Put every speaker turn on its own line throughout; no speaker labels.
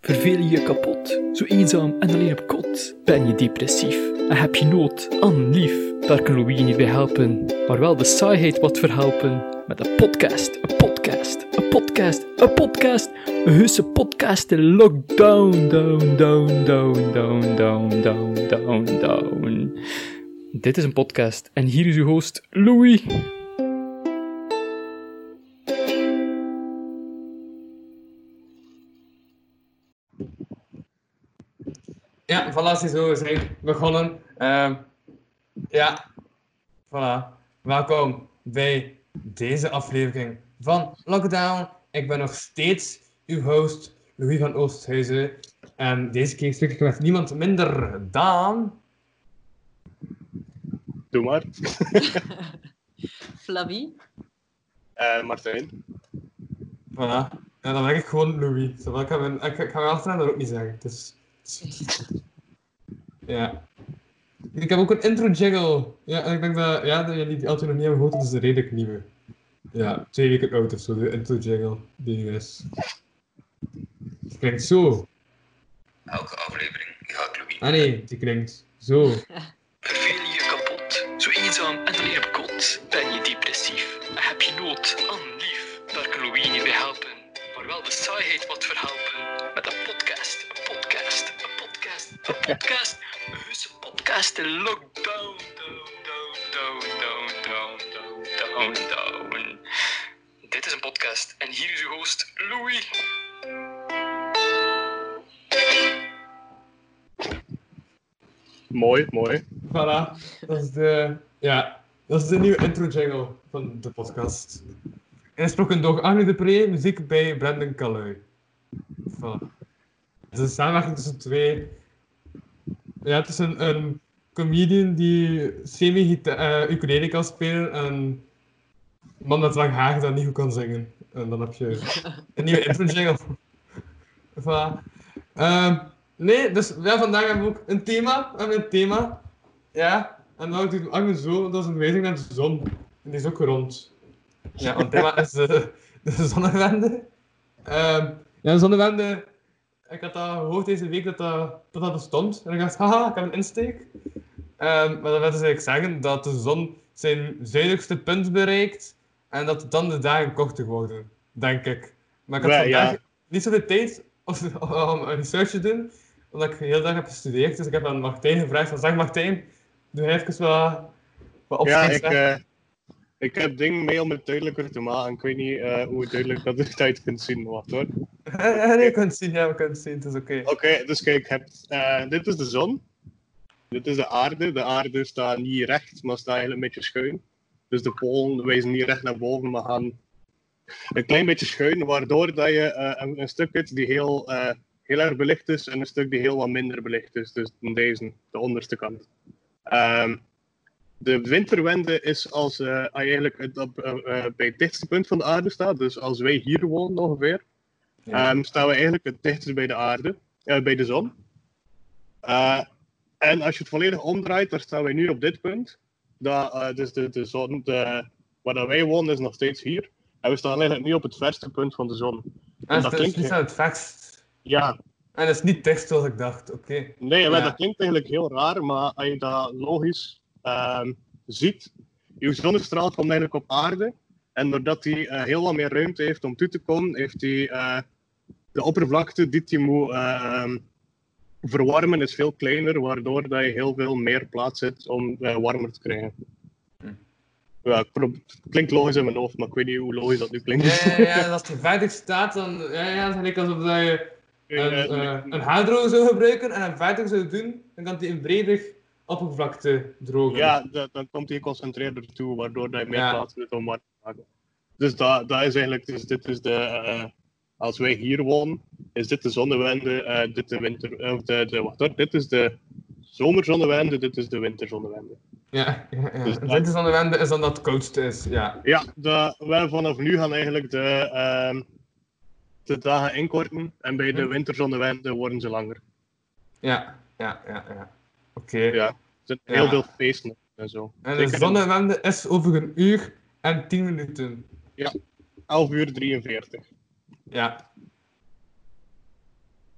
Verveel je je kapot, zo eenzaam en alleen op kot? Ben je depressief en heb je nood aan lief? Daar kan Louis niet bij helpen, maar wel de saaiheid wat verhelpen. Met een podcast, een podcast, een podcast, een podcast, een husse podcast in lockdown, down, down, down, down, down, down, down, down. Dit is een podcast en hier is uw host Louis.
Ja, voilà, zo we zijn begonnen. Ehm, ja, voilà. Welkom bij deze aflevering van Lockdown. Ik ben nog steeds uw host, Louis van Oosthuizen. En deze keer spreek ik met niemand minder dan...
Doe maar.
Flavie.
Eh, Martijn.
Voilà. En dan ben ik gewoon Louis. Zowel ik, ga mijn, ik, ik ga mijn achternaam er ook niet zeggen. Dus... Ja. Ik heb ook een intro jingle. Ja, en ik denk dat, ja, dat jullie die altijd nog niet hebben gehoord, dat is een redelijk nieuwe. Ja, twee weken oud of zo, de intro jingle die nu is. Die klinkt zo.
Elke aflevering ga ik Louis.
Ah nee, die klinkt zo.
Verveel je je kapot, zo eenzaam en alleen op kot? Ben je depressief en heb je nood aan lief? Daar kan Louis niet bij helpen, maar wel de saaiheid wat verhelpen. Met een podcast, een podcast, een podcast, een podcast, Dus een husse podcast in lockdown. Down, down, down, down, down, down, down, down. Dit is een podcast en hier is uw host Louis.
Mooi, mooi.
Voilà, dat is de, ja, dat is de nieuwe intro jingle van de podcast. Ingesproken door Arne de Pre, muziek bij Brendan Calui. Voilà. Het is een samenwerking tussen twee. Ja, het is een, een comedian die semi-ukulele kan spelen en een man met lang haar dat niet goed kan zingen. En dan heb je een nieuwe intro jingle. voilà. Ehm, nee, dus ja, vandaag hebben we ook een thema. We hebben een thema. Ja, en dan doet Agne zo, want dat is een wijzing naar de zon. En die is ook rond. Ja, want het thema is eh, de zonnewende. Ehm, ja, de zonnewende. Ik had dat gehoord deze week dat dat, dat, dat bestond. En ik dacht, haha, ik heb een insteek. Ehm, maar dat wil dus eigenlijk zeggen dat de zon zijn zuidelijkste punt bereikt. En dat dan de dagen korter worden, denk ik. Maar ik had
Ja,
vandaag
ja.
niet zoveel tijd om, om een research te doen. Omdat ik de hele dag heb gestudeerd. Dus ik heb aan Martijn gevraagd. Van, zeg Martijn, doe even wat, wat
ja,
opschrift
ik, eh, ik heb dingen mee om het duidelijker te maken. Ik weet niet eh, hoe duidelijk dat je tijd kunt zien. Wacht hoor. Oké,
Ja, nee, je kunt het zien, ja, we kunnen het zien, het is oké.
dus kijk, je hebt, eh, dit is de zon. Dit is de aarde. De aarde staat niet recht, maar staat eigenlijk een beetje schuin. Dus de polen wijzen niet recht naar boven, maar gaan een klein beetje schuin. Waardoor dat je eh, een, een stuk hebt die heel, eh, heel erg belicht is en een stuk die heel wat minder belicht is. Dus deze, de onderste kant. Ehm, de winterwende is als eh, als je eigenlijk het op, eh, eh, bij het dichtste punt van de aarde staat. Dus als wij hier wonen ongeveer,
Ja.
ehm, staan we eigenlijk het dichtst bij de aarde, eh, bij de zon. Eh, en als je het volledig omdraait, dan staan wij nu op dit punt. Dat, eh, dus de, de zon, de, waar dat wij wonen, is nog steeds hier. En we staan eigenlijk nu op het verste punt van de zon.
En
dat
het is
klinkt-
niet aan het verst.
Ja,
En het is niet tekst zoals ik dacht, oké.
Nee, maar
Ja.
dat klinkt eigenlijk heel raar, maar als je dat logisch ehm, ziet, uw zonnestraal komt eigenlijk op aarde. En doordat hij eh, heel wat meer ruimte heeft om toe te komen, heeft hij eh, de oppervlakte die hij moet ehm, verwarmen is veel kleiner, waardoor dat je heel veel meer plaats hebt om eh, warmer te krijgen.
Hm.
Ja, ik prob- het klinkt logisch in mijn hoofd, maar ik weet niet hoe logisch dat nu klinkt.
Ja, ja, ja, en als die verder staat, dan ja, ja, het is gelijk alsof dat je een, eh een haardroger zou gebruiken en een verder zou doen, dan kan die een breder oppervlakte drogen.
Ja, dat- dan komt hij geconcentreerder toe, waardoor hij meer
Ja.
plaats heeft om warm te maken. Dus dat, dat is eigenlijk, dus dit is de, eh, als wij hier wonen, is dit de zonnewende, eh, dit de winter, eh, of de, de, wacht hoor, dit is de zomerzonnewende, dit is de winterzonnewende.
ja, ja, ja.
Dus
Het
dat-
winter aan de wende is dan dat het koudste is, ja.
Ja, de, wij vanaf nu gaan eigenlijk de, ehm, de dagen inkorten en bij de
Hm.
winterzonnewende worden ze langer.
Ja, ja, ja, ja. Oké.
Ja, er zijn heel
Ja.
veel feesten en zo.
En
Zeker
de
in
zonnewende is over een uur en tien minuten.
11 uur 43.
Ja.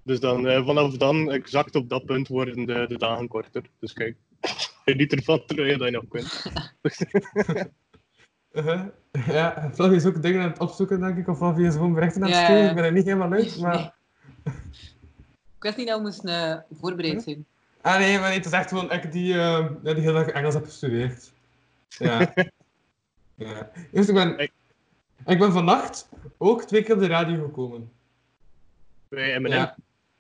Dus dan, eh, vanaf dan, exact op dat punt, worden de, de dagen korter. Dus kijk, geniet ervan terwijl je dat nog kunt.
Uh-huh. Ja, Flavie is ook dingen aan het opzoeken, denk ik. Of Flavie is gewoon berichten aan het
Ja,
sturen.
ja.
Ik ben er niet helemaal uit, maar...
Nee. Ik wist niet dat we moesten eh, voorbereid zijn.
Ah nee, maar nee, het is echt gewoon ik die, eh, ja, die heel erg Engels heb gestudeerd. Ja. ja. Eerst, ik ben,
Ik-
ik ben vannacht ook twee keer op de radio gekomen.
Bij M&M.
Ja.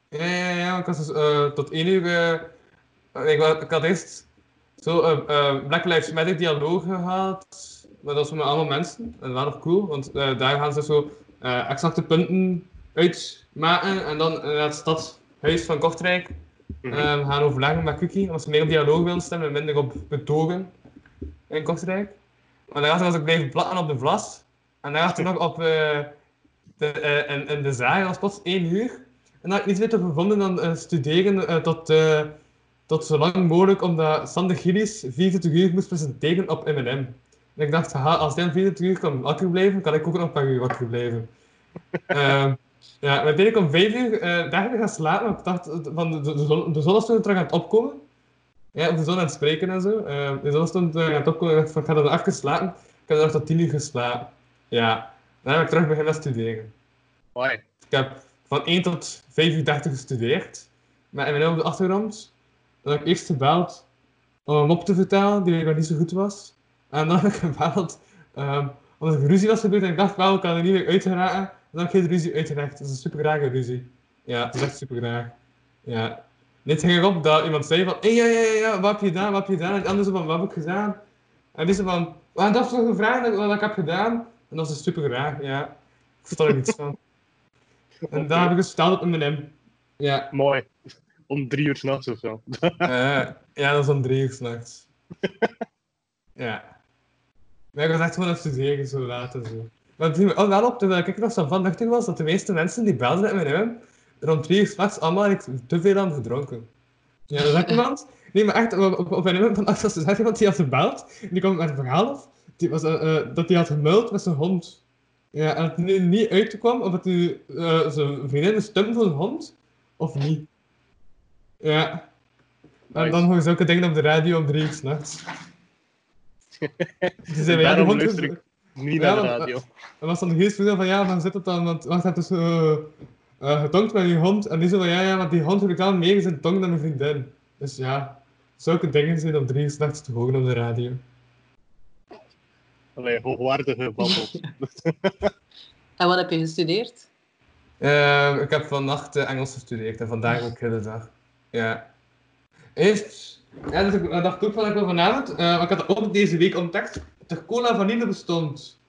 Ja, ja, ja, want ik was dus eh, tot één uur... eh, ik, wa- ik had eerst zo eh, eh, Black Lives Matter dialoog gehad. Maar dat was met allemaal mensen. En dat was nog cool, want eh, daar gaan ze zo eh, exacte punten uitmaken. En dan naar het stadhuis van Kortrijk
Mhm.
eh, we gaan overleggen met Cookie. Als ze meer op dialoog willen stemmen en minder op betogen in Kortrijk. Maar daarnaast was ik blijven plakken op de vlas. En daarnaast nog op eh, de, eh, in, in de zaal. Dat was plots één uur. En dan had ik niets meer te gevonden dan eh, studeren eh, tot, eh, tot zo lang mogelijk. Omdat Sander Gillies 24 uur moest presenteren op M&M. En ik dacht, haha, als hij om 24 uur kan wakker blijven, kan ik ook nog een paar uur wakker blijven. Ehm, ja, we deden om vijf uur eh daar gaan slapen. want Ik dacht, eh, van de, de, de zon, de zon stond terug aan het opkomen. Ja, of de zon aan het spreken en zo. Eh, de zon stond eh, aan het opkomen. Ik dacht, van, ik ga dan even slapen. Ik heb dan nog tot tien uur geslapen. Ja, dan heb ik terug beginnen studeren.
Hoi.
Ik heb van 1 tot 5 uur 30 gestudeerd. Maar in mijn op de achtergrond dan heb ik eerst gebeld om een mop te vertellen die nog niet zo goed was. En dan heb ik gebeld ehm, omdat er ruzie was gebeurd en ik dacht wel, ik kan er niet meer uit geraken. En dan heb ik geen ruzie uitgelegd. Dat is een super ruzie. Ja, dat is echt super Ja. Dit ging erop dat iemand zei van, hey, ja, ja, ja, ja, wat heb je gedaan, wat heb je gedaan? En de ander zo van, wat heb ik gedaan? En die zei van, "Ah, dat is toch een vraag dat- wat ik heb gedaan? En dat is super ja. Ik vertel er niets van. En daar heb ik dus verteld op M&M. Ja.
Mooi. Om drie uur s'nachts of zo.
Eh, ja, dat is om drie uur s'nachts. ja. Maar ik was echt gewoon aan het studeren, zo laat en zo. Maar het viel me al wel op, terwijl ik nog zo vandachtig was, dat de meeste mensen die belden met M&M, rond drie uur s'nachts allemaal iets te veel aan gedronken. Ja, dat is echt iemand... Nee, maar echt, op, op, op M&M vannacht was er echt iemand die had gebeld, en die kwam met een verhaal af, die was, eh, eh, dat hij had gemuild met zijn hond. Ja, en dat het nu niet uitkwam of dat hij eh, zijn vriendin is stum voor zijn hond, of niet. Ja. En
Nice.
dan hoor je zulke dingen op de radio om drie uur s'nachts. Ze zeiden, ja, die
Daarom
hond is...
luister ik Niet
Ja,
naar de
want-
radio.
Er was dan een heel van, ja, waarom zit dat dan? Want wacht, dat is eh eh, getonkt met je hond. En die zei van, ja, ja, want die hond heb ik al meer in zijn tong dan mijn vriendin. Dus ja, zulke dingen zijn om drie uur s'nachts te horen op de radio.
Allee, hoogwaardige babbels.
En wat heb je gestudeerd?
Eh, ik heb vannacht eh, Engels gestudeerd en vandaag ook de hele dag. Ja. Eerst, ja, dus ik eh, dacht ook van ik wil vanavond, eh, maar ik had ook deze week ontdekt dat er cola vanille bestond.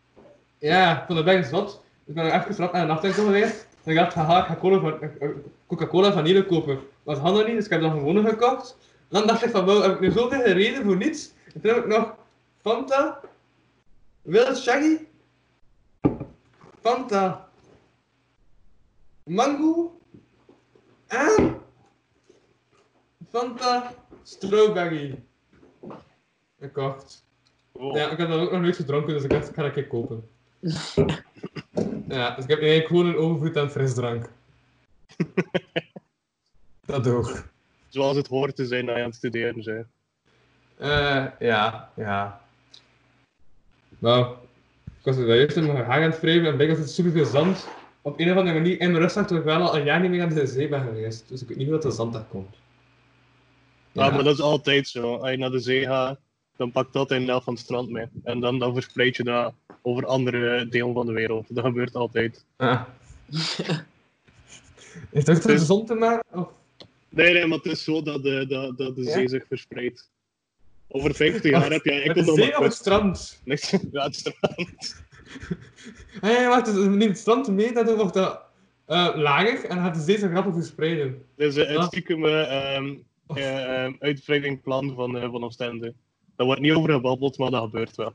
Ja, van de ben ik zot. Ik ben even rap naar de nachtwinkel geweest. En ik dacht, haha, ik ga cola van, eh, eh, Coca-Cola vanille kopen. Maar dat had nog niet, dus ik heb dat gewoon gekocht. En dan dacht ik van, wow, heb ik nu zoveel reden voor niets? En toen heb ik nog Fanta, Wild Shaggy, Fanta, mango en Fanta strawberry gekocht.
Wow.
Ja, ik heb dat ook nog nooit gedronken, dus ik dacht, ik ga dat een keer kopen. ja, dus ik heb eigenlijk gewoon een overvloed aan frisdrank. dat ook.
Zoals het hoort te zijn dat je aan het studeren bent.
Eh, ja, ja. Nou, ik was er juist in mijn hang aan het wrijven en blijkbaar zit superveel zand. Op een of andere manier in mijn rugzak, terwijl ik wel al een jaar niet meer aan de zee ben geweest. Dus ik weet niet hoe dat de zand daar komt.
Ja. Ah, maar dat is altijd zo. Als je naar de zee gaat, dan pakt dat een helft van het strand mee. En dan, dan verspreid je dat over andere delen van de wereld. Dat gebeurt altijd.
Ah. Heeft dat ook
Dus-
met de zon te maken? Oh. Of?
Nee, nee, maar het is zo dat de, dat, dat de
Ja?
zee zich verspreidt. Over 50 jaar heb je
Met
enkel
de
nog
zee
maar
of het strand?
niks ja, het strand.
Nee, nee, wacht, dus neemt het strand mee, daardoor wordt dat eh, lager en gaat de zee zo grappig verspreiden.
Dus eh, het
Ah.
stiekem eh, ehm, eh, ehm, uitbreidingsplan van, eh van Oostende. Daar wordt niet over gebabbeld, maar dat gebeurt wel.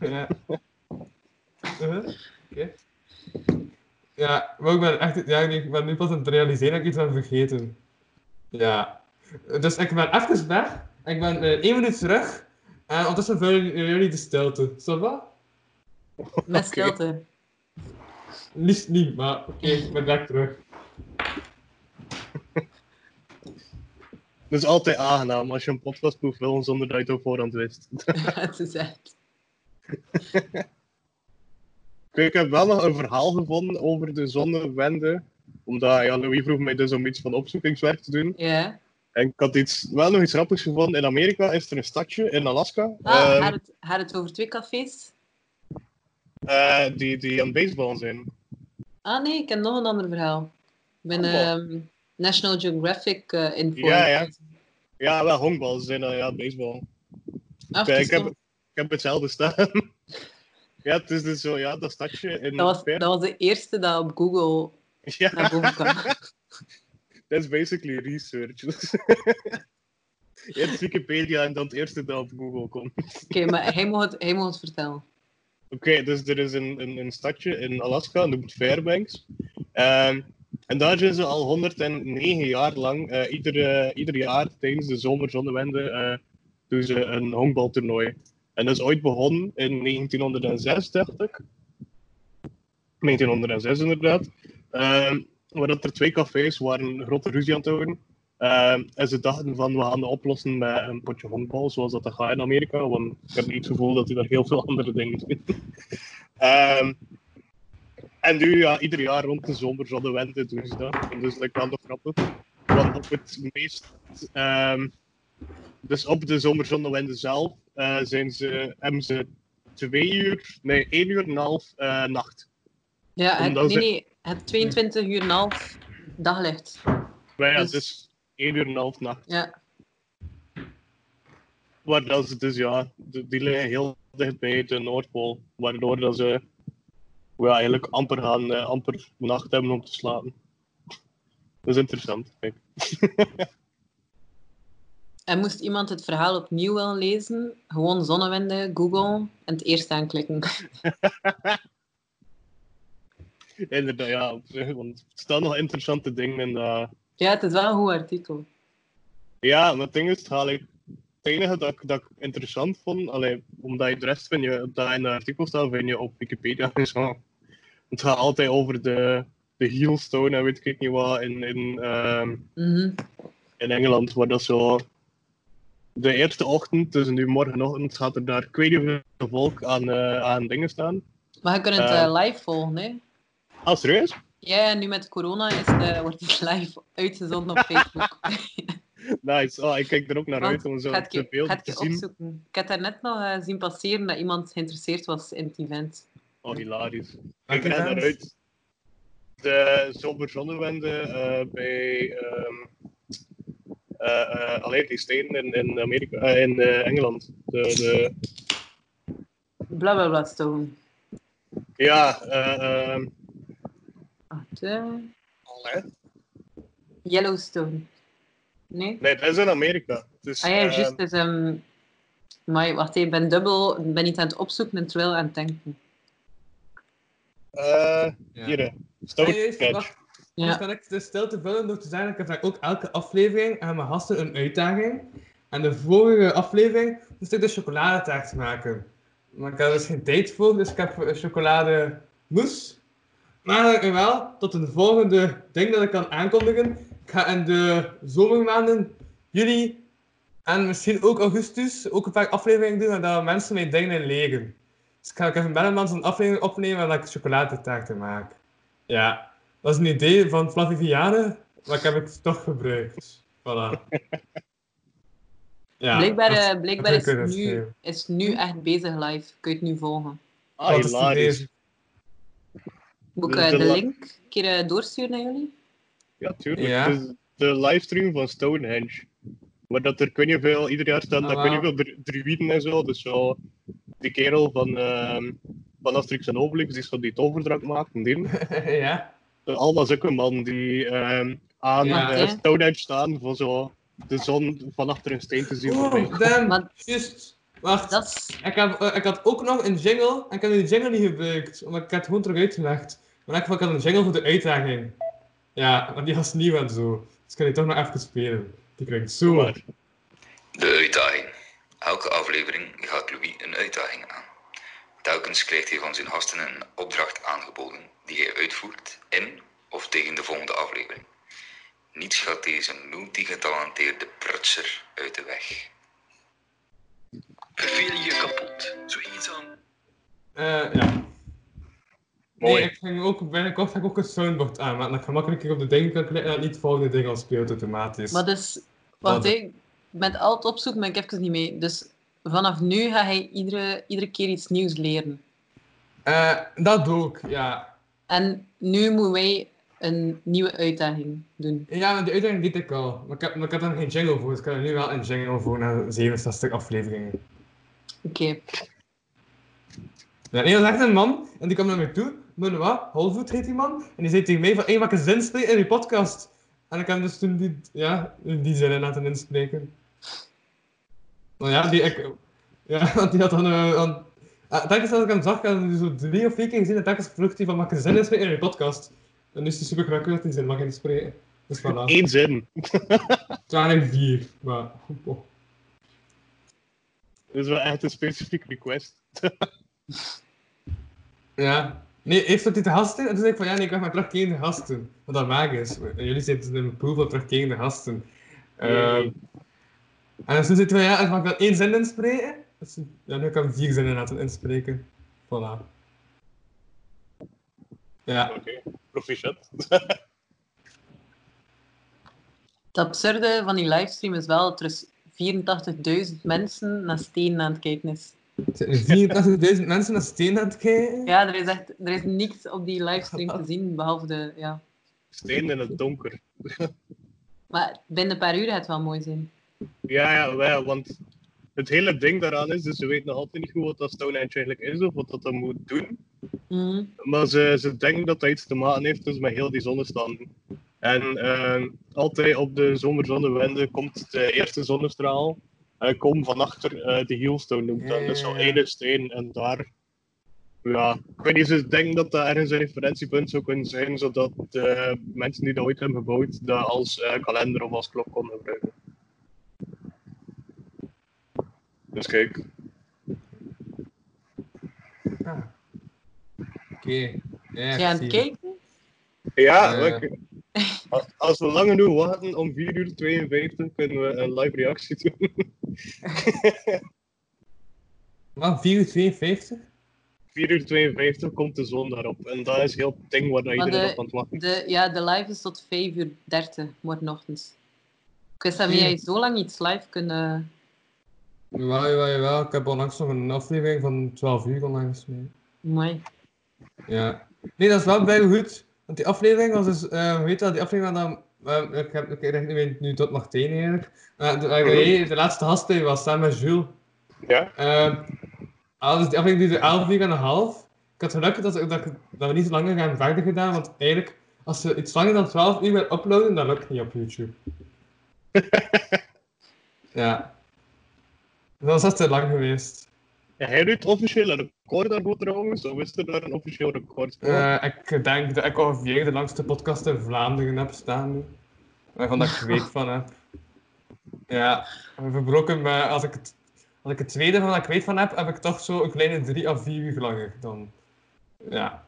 Ja. Uh-huh. Oké. Ja, maar ik ben echt... Ja, nee, ik ben nu pas aan het realiseren dat ik iets ben vergeten. Ja. Dus ik ben even weg. Ik ben eh, één minuut terug. En ondertussen vullen jullie de stilte. Is dat wat?
Met
Oké.
stilte.
Liefst niet, maar oké, ik ben direct terug.
Dat is altijd aangenaam als je een podcast moet vullen zonder dat je het op voorhand wist.
het is echt.
Ik heb wel nog een verhaal gevonden over de zonnewende. Omdat ja, Louis vroeg mij dus om iets van opzoekingswerk te doen.
Ja.
En ik had iets, wel nog iets grappigs gevonden. In Amerika is er een stadje, in Alaska,
Ah,
ehm,
had, het, had het over twee cafés?
eh, die, die aan het baseballen zijn.
Ah nee, ik heb nog een ander verhaal. Ik ben
Voetbal.
ehm, National Geographic eh informed.
Oh, Ja, ja. Ja, wel honkbal, ze zijn dan ja, baseball.
Af
Ja,
te
ik, heb,
stom.
ik heb hetzelfde staan. ja, het is dus zo, ja, dat stadje in...
dat, was,
Perth.
dat was de eerste dat op Google
Ja,
naar boven kwam.
that's basically research. Eerst Wikipedia en dan het eerste dat op Google komt.
Oké, maar hij moet, het, hij moet het vertellen.
Oké, dus er is een, een, een stadje in Alaska, noemt Fairbanks. Ehm, en daar zijn ze al 109 jaar lang, eh, ieder, eh, ieder jaar tijdens de zomerzonnewende, eh doen ze een honkbaltoernooi. En dat is ooit begonnen in 1906, dacht ik. 1906 inderdaad. Ehm waar dat er twee cafés waren grote ruzie aan het houden. Ehm, en ze dachten van, we gaan dat oplossen met een potje honkbal, zoals dat, dat gaat in Amerika. Want ik heb niet het gevoel dat die daar heel veel andere dingen doen. Ehm, en nu, ja, ieder jaar rond de zomer, zo de winter, doen ze dat. En dus dat kan nog grappig. Want op het meest... ehm, dus op de zomerzonnewende zelf eh, zijn ze, hebben ze twee uur, nee, één uur en een half eh, nacht.
Ja, het,
Omdat
nee,
ze-
nee, het 22 uur en een half daglicht.
Maar ja,
Dus-
dus één uur en een half nacht.
Ja.
Waar dat ze dus ja, de- die liggen heel dicht bij de Noordpool. Waardoor dat ze ja, eigenlijk amper, gaan, eh, amper nacht hebben om te slapen. Dat is interessant. Kijk.
En moest iemand het verhaal opnieuw wel lezen, gewoon zonnewende, Google en het eerst aanklikken.
Inderdaad, ja. op zich, Want er staan nog interessante dingen in. dat-
Ja, het is wel een goed artikel.
Ja, maar het ding is, het, haal ik- het enige dat ik, dat ik interessant vond, allee, omdat je de rest vind je, dat in de artikel staat, vind je op Wikipedia en zo. Het gaat altijd over de, de Heelstone en weet ik niet wat in, in, ehm,
Mhm.
in Engeland, waar dat zo de eerste ochtend, dus nu morgenochtend, gaat er daar, ik weet niet hoeveel volk aan, eh, aan dingen staan.
Maar je kunt het
Eh.
eh, live volgen, hè?
Ah, serieus?
Ja, nu met corona is het, eh, wordt het live uitgezonden op Facebook.
Nice. Ah, ik kijk er ook naar
Want
uit om zo
Oh, Gaat
te
je,
beeld
gaat
te
je
zien.
opzoeken. Ik heb daarnet nog eh, zien passeren dat iemand geïnteresseerd was in het event.
Oh, hilarisch.
Dank
Ik
je,
ren
Hans.
eruit. De zomerzonnewende eh bij ehm eh, eh, alleen die steden in, in, Amerika, eh, in eh, Engeland. De, de,
Bla bla bla stone.
ja, eh, ehm,
Wacht, eh.
allee.
Yellowstone. Nee?
nee, dat is in Amerika. Dus,
Ah ja,
ehm,
juist. Dus, ehm, amai, wacht even, ik ben dubbel. Ik ben niet aan het opzoeken en terwijl aan het denken.
eh,
Ja.
hier,
Ah,
eh, Stone
Hey,
Catch.
wacht. Dus
Ja.
kan ik de stilte vullen door te zeggen, ik heb ook elke aflevering aan mijn gasten een uitdaging. En de vorige aflevering moest ik de chocoladetaart maken. Maar ik had er dus geen tijd voor, dus ik heb een chocolademousse. Maar eh, wel, tot een volgende ding dat ik kan aankondigen. Ik ga in de zomermaanden, juli en misschien ook augustus, ook een paar afleveringen doen en dat mensen mijn dingen legen. Dus ik ga ook even bellen mensen een aflevering opnemen en dat ik chocoladetaarten maak. Ja. Dat is een idee van Flaviviane, maar ik heb het toch gebruikt. Voilà. Ja,
blijkbaar
dat-
eh, blijkbaar
dat kan ik
is,
ook
nu,
even
is nu echt bezig live. Kun je het nu volgen.
Ah,
dat is het
hilarisch.
idee.
Moet ik
Dus
eh,
de
de
la-
link een keer eh, doorsturen naar jullie?
Ja, tuurlijk.
Ja.
Dus de livestream van Stonehenge. Maar dat er, kun je veel, ieder jaar staan,
Ah,
dat kun
wauw.
je veel dru- druïden en zo. Dus zo, die kerel van, ehm van Asterix en Obelix, die zo die toverdrank maakt en die.
ja.
Allemaal zulke man die ehm, aan
Ja.
eh, Stonehenge staan voor zo de zon van achter een steen te zien voorbij.
Oeh, Oh, damn.
Maar-
Juist. Wacht.
Dat is...
Ik, heb, eh, ik had ook nog een jingle, en ik heb die jingle niet gebruikt, omdat ik het gewoon terug uitgelegd. Maar in elk geval, ik had een jingle voor de uitdaging. Ja, want die was nieuw en zo. Dus ik kan die toch nog even spelen. Die klinkt zo.
Maar-
De uitdaging. Elke aflevering gaat Louis een uitdaging aan. Telkens krijgt hij van zijn gasten een opdracht aangeboden die hij uitvoert in of tegen de volgende aflevering. Niets gaat deze multigetalenteerde prutser uit de weg.
Verveel je kapot. Zo eenzaam
Eh, ja.
Mooi.
Nee, ik ging ook binnenkort ga ik ook een soundboard aanmaken. Dat ik gemakkelijker op de ding kan klikken en dat niet het volgende ding al speelt automatisch.
Maar dus, wacht,
Wat?
ik met al het opzoeken ben ik even niet mee. Dus vanaf nu ga hij iedere, iedere keer iets nieuws leren.
Eh, dat doe ik, ja.
En nu moeten wij een nieuwe uitdaging doen.
Ja, maar die uitdaging deed ik al. Maar ik heb, maar ik heb daar geen jingle voor, dus ik kan er nu wel een jingle voor na 67 afleveringen.
Oké,
Ja, nee, dat was echt een man, en die kwam naar mij toe, maar wat, Holvoet heet die man, en die zei tegen mij van, hé, maak een zinspeling in die podcast. En ik heb hem dus toen die, ja, die zin in laten inspreken. Nou ja, die, ik, ja, want die had dan, eh, want- ah, telkens als ik hem zag, ik had hem zo drie of vier keer gezien, en telkens vroeg hij van, maak een zin inspreken in die podcast. En nu is hij super krakkelijk dat hij zin mag inspreken. Dus voilà.
Eén zin.
Het waren eigenlijk vier, maar, oh.
Dat is wel echt een specifiek request.
Ja. Nee, eerst zat hij te gasten en toen zei ik van ja, nee, ik mag maar terugkeren de gasten. Wat dat maakt is. En jullie zitten in een pool van terugkeren de gasten. Ehm,
Yay.
En toen zei hij van ja, ik mag wel één zin inspreken. Dus, ja, nu kan ik vier zinnen laten inspreken. Voilà. Ja.
Oké, proficiat.
het absurde van die livestream is wel dat er dus 84.000 mensen naar Steen aan het kijken is.
Er zijn 84.000 mensen naar steen aan het kijken.
Ja, er is echt er is niks op die livestream te zien, behalve de... Ja.
Steen in het donker.
Maar binnen een paar uur gaat het wel mooi zijn.
Ja, ja, wel, want het hele ding daaraan is, dus ze weten nog altijd niet goed wat dat Stone Edge eigenlijk is of wat dat dan moet doen.
Mhm.
Maar ze, ze denken dat dat iets te maken heeft dus met heel die zonnestanden. En eh, altijd op de zomerzonnewende komt de eerste zonnestraal. En kom van achter eh, de Heelstone noemt dat. Dus zo'n
Ja.
ene steen en daar. Ja, ik weet niet, ze denken dat dat ergens een referentiepunt zou kunnen zijn, zodat eh, mensen die dat ooit hebben gebouwd, dat als eh, kalender of als klok konden gebruiken. Dus kijk,
Ah. Oké. Ja,
Zijn je aan het
ik zie
kijken?
Ja,
Ja.
oké. Eh, Als- Als we lang genoeg wachten om 4 uur 52 kunnen we een live reactie doen.
Wat, 4 uur 52?
4 uur 52 komt de zon daarop. En dat is heel het ding waar dat
Maar
iedereen
de-
op aan het wachten
De, ja, de live is tot 5 uur 30 morgenochtends. Ik wist dat
Ja.
jij zo lang iets live kunnen.
Jawel, jawel, jawel. Ik heb onlangs nog een aflevering van 12 uur onlangs mee.
Mooi.
Ja. Nee, dat is wel bij goed. Want die aflevering was dus, eh weet je wel, die aflevering dan. ik heb ik richt nu, nu tot Martijn eigenlijk. Eh, de, waar jij de laatste gast die was samen met Jules.
Ja?
Eh, ah, dus die aflevering duurde 11 uur en een half. Ik had gelukkig dat, dat, ik- dat we niet langer gaan verder gedaan, want eigenlijk, als ze iets langer dan 12 uur willen uploaden, dat lukt niet op YouTube. ja. Dat was echt te lang geweest.
En hij doet officieel een record daarvoor trouwens. Of is er daar een officieel record voor?
Eh, ik denk dat ik ongeveer de langste podcast in Vlaanderen heb staan nu. Waarvan dat ik weet van heb. Ja, verbroken maar als ik het, als ik het tweede van dat ik weet van heb, heb ik toch zo een kleine drie à vier uur langer dan. Ja.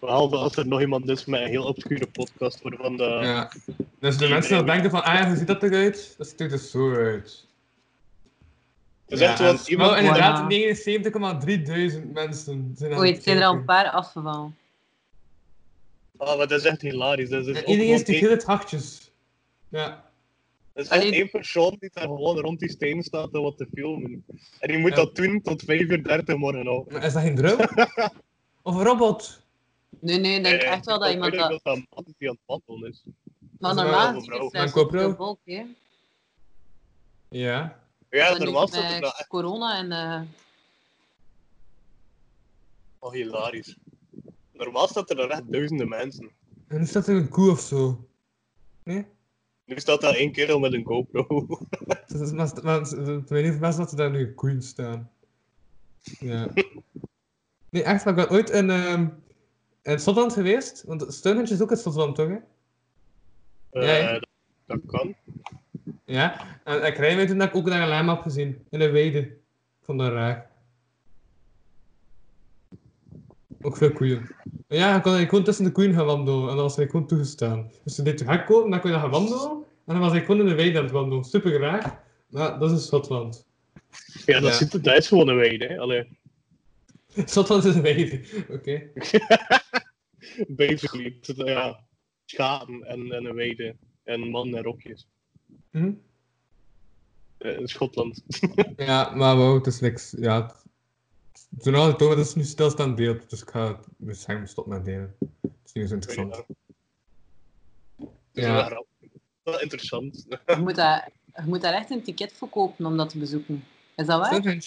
Behalve als er nog iemand is met een heel obscure podcast waarvan de...
ja. Dus de mensen die denken van, ah ja, hoe ziet dat eruit? Dat ziet er dus zo uit.
Het is
Ja,
echt
en-
wel iemand...
wel,
in-
inderdaad,
Voilà.
79,3000 mensen zijn aan
Oei,
het
het zijn er al een
kijken.
paar afgevallen.
Ah, maar dat is echt hilarisch. Dat is,
En
ook
iedereen
gewoon
is die
één-
hele hartjes. Ja.
dat is echt
Allee.
één persoon die daar gewoon rond die steen staat om wat te filmen. En die moet
Ja.
dat doen tot 5 uur 30 morgen al.
Maar is dat geen droom? of een robot?
Nee, nee, ik denk
Eh,
echt wel dat
ik
iemand
weet ook
dat.
dat een man is die aan het wandelen is.
Maar
is wel
normaal
een
is
vrouw.
het
Mijn
daar zo
kopro.
veel volk, hè?
Ja.
Ja,
Maar nu
normaal staat er
met
dat echt
corona en. eh,
wel hilarisch. Normaal staat er daar echt duizenden mensen.
En nu staat er een koe of zo. Nee?
Nu staat daar één kerel met een GoPro.
Dat is, maar, maar, ik weet niet of mensen dat er daar nu een koeien staan. Ja. Nee, echt, maar ik ben ooit in, ehm in Schotland geweest. Want Stonehenge is ook in Schotland, toch? Hè?
Eh,
Ja, ja.
dat, dat kan.
Ja. En ik rij mij toen dat ik ook daar een lama heb gezien. In een weide. Ik vond dat raar. Ook veel koeien. En ja, je kon eigenlijk gewoon tussen de koeien gaan wandelen. En dat was eigenlijk gewoon toegestaan. Dus je deed je hek open, dan kon je gaan wandelen. En dan was ik gewoon in de weide aan het wandelen. Super graag. Maar dat is in Schotland.
Ja, dat,
Ja.
Zit, dat is gewoon een weide. Hè. Allee,
Schotland is een weide. Oké.
basically. het zit, ja, schapen en, en een weide. En mannen en rokjes.
Hm?
Eh, in Schotland.
Ja, maar wow, het is niks. Ja, het- toen had ik het over, dat is nu stilstaand beeld. Dus ik ga het dus ik stop met delen. Het is niet zo interessant.
Dus
Ja.
ja. Wel interessant.
Je moet, daar, je moet daar echt een ticket voor kopen om dat te bezoeken. Is dat waar?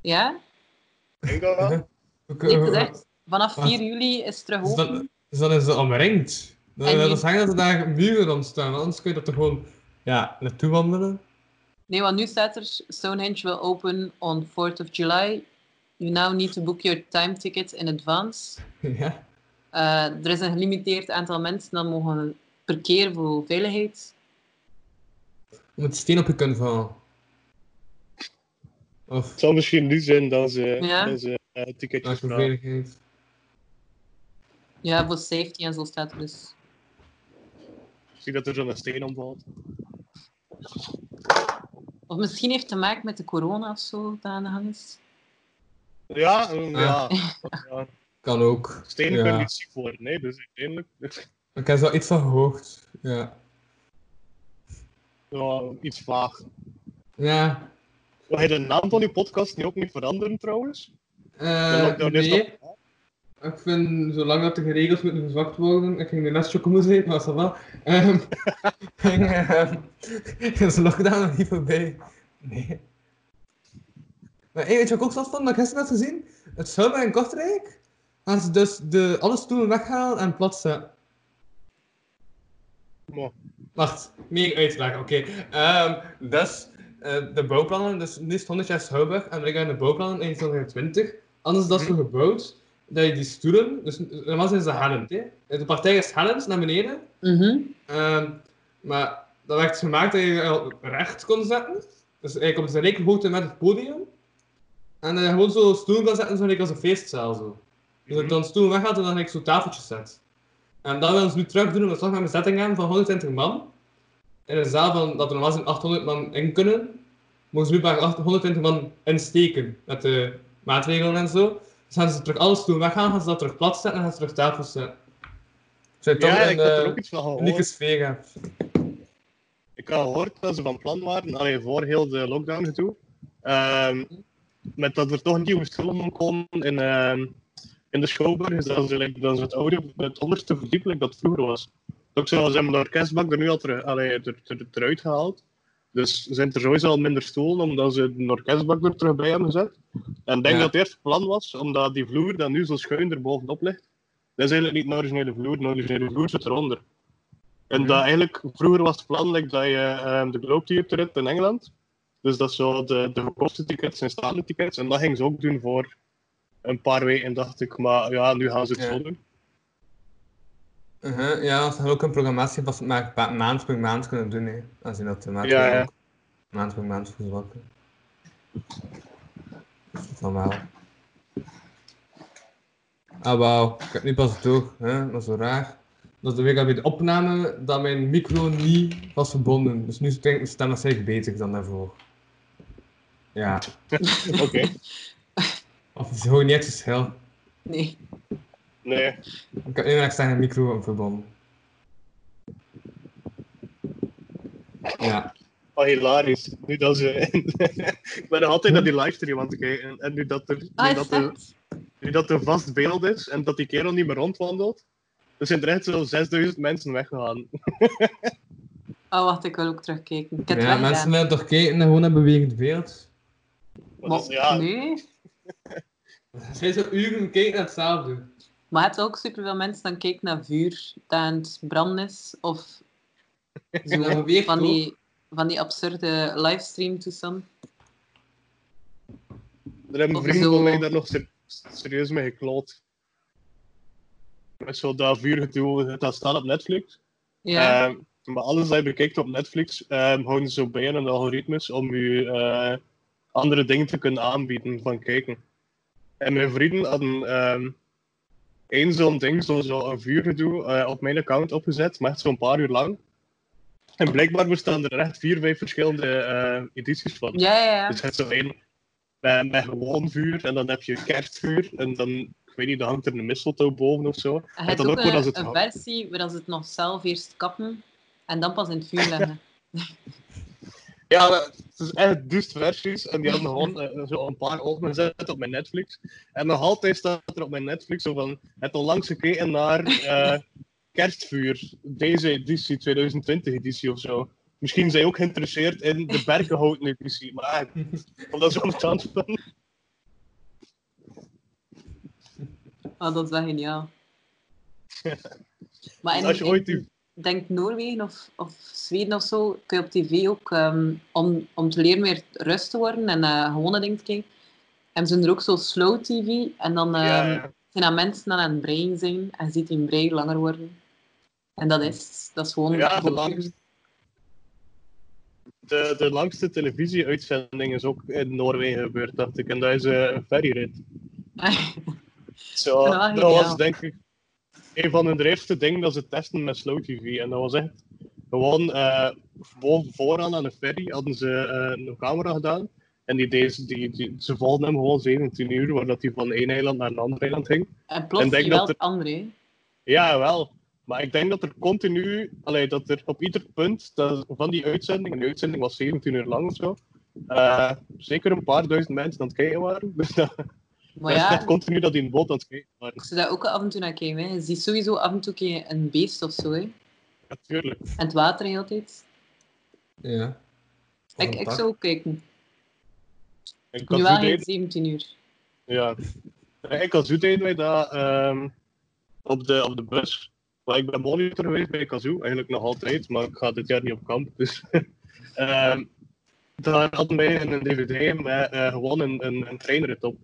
Ja?
Denk dat wel?
Ik,
Ik
eh,
zeg, vanaf
Wacht.
4 juli is het terug
Dus dan,
open.
dus dan is het omringd. Dan
En
wil
die-
dat zeggen dat er daar muren rond staan. want Anders kun je dat toch gewoon ja, naartoe wandelen.
Nee, want nu staat er Stonehenge will open on 4th of July. You now need to book your time tickets in advance.
ja.
Eh, er is een gelimiteerd aantal mensen dat mogen per keer voor veiligheid.
Om het steen op je kunnen vallen. Of
Het zal misschien nu zijn dat ze,
Ja.
dat ze eh, ticketjes
als je
vragen.
veiligheid.
Ja, voor safety en zo staat er dus.
Zie dat er zo'n steen omvalt.
Of misschien heeft het te maken met de corona of zo dat aan de gang is.
Ja, eh, ja. ja.
Kan ook.
Stenen
ja.
kunnen niet ziek worden, nee, dus uiteindelijk.
Ik heb er wel iets van gehoord. Ja.
Ja, iets vaag.
Ja.
Wil je de naam van die podcast nu ook niet veranderen trouwens? De
Eh
lockdown is
nee.
nog-
Ik vind, zolang dat de regels moeten verzwakt worden, ik ging nu net chocomoes eten, maar dat wel. Ehm ging, ehm, is de lockdown nog niet voorbij? Nee. Maar hey, weet je wat ik ook zat van, dat ik gisteren had gezien? Het Schouwburg in Kortrijk gaan ze dus de, alle stoelen weghalen en plat zetten.
Mo.
Wacht, meer uitleg, oké. Ehm dus, eh, de bouwplannen, dus nu is het 100 jaar Schouwburg en we gaan de bouwplannen in 2020. Anders dat ze gebouwd, dat je die stoelen, dus normaal zijn ze hellend, hè. De partij is hellend naar beneden,
Mhm.
Ehm, maar dat werd dus gemaakt dat je je recht kon zetten. Dus eigenlijk op zijn rekenhoogte met het podium. En dat je gewoon zo stoel kan zetten, zo gelijk als een feestzaal. Zo. Dus dat je
Mhm.
dan stoel weghaalt en dan gelijk zo tafeltjes zet. En dat willen ze nu terug doen, omdat ze nog een bezetting hebben van 120 man. In een zaal van, dat er normaal zijn 800 man in kunnen, mogen ze nu maar 800 120 man insteken met de maatregelen en zo. Dus gaan ze terug alles doen weggaan, gaan ze dat terug plat zetten en gaan ze terug tafels zetten. Zou je toch
Ja,
een,
ik had er
eh,
ook iets van gehoord.
unieke sfeer hebt.
Ik had gehoord dat ze van plan waren, allee, voor heel de lockdown gedoe, ehm, met dat er toch nieuwe stoelen komen in, ehm, in de Schouwburg, is dat ze like, dat ze het oude, het onderste verdiep, like dat vroeger was. Ook zo ze hebben de orkestbak er nu al ter, allee, er, er- eruit gehaald. Dus zijn er sowieso al minder stoelen, omdat ze de orkestbak er terug bij hebben gezet. En ik denk
Ja.
dat het eerst plan was, omdat die vloer dat nu zo schuin er bovenop ligt, dat is eigenlijk niet de originele vloer, de originele vloer zit eronder. En dat eigenlijk, vroeger was het plan like, dat je ehm, de Globetheater hebt in Engeland. Dus dat zo de, de gekochte tickets zijn staande tickets. En dat gingen ze ook doen voor een paar weken, dacht ik. Maar ja, nu gaan ze het
Ja.
zo doen.
Uh-huh, ja, want ze gaan ook een programmatie pas maar pa- maand per maand kunnen doen, hè. Als je dat maand
Ja,
per
ja.
ook maand per maand verzwakken. Dat is normaal. Ah, wauw. Ik heb nu pas door, hè. Dat is zo raar. Dat is de week al bij de opname dat mijn micro niet was verbonden. Dus nu is mijn stem waarschijnlijk beter dan daarvoor. Ja.
Oké.
Of het is gewoon niet echt verschil.
Nee.
Nee.
Ik heb nu mijn externe micro verbonden. Ja.
Oh, hilarisch. Nu dat ze... ik ben nog altijd naar die livestream aan het kijken. En, en nu, dat er,
Ah,
nu,
is
dat er,
dat?
nu dat er vast beeld is en dat die kerel niet meer rondwandelt, dan zijn er echt zo 6000 mensen weggegaan.
Oh, wacht, ik wil ook terugkijken. Ik heb het
ja,
wel
mensen
gedaan.
willen toch kijken naar gewoon een bewegend beeld.
Maar dat is- Dus ja,
Nee.
Zij zo uren kijken naar hetzelfde.
Maar je hebt ook superveel mensen dan kijken naar vuur dat aan het branden is. Of zo,
Dat beweegt
van, die, van die absurde livestream toestand.
Er hebben
Of
vrienden
zo.
van mij daar nog ser- serieus mee gekloot. Met zo dat vuurgedoe dat staat op Netflix.
Ja.
Ehm, maar alles dat je bekijkt op Netflix, ehm, houden ze zo bij aan de algoritmes om je eh, andere dingen te kunnen aanbieden van kijken. En mijn vrienden hadden ehm, één zo'n ding, zo'n zo een vuurgedoe, eh, op mijn account opgezet, maar echt zo'n paar uur lang. En blijkbaar bestaan er echt vier, vijf verschillende eh, edities van.
Ja, ja, ja.
Dus het is zo één met, met gewoon vuur en dan heb je kerstvuur en dan, ik weet niet, dan hangt er een mistletoe boven of zo.
Hij
En
heeft
dan
ook
ook wel als
een,
het
een
houdt.
versie waar ze het nog zelf eerst kappen en dan pas in het vuur leggen.
Ja, dat- het is echt duist versies en die hadden gewoon eh, zo een paar ogen gezet op mijn Netflix. En nog altijd staat er op mijn Netflix zo van, het onlangs gekeken naar eh, kerstvuur, deze editie, 2020 editie of zo. Misschien zijn je ook geïnteresseerd in de Berkenhouten editie, maar eh, of dat zo'n kans van.
Oh, dat is wel geniaal. Maar in,
Dus Als je ooit die...
denk Noorwegen of, of Zweden of zo, kun je op tv ook, ehm, om, om te leren meer rust te worden en eh gewone dingen te kijken, hebben ze er ook zo slow tv en dan ehm,
Ja, ja.
zijn dat mensen aan het brein zijn en je ziet hun brein langer worden. En dat is, dat is gewoon...
Ja, de langste. De, de langste televisie-uitzending is ook in Noorwegen gebeurd, dacht ik. En dat is eh, een ferryrit. Zo,
Ja,
dat
geniaal.
was denk ik een van de eerste dingen dat ze testen met Slow TV. En dat was echt gewoon eh, boven vooraan aan de ferry hadden ze eh, een camera gedaan. En die, deed- die, die, ze volgden hem gewoon 17 uur, waar dat hij van één eiland naar een ander eiland ging.
en plots
En denk
zie je wel
dat er-
het andere. hè.
Ja, wel. Maar ik denk dat er continu, allee, dat er op ieder punt dat, van die uitzending, en die uitzending was 17 uur lang of zo, eh, zeker een paar duizend mensen aan het kijken waren. Dus dat,
Maar
dat is
ja,
echt continu dat die in boot aan het kijken waren.
ik zou daar ook af en toe naar kijken. Hè. Je ziet sowieso af en toe een keer een beest of zo. Hè.
Natuurlijk.
En het water heel de tijd.
Ja. Of
Ik,
een
ik
tak.
zou ook kijken.
Ik
Nu
had
wel
zo'n
geen
idee-
17 uur.
ja. Ik had zoet deden wij dat ehm, op, de, op de bus. Maar ik ben monitor geweest bij Kazoo, eigenlijk nog altijd, maar ik ga dit jaar niet op kamp. Dus, ehm, daar hadden wij een DVD met eh, gewoon een, een, een treinrit op.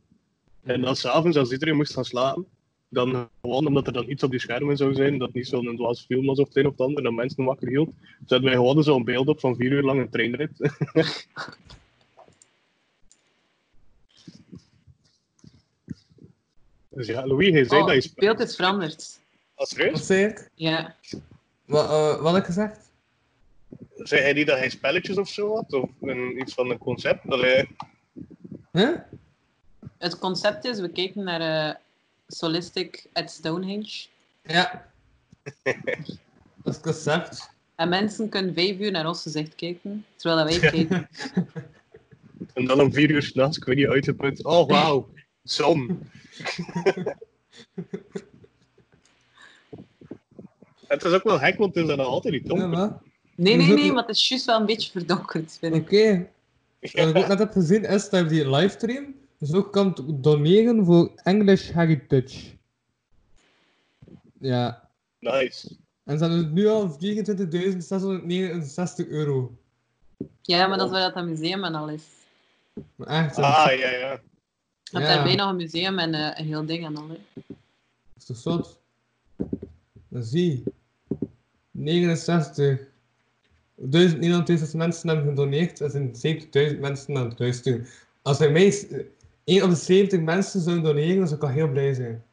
En dan s'avonds, als iedereen moest gaan slapen, dan gewoon omdat er dan iets op die schermen zou zijn, dat niet zo'n dwaas film was of het een of het ander, dat mensen wakker hield, zetten wij gewoon zo'n beeld op van vier uur lang een treinrit. dus ja, Louis, hij zei
Oh,
dat je
het
speelt
beeld is veranderd.
als reus.
Wat zei ik?
Ja.
Wat, eh, wat had ik gezegd?
Zei hij niet dat hij spelletjes of zo had? Of een, iets van een concept? Allee,
Huh?
Het concept is, we kijken naar eh, Solistic at Stonehenge.
Ja. dat is het concept.
En mensen kunnen vijf uur naar ons gezicht kijken, terwijl dat wij kijken.
en dan om vier uur s'nachts, ik weet niet, uitgeput. Oh, wauw, zon. het is ook wel gek, want het is dan nog altijd niet
Ja,
donker.
maar.
Nee, nee, nee, maar het is juist wel een beetje verdonkerd, vind
Oké.
ik.
Wat ik ook net heb gezien is dat je die livestream dus ook kan doneren voor English Heritage. Ja.
Nice.
En ze hebben nu al 24.669 euro.
Ja, maar dat is waar dat dat museum en al is.
Maar echt,
Ah, ja, ja.
Je hebt
Ja.
daarbij nog een museum en eh, een heel ding en al. hè.
Dat is toch zot? Dan zie. 69. 1900 Dus mensen hebben gedoneerd. Dat zijn 70.000 mensen aan het luisteren. Als er mij 1 op de 70 mensen zou doneren, dan zou ik al heel blij zijn.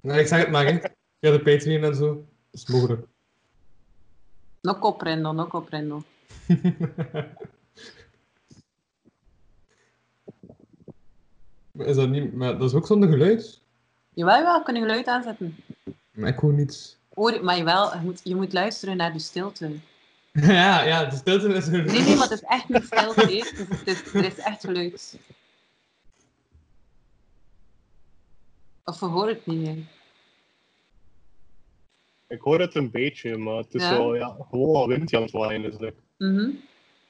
Maar ik zeg het maar, hè. Ja, de Patreon en zo. Dat is mogelijk.
No comprendo, no comprendo.
maar is dat niet... Maar dat is ook zonder geluid.
Jawel, wel kunnen geluid aanzetten.
Maar ik hoor niets.
Hoor, maar jawel, je moet, je moet luisteren naar de stilte.
ja, ja, de stilte is er.
Nee, nee, maar het is echt niet stilte. hè. Het is- het is- er is echt geluid. Of we horen het niet hè.
Ik hoor het een beetje, maar het is
Ja?
zo, ja, gewoon al windje aan het waaien. dus is het.
Mhm.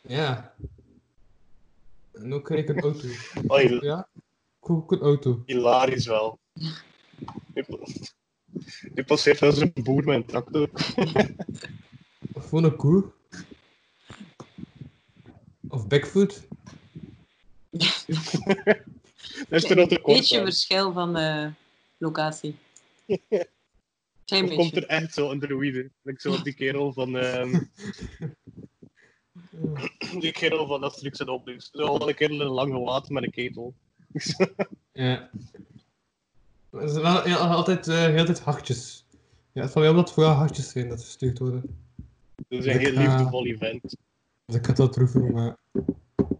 Ja. En ook krijg ik een auto.
Oh, hil-
Ja? Kook een auto.
hilarisch wel. Nu nu passeert als een boer met een tractor.
Of gewoon een koe. Of Bigfoot.
Dat is er nog te kort
beetje
aan.
verschil van eh, locatie. Klein
Of komt
beetje.
er echt zo een druïde? Ik zo die kerel van... ehm, die kerel van Asterix en Obelix. Zo van een kerel in een lang gewaad met een ketel.
Ja. Het is wel ja, altijd, eh, heel de tijd hartjes. Ja, het valt wel dat voor jou hartjes zijn dat verstuurd worden.
Het is een
Ik
heel
ga-
liefdevol event.
Dus ik had dat droevig gemaakt.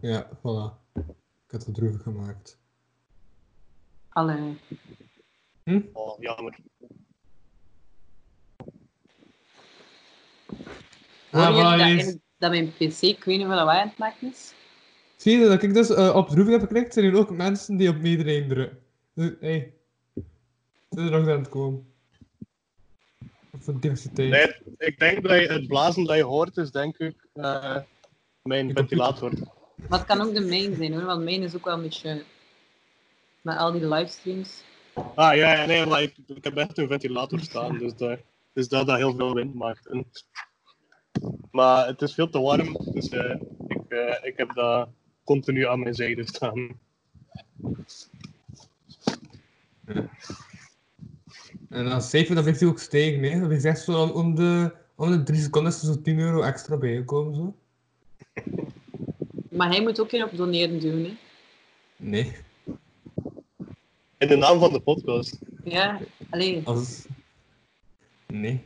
Ja, voilà. Ik had dat droevig gemaakt.
Allee.
Oh, jammer.
Hoor
Ah,
je dat,
voilà, hier is-
eigenlijk- dat mijn pc, ik weet niet wat wij aan het maken is?
Zie je dat ik dus eh, op droevig heb geklikt, zijn er ook mensen die op meedraaien drukken. Dus, hé. Hey. Het is er nog aan het komen. Van diversiteit.
Nee, ik denk dat je het blazen dat je hoort is, denk ik, eh, mijn
Ik-
ventilator.
Maar het kan ook de main zijn hoor, want main is ook wel een beetje... Met al die livestreams.
Ah ja, ja, nee, maar ik, ik heb echt een ventilator staan, dus, dat, dus dat dat heel veel wind maakt. En- maar het is veel te warm, dus eh, ik, eh, ik heb dat continu aan mijn zijde staan.
En dan zeven, dan blijft hij ook stijgen. Hè. Dan blijft hij echt zo om, om de, om de drie seconden is er zo'n 10 euro extra bijgekomen. Zo.
Maar hij moet ook weer op doneren doen, hè.
Nee.
In de naam van de podcast.
Ja, alleen.
Als... Nee.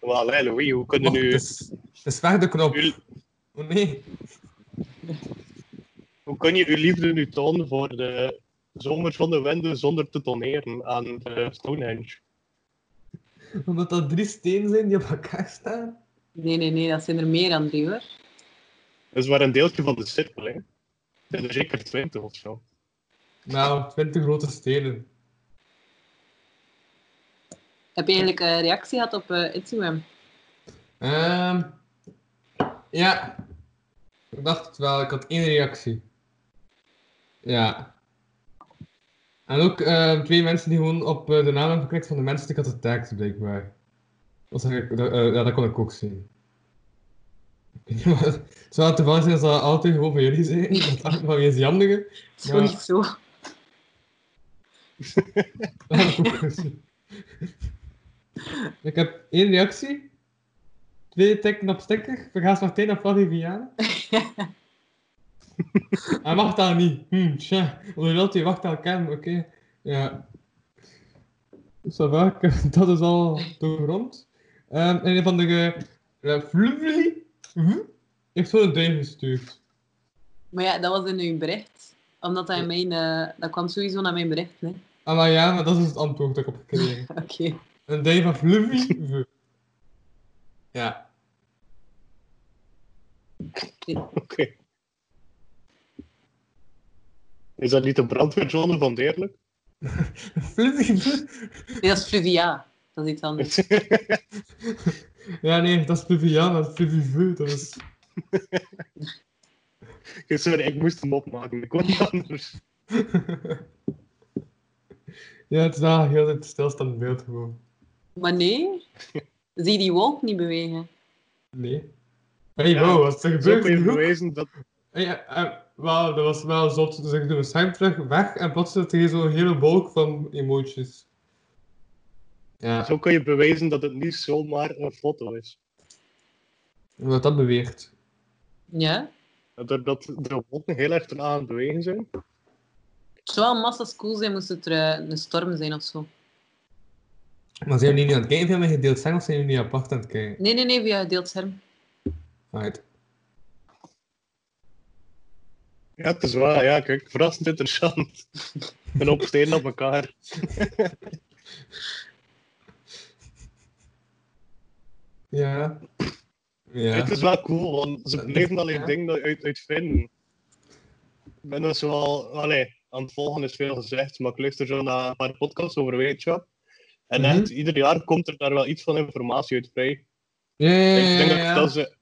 Maar allee, Louis, hoe kunnen
Och,
nu...
het, is, het is weg de knop.
Uw-
Oh nee.
Hoe kun je uw liefde nu tonen voor de zomer zonder winden zonder te toneren aan eh, Stonehenge?
Omdat dat drie stenen zijn die op elkaar staan.
Nee, nee, nee, dat zijn er meer dan drie hoor.
Dat is maar een deeltje van de cirkel, hè. Er zijn er zeker twintig of zo.
Nou, 20 grote stenen.
Heb je eigenlijk een reactie gehad op eh, Instagram?
Ehm ja. Ik dacht het wel, ik had één reactie. Ja. En ook eh, twee mensen die gewoon op eh, de naam hebben geklikt van de mensen die ik had getagd, blijkbaar. Dat, zag ik, dat, eh, ja, dat kon ik ook zien. Ik weet niet wat- Het zou toevallig zijn dat dat altijd gewoon van jullie zijn. Dat dacht ik van wie is Jandige?
Sowieso.
Dat had ik ook gezien. Ik heb één reactie. Twee tikken op sticker. Vergaas Martijn op Flavie Vianen. Hij mag daar niet. Hm, tja. Omdat hij wacht elkaar, oké. Ja. Zo vaak, dat is al doorgrond. Ehm en een van de uh, Fluvli hm, heeft zo'n duim gestuurd.
Maar ja, dat was in uw bericht. Omdat hij
Ja.
mijn... eh, dat kwam sowieso naar mijn bericht, hè.
Ah, maar ja, maar dat is het antwoord dat ik op heb gekregen.
Oké.
Een duim van Fluvli. Ja.
Oké. Is dat niet de brandweerzone van Deerlijk?
Fluvvy.
Nee, dat is Fluvia. Dat is iets anders.
Ja, nee, dat is Pluviaan, dat is Pluvivu, dat is...
Sorry, ik moest hem opmaken. Ik kon niet anders.
ja, het is wel heel het stilstaand beeld gewoon.
Maar nee. Zie je die wolk niet bewegen?
Nee. Hey,
Ja,
wow, wat is er
Zo kun je
gebeurd?
bewijzen dat...
Ja, eh, wauw, dat was wel zot. Dus ik doe mijn scherm terug, weg, en plots zit er hier zo'n hele wolk van emoties. Ja,
Zo kun je bewijzen dat het niet zomaar een foto is.
wat dat beweert.
Ja.
Doordat de wolken heel erg eraan aan het bewegen zijn.
Het zou wel massa's cool zijn moest het er eh, een storm zijn of zo.
Maar zijn jullie nu aan het kijken via mijn gedeeld scherm, of zijn jullie apart aan het kijken?
Nee, nee, nee, via gedeeld scherm.
Right.
Ja, het is waar. Ja, kijk, verrassend interessant. Een hoop stenen op elkaar.
Ja. Ja.
Het is wel cool, want ze bleven alleen
Ja.
dingen uit, uitvinden. Ik ben dus wel, allee, aan het volgen is veel gezegd, maar ik luister zo naar een paar podcasts over wetenschap. En
Mhm.
echt, ieder jaar komt er daar wel iets van informatie uit vrij.
Ja, ja, ja,
Ik denk
ja.
dat, dat ze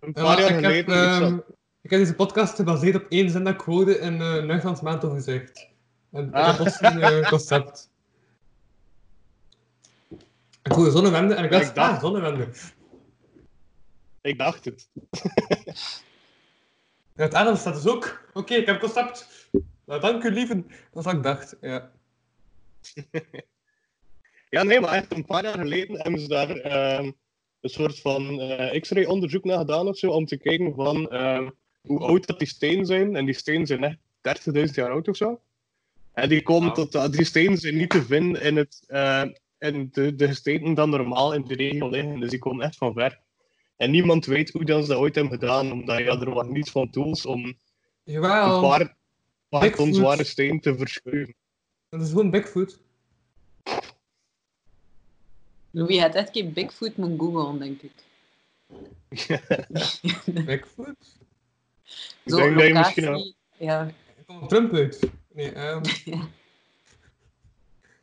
een
Ja,
paar jaar
ik, heb,
geleden iets
ehm,
had-
ik heb deze podcast gebaseerd op één zin dat ik hoorde in uh, Nuchtans Maandag gezegd. En
Ah.
dat was een eh, concept. Ik hoorde zonnewende en ik
Ja,
dacht,
ik dacht-
ah, zonnewende.
Ik dacht het.
En het Adams staat dus ook. Oké, ik heb een concept. Nou, dank u, lieven. Dat is wat ik dacht, ja.
Ja, nee, maar echt een paar jaar geleden hebben ze daar ehm, een soort van eh, x-ray onderzoek naar gedaan of zo, om te kijken van ehm, hoe oud dat die stenen zijn. En die stenen zijn echt 30.000 jaar oud of zo. En die komen
Ah.
tot de adriestenen zijn niet te vinden in, het, eh, in de, de gesteden dan normaal in de regio liggen. Dus die komen echt van ver. En niemand weet hoe dat ze dat ooit hebben gedaan, omdat ja, er was niets van tools om een
Jawel,
paar, een paar ton
Bigfoot.
zware steen te verschuiven.
dat is gewoon Bigfoot.
Louis had echt geen Bigfoot moeten googlen, denk ik.
Bigfoot?
Ik denk dat je misschien wel-
Ja,
Er komt Trump uit. Nee, ehm.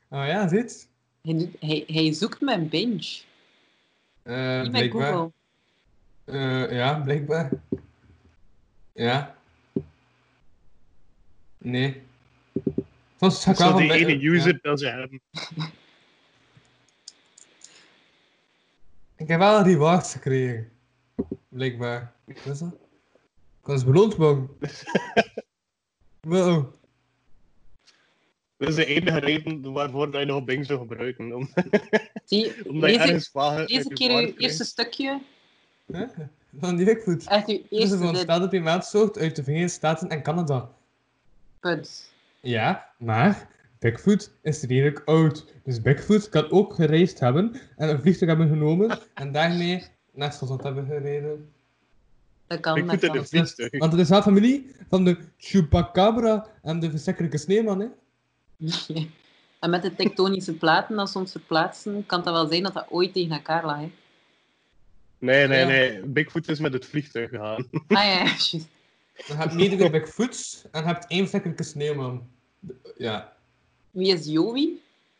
Oh ja, zit.
hij, doet, hij, hij zoekt mijn binge.
Eh
Niet met
blijkbaar.
Google.
Eh, ja, blijkbaar. Ja. Nee. Soms ga ik
Dat is
wel
die
van bij-
ene
ja.
user dat ze hebben.
Ik heb wel rewards gekregen. Blijkbaar. Wat is dat? Ik was beloond worden. wow.
Dat is de enige reden waarvoor dat je nog Bing zou gebruiken. Om,
Zie,
omdat je
deze,
ergens vage
deze keer uw eerste stukje,
Huh? Van die Bigfoot.
echt uw
Ze
Eh, eerste dit
veronderstelde primaatsoort uit de Verenigde Staten en Canada.
punt.
Ja, maar Bigfoot is redelijk oud. Dus Bigfoot kan ook gereisd hebben en een vliegtuig hebben genomen en daarmee naar Schotland hebben gereden.
Dat kan,
Ik
dat
moet in
kan.
de vliegtuig.
Want het is wel familie van de Chupacabra en de verschrikkelijke sneeuwman, hè?
En met de tektonische platen dat ze ons verplaatsen, kan het wel zijn dat dat ooit tegen elkaar lag. Hè?
Nee, nee,
Ja.
nee. Bigfoot is met het vliegtuig gegaan.
Ah ja, ja, juist.
Je hebt meerdere Bigfoots en je hebt één verschrikkelijke sneeuwman. De- Ja.
Wie is Joey?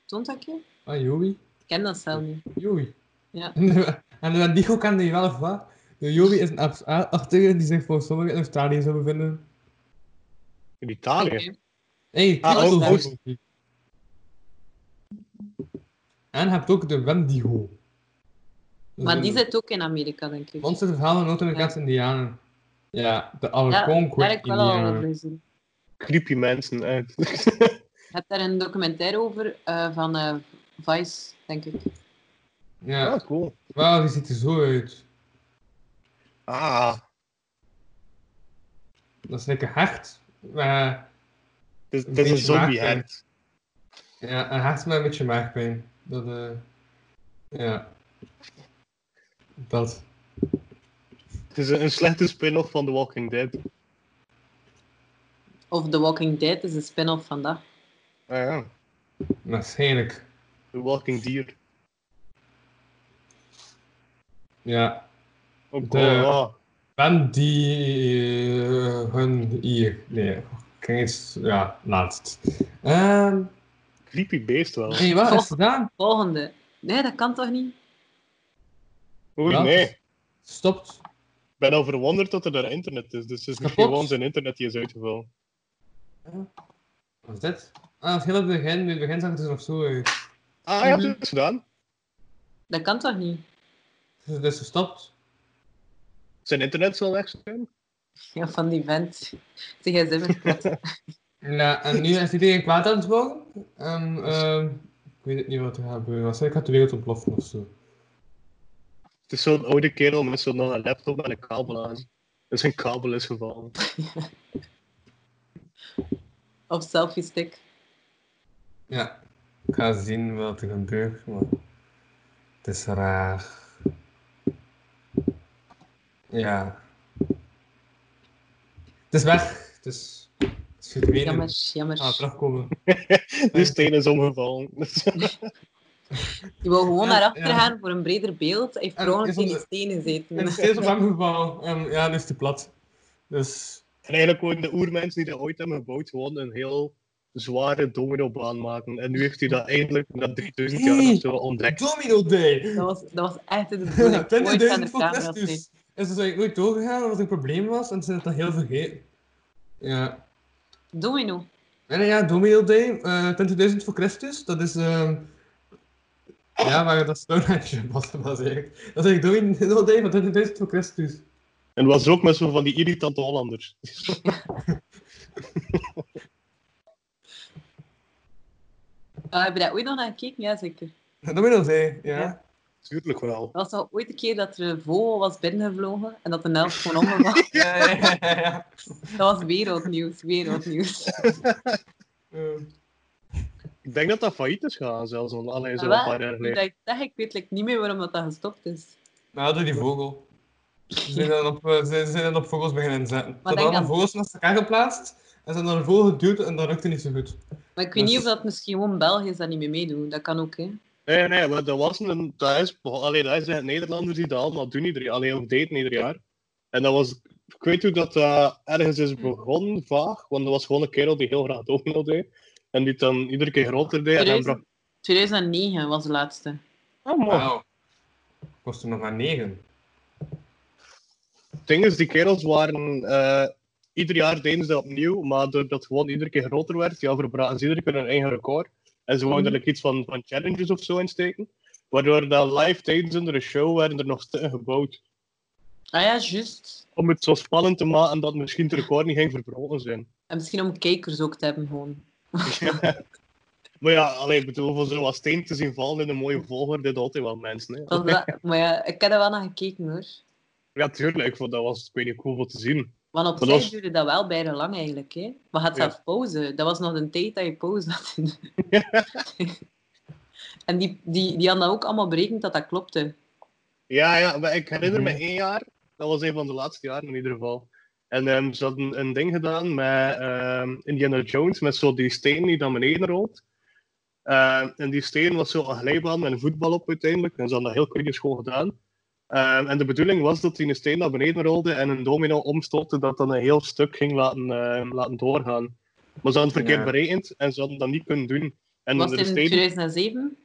Toont dat je?
Ah, Joey.
Ik ken dat zelf niet.
Joey.
Ja.
En de Wendigo kende je wel of wat? De Joey is een aapachtige die zich voor sommigen in Australië zou bevinden.
In Italië.
Oké.
Hey,
Ah,
Timo's
oh,
daar
oh.
ook niet. En je hebt ook de Wendigo. Dat
Maar
is
die
een
zit ook in Amerika, denk ik.
Monsterverhaal van Noord-Amerikaanse indianen. Ja, de Algonquin
Daar heb ik wel al wat
indianen.
bij gezien.
Creepy mensen. eh.
Je hebt daar een documentaire over eh, van eh, Vice, denk ik.
Ja,
ah, cool.
wauw, die ziet er zo uit.
Ah,
Dat is lekker hard. Maar,
het is,
Een
het is een
beetje
zombie
maagpijn.
hert.
ja, een hart met een beetje maagpijn. Dat, eh, ja. Dat.
Het is een een slechte spin-off van The Walking Dead.
Of The Walking Dead is een spin-off van dat.
Ah ja,
Waarschijnlijk.
The Walking Deer.
Ja.
Oh,
De-
cool. ah.
Ben die eh, hun hier. Nee, ik ging iets. Ja, laatst. Ehm
Creepy beest wel.
nee, wat is het gedaan?
Volgende. Nee, dat kan toch niet?
Oei,
Ja.
nee. Ik
Stopt.
ben al verwonderd dat er daar internet is. Dus het is misschien
Kapot.
gewoon zijn internet die is uitgevallen.
Wat is dit? Ah, het hele begin. In het begin zag het er dus nog zo uit.
Ah ja,
Mhm.
dat is gedaan.
Dat kan toch niet?
Dus het is gestopt.
Zijn internet zal weg zijn.
Ja, van die vent. Zeg jij zelf
Ja, en nu is iedereen kwaad aan het worden. En, ehm, ik weet het niet wat er gaat gebeuren. Waarschijnlijk gaat de wereld ontploffen of zo.
Het is zo'n oude kerel met zo'n nog een laptop en een kabel aan. Dus een kabel is gevallen.
Of selfie stick.
Ja. Ik ga zien wat er gebeurt, maar het is raar. Ja. Het is weg. Het is, het is verdwenen.
Jammer,
Ik ga
jammer.
terugkomen.
De steen is omgevallen.
Je wou gewoon naar
Ja,
achter
ja.
gaan voor een breder beeld. Hij heeft
En
per ongeluk
is om
in die
de-
steen
Het
gezeten.
is steeds op hem gevallen. En ja, nu is het plat. Dus
En eigenlijk gewoon de oermensen die dat ooit hebben gebouwd, gewoon een heel zware dominobaan maken. En nu heeft hij dat eindelijk na 3000 jaar of zo ontdekt.
Domino Day!
Dat was, dat was echt de bedoeling. Ooit aan
20.000
de
voor
camera zijn.
Christus! Is dus eigenlijk nooit doorgegaan omdat er een probleem was en ze zijn het dan heel vergeten. Ja.
Domino.
En ja, Domino Day, eh 20.000 voor Christus, dat is. ehm ja, maar dat Stonehenge was dat was eigenlijk. Dat is eigenlijk Domino Day van 20.000 voor Christus.
En was er ook met zo van die irritante Hollanders.
Ah, heb je daar ooit nog naar gekeken? Ja, zeker.
Domino Day, ja.
Ja.
Tuurlijk wel.
Dat was al ooit een keer dat er een vogel was binnengevlogen en dat de helft gewoon omgevallen.
Ja, ja, ja, ja.
Dat was wereldnieuws, wereldnieuws.
Eh,
Ik denk dat dat failliet is gegaan, zelfs al alleen zo'n
Wel,
paar jaar
nu
geleden.
dat ik zeg, ik weet like, niet meer waarom dat, dat gestopt is.
nou, door die vogel. Ze zijn dan op, eh, ze, ze zijn dan op vogels beginnen zetten. Ze
denk
hadden allemaal
aan-
vogels naast elkaar geplaatst en ze hebben dan een vogel geduwd en dat lukte niet zo goed.
Maar ik weet
Dus-
niet of dat misschien gewoon België is dat niet meer meedoen. Dat kan ook, hè.
Nee, nee, maar dat was een thuis. Alleen daar zijn Nederlanders die dat allemaal doen ieder jaar. Alleen of deden ieder jaar. En dat was. Ik weet hoe dat eh, ergens is begonnen, vaag. Want dat was gewoon een kerel die heel graag domino deed. En die het dan iedere keer groter deed. En dan
2000
bracht.
2009 was de laatste.
Oh, man.
Wauw. Kost er nog maar 9.
Het ding is, die kerels waren. eh, ieder jaar deden ze dat opnieuw. Maar doordat het gewoon iedere keer groter werd, ja, verbraken ze iedere keer hun eigen record. En ze wouden er like, iets van, van challenges of zo in steken. Waardoor dat live tijdens de show werden er nog stukken gebouwd.
Ah ja, juist.
om het zo spannend te maken dat misschien het record niet ging verbroken zijn.
En misschien om kijkers ook te hebben, gewoon.
Maar ja, allee, ik bedoel, voor zo'n steen te zien vallen in een mooie volger, dit altijd wel mensen. Hè.
Dat is wel- maar ja, ik heb er wel naar gekeken, hoor.
Ja, tuurlijk, want dat was, ik weet niet, cool om te zien.
Want op
Maar
zich
dat is-
duurde dat wel bijna lang, eigenlijk, hè. Maar had
Ja.
zelf pauze. Dat was nog een tijd dat je pauze had. en die, die, die hadden dat ook allemaal berekend dat dat klopte.
Ja, ja, maar ik herinner me
Mhm.
één jaar, dat was een van de laatste jaren in ieder geval. En ehm, ze hadden een ding gedaan met ehm, Indiana Jones, met zo die steen die naar beneden rolt. Ehm, en die steen was zo een glijbaan met een voetbal op uiteindelijk. En ze hadden dat heel kundig gewoon gedaan. Ehm, en de bedoeling was dat die een steen naar beneden rolde en een domino omstootte dat dan een heel stuk ging laten, ehm, laten doorgaan. Maar ze hadden het verkeerd
Ja.
berekend en ze hadden dat niet kunnen doen. En
Was
de
het in
steen
2007?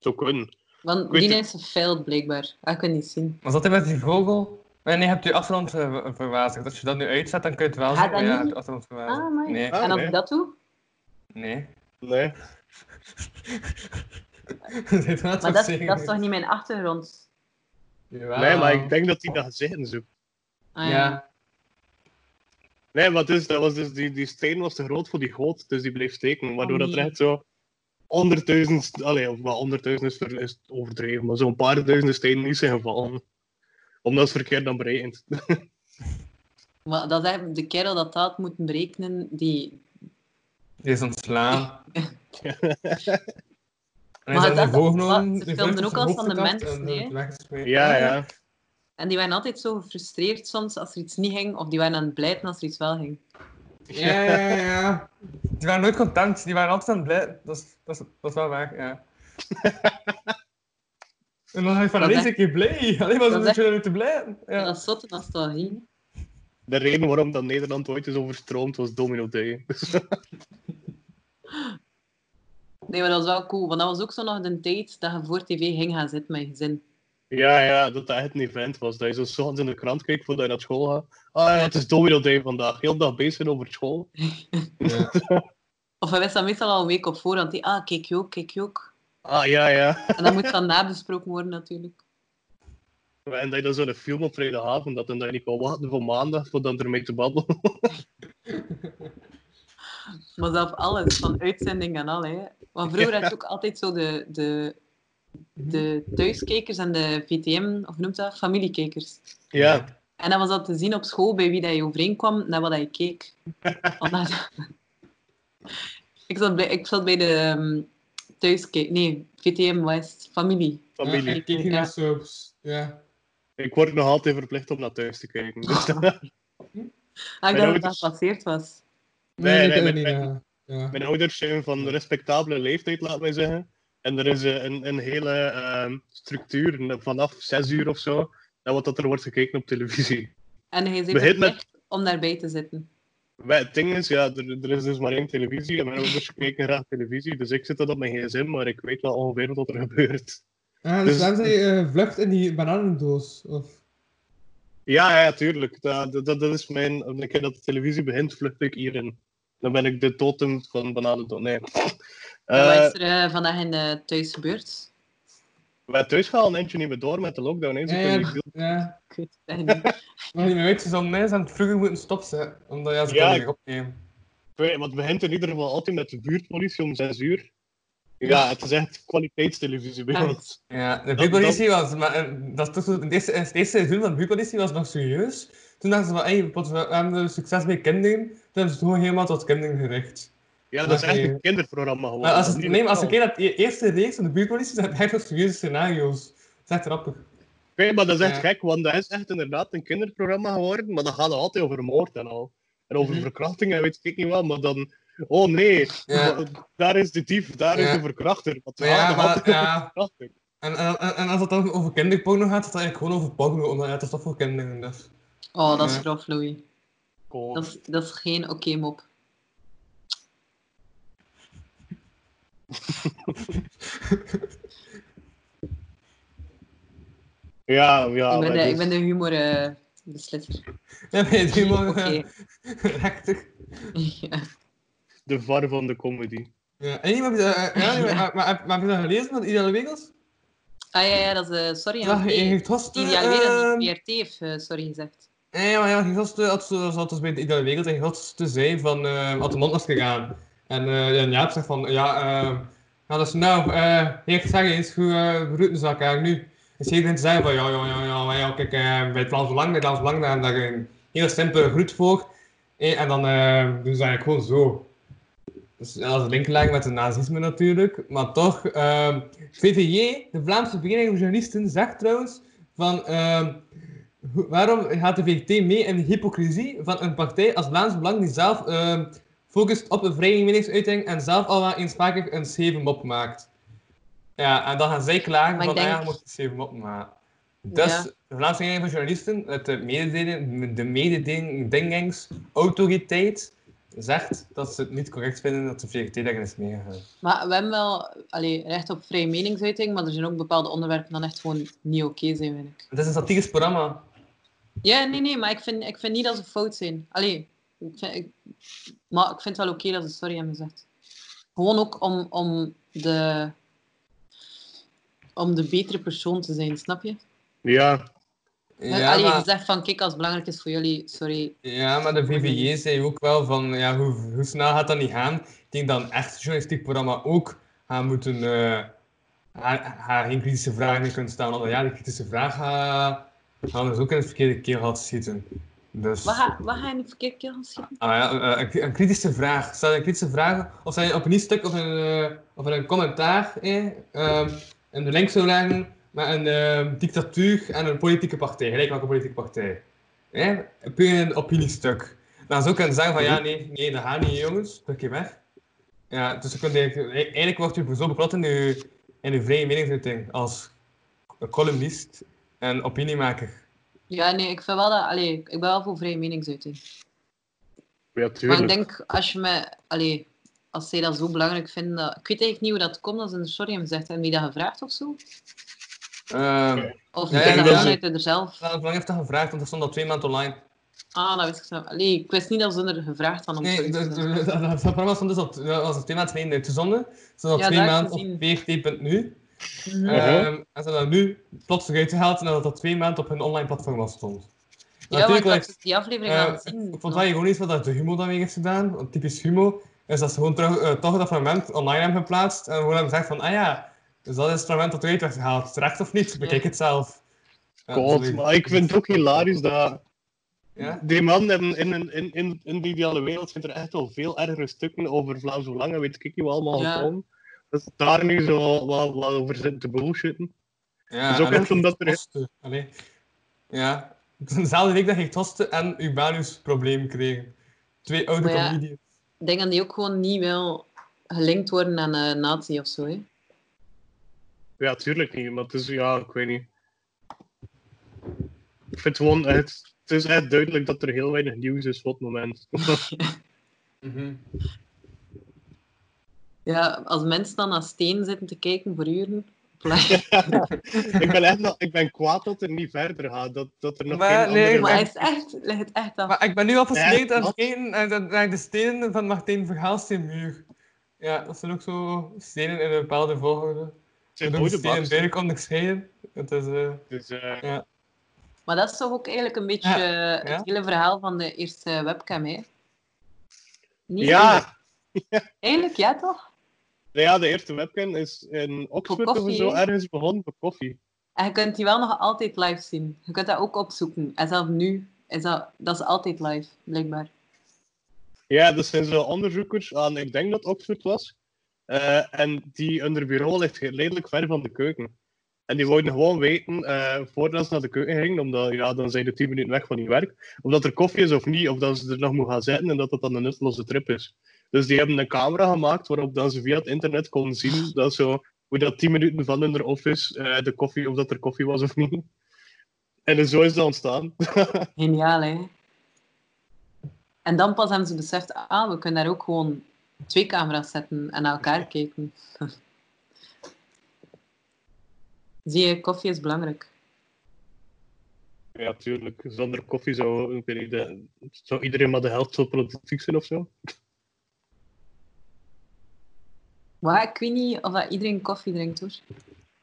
zo kunnen.
Want
Ik weet
die
het-
is gefaild, blijkbaar. Ah, ik kan niet zien.
Was dat hij met die vogel? Nee, nee, je hebt je achtergrond eh, verwazigd. Als je dat nu uitzet, dan kun je het wel
Ah,
zien.
dat
maar ja,
niet?
je hebt je achtergrond verwazigd.
Ah, amai.
nee,
Ah,
en als
nee.
ik dat doe?
nee.
Nee.
Dit gaat
Maar
toch
dat,
zeker
dat is toch
niet?
niet mijn achtergrond?
Jawel.
nee, maar ik denk dat die dat zeggen zo.
Ah,
Ja.
Nee, maar dus, dat was dus die, die steen was te groot voor die goot, dus die bleef steken. Waardoor dat er
nee.
echt zo honderdduizend, allee, of wel honderdduizend is, ver- is overdreven, maar zo'n paar duizenden stenen niet zijn gevallen. Omdat ze verkeerd dan berekend.
Maar dat is eigenlijk de kerel dat dat had moeten berekenen, die...
Die is ontslaan. En
Maar
hij is aan
dat-
de vogel
dat-
genomen,
ze
die
filmden
vlucht
ook al
op
van de
zijn hoofd
mensen,
gedacht en
nee, hè?
het weggesmeed.
Ja, ja.
En die waren altijd zo gefrustreerd soms als er iets niet ging, of die waren aan het blijten als er iets wel ging.
Ja, ja, ja. Die waren nooit content, die waren altijd aan het blij. Dat is, dat is, dat is wel waar, ja. en dan ga je van,
Dat
alleen
is echt-
een keer blij. Alleen maar
dat
zo'n
is
beetje te blij.
Ja.
Ja.
Dat is zotte nostalgie.
De reden waarom dat Nederland ooit is overstroomd was Domino Day.
Nee, maar dat was wel cool, want dat was ook zo nog de tijd dat je voor tv ging gaan zitten met je gezin.
ja, ja, dat dat echt een event was. Dat je zo soms in de krant keek voordat je naar school gaat. Ah ja, het is Domino Day vandaag. Heel de dag bezig zijn over school.
Ja.
Of we wist dat meestal al een week op voorhand. Die, ah, kijk je ook, kijk je ook.
Ah ja, ja.
En dat moet dan nabesproken worden natuurlijk.
En dat je dan zo'n film op vrijdagavond had en dat je niet kon wachten voor maandag voor dan ermee te babbelen.
Maar zelf alles, van uitzending en al. Hè. Want vroeger had je ook altijd zo de, de, de thuiskijkers en de VTM, of hoe noemt dat? Familiekijkers.
Ja,
En dan was dat te zien op school bij wie dat je overeenkwam, naar wat dat je keek. Want dat- ik, zat bij, ik zat bij de um, thuiskijk... Nee, VTM West, familie.
familie.
Ik kijk hier naar soaps. Ja.
Ik word nog altijd verplicht om naar thuis te kijken. Dus dat-
Ah, ik
Mijn
dacht dat
ouders-
dat gepasseerd was.
Nee, nee,
dat
nee,
kan
nee.
niet, ja. Ja.
mijn ouders zijn van respectabele leeftijd, laat mij zeggen. En er is eh, een, een hele ehm, structuur vanaf zes uur of zo. En wat dat er wordt gekeken op televisie.
En hij zei
Begin met-
verplicht om daarbij te zitten.
Wij- Het ding is, ja, er, er is dus maar één televisie. En mijn ouders kijken graag televisie. Dus ik zit dat op mijn gsm, maar ik weet wel ongeveer wat er gebeurt.
Ah, dus
Dus-
daarom zei je eh, vlucht in die bananendoos. Of...
Ja, ja, tuurlijk. Dat, dat, dat is mijn... Wanneer ik dat de televisie begint, vlucht ik hierin. Dan ben ik de totem van bananen. Nee.
En
Eh,
wat is er eh, vandaag in eh, thuis gebeurd?
Wij thuis gaan een eentje niet meer door met de lockdown. Eens
Ja, ja,
ja,
ja.
Ik weet het eigenlijk niet.
Maar die mensen zo'n mensen aan het vroeger moeten stopzetten. Omdat ja, ze
Ja,
kunnen
ik-
niet opnemen.
Want het begint in ieder geval altijd met de buurtpolitie om 6 uur. Ja, het is echt kwaliteitstelevisie bij
Echt?
ons.
Ja, de
dat-
buurpolitie was... Maar, eh, dat is toch zo, in deze, in het eerste seizoen van de buurpolitie was nog serieus. Toen dachten ze van, hey, plots, we hebben succes bij kinderen. Toen hebben ze het gewoon helemaal tot kinderen gericht.
Ja, dat is echt
Oké.
een kinderprogramma gewoon.
Maar als, het-
Dat is
nee, maar als je
niet
kijkt naar de e-, eerste reeks van de buurtpolitie, zijn het echt wel serieuze scenario's. Dat is echt grappig.
Oké, maar dat is echt
Ja.
gek, want dat is echt inderdaad een kinderprogramma geworden, maar dan gaat het altijd over moord en al. En over
Mhm.
verkrachting en weet ik niet wat, maar dan... Oh nee,
Ja.
daar is de dief, daar is
Ja.
de verkrachter. Want
Maar
het gaat
ja,
nog
maar,
altijd over
ja.
verkrachting.
En, en, en- en als het dan over kinderporno gaat, gaat het eigenlijk gewoon over porno, omdat ja, het is toch voor kinderen. Dus.
Oh, dat is
Ja.
grof, Louis.
Cool.
Dat is, dat is geen oké mop.
Ja, ja.
ik, ben
maar
de,
dus-
ik ben de humor eh, beslisser.
Ja, ben je
Oké.
helemaal rechter.
ja.
de var van de comedy.
Ja, en iemand heb je dat, eh, ja, nee, maar, maar, maar, maar heb je dat gelezen van Ideale Wegels?
Ah ja, ja, dat is... eh, sorry,
Ja,
ja,
je
nee.
heeft vast...
Tien jaar geleden
ehm,
dat BRT heeft eh, sorry gezegd.
Nee, maar ja, die gasten had zo, zat dus bij de Ideale Wereld en gasten zei van, eh had de mond gegaan. En, eh en Jaap zegt van, ja, ehm ja, dat is nou, eh ik zeg eens, hoe uh, routen ze elkaar nu? Dus iedereen zei van, ja, ja, ja, ja, maar ja, kijk, eh bij het Vlaams Belang, bij het Vlaams Belang, daar hebben we daar een heel simpele groet voor. Eh, en dan eh, doen ze eigenlijk gewoon zo. Dus ja, dat is een linklijn met het nazisme natuurlijk, maar toch, ehm VVJ, de Vlaamse Vereniging van Journalisten, zegt trouwens van... ehm, Ho- Waarom gaat de VVD mee in de hypocrisie van een partij als Vlaams Belang die zelf ehm, focust op een vrije meningsuiting en zelf al wel eenspakig een scheve mop maakt? Ja, en dan gaan zij klagen
Maar ik
van, "Ah
denk-
ja, je moet een scheve mop maken. Dus,
Ja.
de Vlaamse Vereniging van Journalisten, het, de mededeling, de mededingingsautoriteit, zegt dat ze het niet correct vinden dat de VVD daarin is meegegaan.
Maar we hebben wel allee, recht op vrije meningsuiting, maar er zijn ook bepaalde onderwerpen dan echt gewoon niet oké zijn, vind ik.
Het is een satirisch programma.
Ja, nee, nee, maar ik vind, ik vind niet dat ze fout zijn. Allee, ik vind, ik- maar ik vind het wel oké dat ze sorry hebben gezegd. Gewoon ook om, om, de, om de betere persoon te zijn, snap je?
Ja,
Ja, allee, je zegt van, kijk, als het belangrijk is voor jullie, sorry.
Ja, maar de VVJ zei ook wel van ja, hoe, hoe snel gaat dat niet gaan? Ik denk dat een echt journalistiek programma ook gaan moeten eh, haar, haar geen kritische vragen meer kunnen stellen. Omdat ja, die kritische vraag gaat gaan dus ook in het verkeerde keel gaat zitten. Dus
Wat ga, wat ga je in de verkeerde keer gaan schieten?
ah, ja, eh, een, een kritische vraag. Stel je een kritische vraag of zijn je op een stuk of in een, eh, of in een commentaar eh, ehm, en de link zou leggen met een ehm, dictatuur en een politieke partij, gelijk welke politieke partij. Eh, puur in een opiniestuk. Dan zou ik kunnen zeggen van ja, nee, nee, dat gaat niet jongens, druk je weg. Ja, dus je kunt eigenlijk, eigenlijk wordt je zo beklad in je, in je vrije meningsuiting als columnist en opiniemaker.
Ja, nee, ik vind wel dat... Allee, ik ben wel voor vrije meningsuiting.
ja,
Maar
tuurlijk.
ik denk, als je me... Allee, als zij dat zo belangrijk vinden... dat- ik weet eigenlijk niet hoe dat komt als ze een sorry hebben gezegd. Hebben die dat gevraagd of zo?
Ehm,
Of
Ja,
is
ja,
dat
dat
gewoon
ze-
uit er zelf?
Vlaams Belang heeft dat gevraagd, want er stond al twee maanden online.
Ah, dat wist ik zo. Allee, ik wist niet dat ze er gevraagd hadden om
Nee,
sorry te
dat,
zeggen.
dat, dat dat programma stond dus al, dat was al twee maanden geleden uitgezonden. Ze stond al
Ja,
twee
dat heb
maanden
ik
op vrt.nu.
Mhm.
Ja.
Ehm, en ze hebben dat nu plots eruit gehaald en dat dat twee maanden op hun online platform was stond.
Ja, maar ik
wel
had dus die aflevering
eh,
al gezien.
ik vond het wel ironisch wat dat de Humo daarmee heeft gedaan, want typisch Humo, is dat ze gewoon terug, eh, toch dat fragment online hebben geplaatst en gewoon hebben gezegd van, ah ja, dus dat is het fragment dat eruit werd gehaald, terecht of niet, bekijk het zelf. Ja,
God,
sorry.
maar ik vind het ook hilarisch dat
Ja?
die man in, in, in, in, in, in de ideale wereld zijn er echt al veel ergere stukken over Vlaams Belang en weet ik niet wat allemaal
Ja.
gekomen. Dat ze daar nu zo wat, wat over zitten te bullshitten.
Ja,
Dat is ook
en
echt omdat
Geert
er-
Hoste, allee. Ja, dezelfde week dat Geert Hoste en Ubanus probleem kregen. Twee oude
Maar ja.
comedians.
Ik denk dat die ook gewoon niet wil gelinkt worden aan een nazi of zo. Hè.
Ja, tuurlijk niet, maar het is, ja, ik weet niet. Ik vind gewoon, het, het is echt duidelijk dat er heel weinig nieuws is op het moment.
Ja, als mensen dan naar steen zitten te kijken voor uren. Plek.
ik ben echt nog, ik ben kwaad dat er niet verder gaat, dat, dat er nog
Maar
geen
nee,
andere
Maar hij
weg-
is echt, leg het echt af.
Maar ik ben nu al fascineerd
Ja,
aan, het
wat?
kijken naar de- naar de stenen van Martijn Verhaalsteenmuur. Ja, dat zijn ook zo stenen in een bepaalde volgorde.
het
Ik
zijn
bedoel,
oude
stenen
bakstenen,
duidelijk onderscheiden. Het is, eh,
dus, eh,
Maar dat is toch ook eigenlijk een beetje eh,
ja.
het hele verhaal van de eerste webcam, hè? Niet eigenlijk-
ja,
Eigenlijk, ja toch?
nou ja, de eerste webcam is in Oxford of
koffie,
zo
hè?
ergens begonnen voor koffie.
En je kunt die wel nog altijd live zien. Je kunt dat ook opzoeken. En zelfs nu, is dat, dat is altijd live, blijkbaar.
Ja, dat zijn zo onderzoekers aan, ik denk dat Oxford was. eh, en die hun bureau ligt redelijk ver van de keuken. En die wouden gewoon weten, eh, voordat ze naar de keuken gingen, omdat ja, dan zijn de tien minuten weg van hun werk, of dat er koffie is of niet, of dat ze er nog moeten gaan zitten en dat dat dan een nutteloze trip is. Dus die hebben een camera gemaakt waarop dan ze via het internet konden zien dat zo, hoe dat tien minuten van hun office eh, de koffie, of dat er koffie was of niet. En dus zo is dat ontstaan.
Geniaal, hè? En dan pas hebben ze beseft, ah, we kunnen daar ook gewoon twee camera's zetten en naar elkaar kijken. Zie je, koffie is belangrijk.
Ja, tuurlijk. Zonder koffie zou, ik weet niet, de- zou iedereen maar de helft zo productief zijn of zo.
Maar ik weet niet of dat iedereen koffie drinkt, hoor.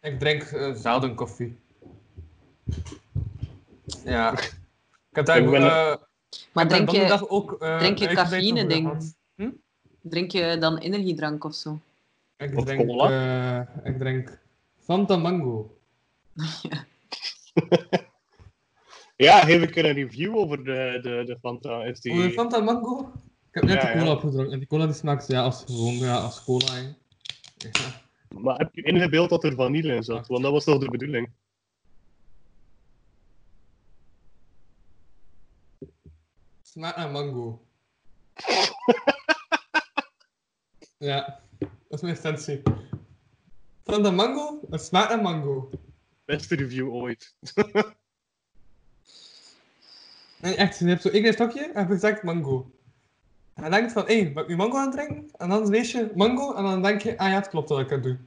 Ik drink eh, zelden koffie. Ja. Ik heb daar
Ik ben-
eh, ik
Maar
heb daar
drink je,
donderdag ook, eh,
drink je
uitgebreid over
cafeïne ding?
gehad.
drink je dan energiedrank of zo?
Ik
Of
drink,
cola?
eh, ik drink Fanta Mango.
Ja, geef ik er een review over de, de, de Fanta. Is
Oh,
die...
Fanta Mango? Ik heb net
Ja,
de cola
ja.
opgedronken. En die cola die smaakt ja, als gewoon ja, als cola. hè. Ja.
Maar heb je ingebeeld dat er vanille in zat? Want dat was toch de bedoeling?
Smaakt naar mango. ja, dat is mijn essentie. Fanta Mango? Het smaakt naar mango.
Beste review ooit.
Nee, echt, je hebt zo één klein stokje en je zegt mango. En dan denk je van, hé, ben ik nu mango aan het drinken? En dan lees je mango en dan denk je, ah ja, het klopt dat ik het doe.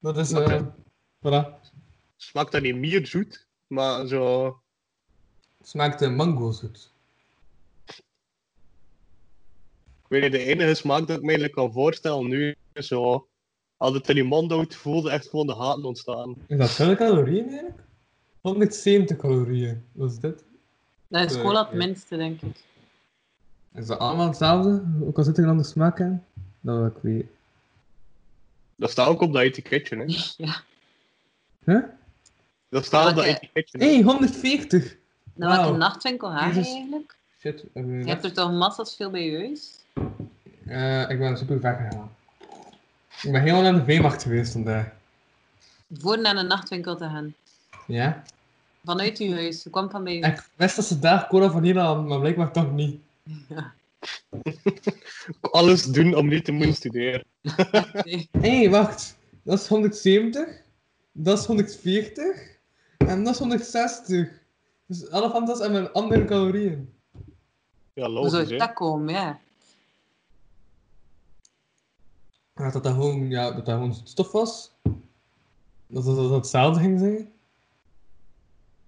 Dat is, eh
Oké.
voilà.
Smaakt dat niet meer zoet, maar zo...
Het smaakt eh, mango zoet.
Ik weet niet, de enige smaak dat ik me eigenlijk kan voorstellen nu is zo... Als het in je mond houdt, voelde echt gewoon de haten ontstaan.
Is dat veel calorieën eigenlijk? 170 calorieën, wat is dit?
Dat is
Eh,
cola het
ja.
minste, denk ik.
Is dat allemaal hetzelfde? Ook al zit er een andere smaak in? Dat wil ik weten.
Dat staat ook op dat etiketje, hè.
Ja.
Huh?
Dat staat op dat
Oké.
etiketje. hè.
Hé, 140!
Dan wat
Wauw.
een nachtwinkel haar
Nou, Jezus.
eigenlijk?
Shit, eh,
Je hebt er toch massas veel bij je huis?
eh, ik ben super ver gegaan. Ik ben helemaal aan de veemacht geweest vandaag.
Voor naar een nachtwinkel te gaan.
Ja?
Vanuit je huis. Je kwam van bij je
Ik wist dat ze daar cola vanille hadden, maar blijkbaar toch niet.
Alles doen om niet te moeten studeren.
Nee.
Hé, hey, wacht. Dat is 170. Dat is 140. En dat is 160. Dus alle van dat hebben andere calorieën.
Ja,
Hoe zou
logisch, hè.
je Dus dat komen, ja.
Ja, dat dat gewoon, ja, dat dat gewoon stof was. Dat dat, dat hetzelfde ging zijn.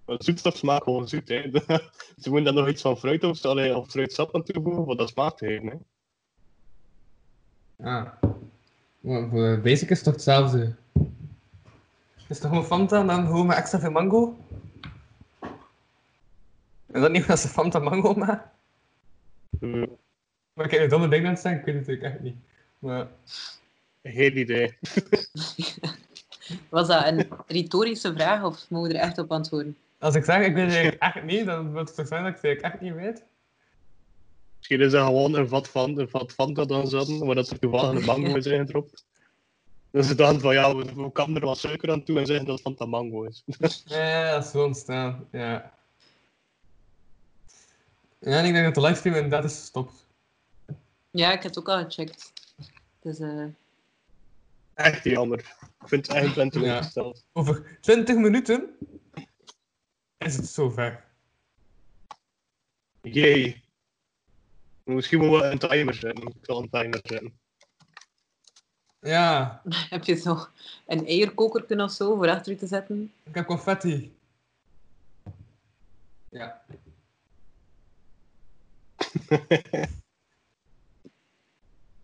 Maar zoetstof smaakt gewoon zoet, hè. Ze moeten daar nog iets van fruit of, allee, of fruitsap aan toevoegen, want dat smaakt heen, hè.
Ah. Maar voor de basic is het toch hetzelfde? Het is toch gewoon Fanta en dan gewoon met extra veel mango? Is dat niet als ze Fanta mango maken?
Eh,
Maar ik heb een domme ding aan het zeggen, ik weet het natuurlijk echt niet. Maar...
Geen idee.
Was dat een retorische vraag of mogen we er echt op antwoorden?
Als ik zeg, ik weet het eigenlijk echt niet, dan wil het toch zijn dat ik het eigenlijk echt niet weet?
Misschien is dat gewoon een vat van, een vat van dat dan zaten, maar dat ze toevallig een mango in zijn gedropt. Dat ze dan van, ja, we, we kan er wat suiker aan toe en zeggen dat het van mango is.
Ja, dat is zo ontstaan, ja. Ja, en ik denk dat de livestream inderdaad is gestopt.
Ja, ik heb het ook al gecheckt. Dus, eh,
Echt jammer. Ik vind het echt ben teleurgesteld.
Over 20 minuten is het zover.
Jee. Misschien moeten we een timer zetten. Ik zal een timer zetten.
Ja,
heb je zo een eierkoker kunnen of zo voor achter je te zetten?
ik heb confetti. Ja.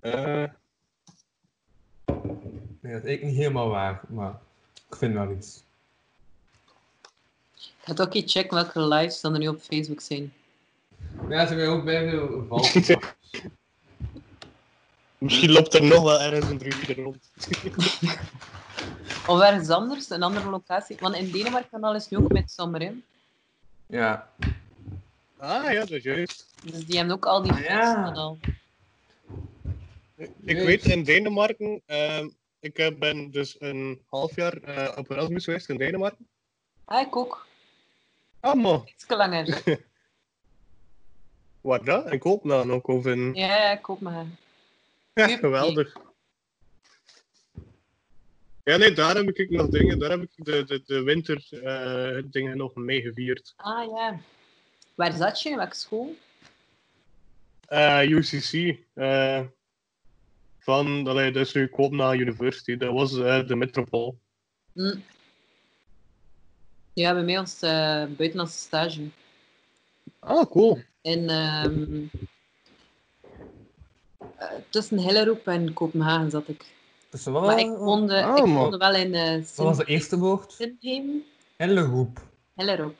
Eh,
Nee, dat is eigenlijk niet helemaal waar, maar ik vind wel iets.
Ik ga toch eens checken welke lives dan er nu op Facebook zijn.
Ja, ze hebben ook bij veel vallen.
misschien loopt er nog wel ergens een druidje rond.
Of ergens anders, een andere locatie. Want in Denemarken kan alles nu ook met zomer in.
Ja.
Ah ja, dat is juist.
Dus die hebben ook al die
Ah, ja.
feesten en al.
Ik weet in Denemarken, ehm, ik eh, ben dus een half jaar eh, op Erasmus geweest in Denemarken.
Ah, ik ook.
Ah, maar
Iets langer.
waar dat? In Kopenhagen ook, of in...
Ja, ja, ik ook maar.
Ja,
Tuurlijk.
geweldig. Ja, nee, daar heb ik nog dingen, daar heb ik de, de, de winter eh, dingen nog mee gevierd.
Ah ja. Waar zat je? In welke school?
Eh, UCC, eh, van, allee, dus nu Kopenhagen University, dat was eh, de metropool.
Hm. Ja, bij mij was het eh, buitenlandse stage.
Ah, cool.
In, ehm, eh, tussen Helleroep en Kopenhagen zat ik.
Dus wat
Maar ik woonde,
ah,
ik
man.
woonde wel in eh
Wat was de eerste woord?
Sintheim.
Helleroep. Oké,
Helleroep.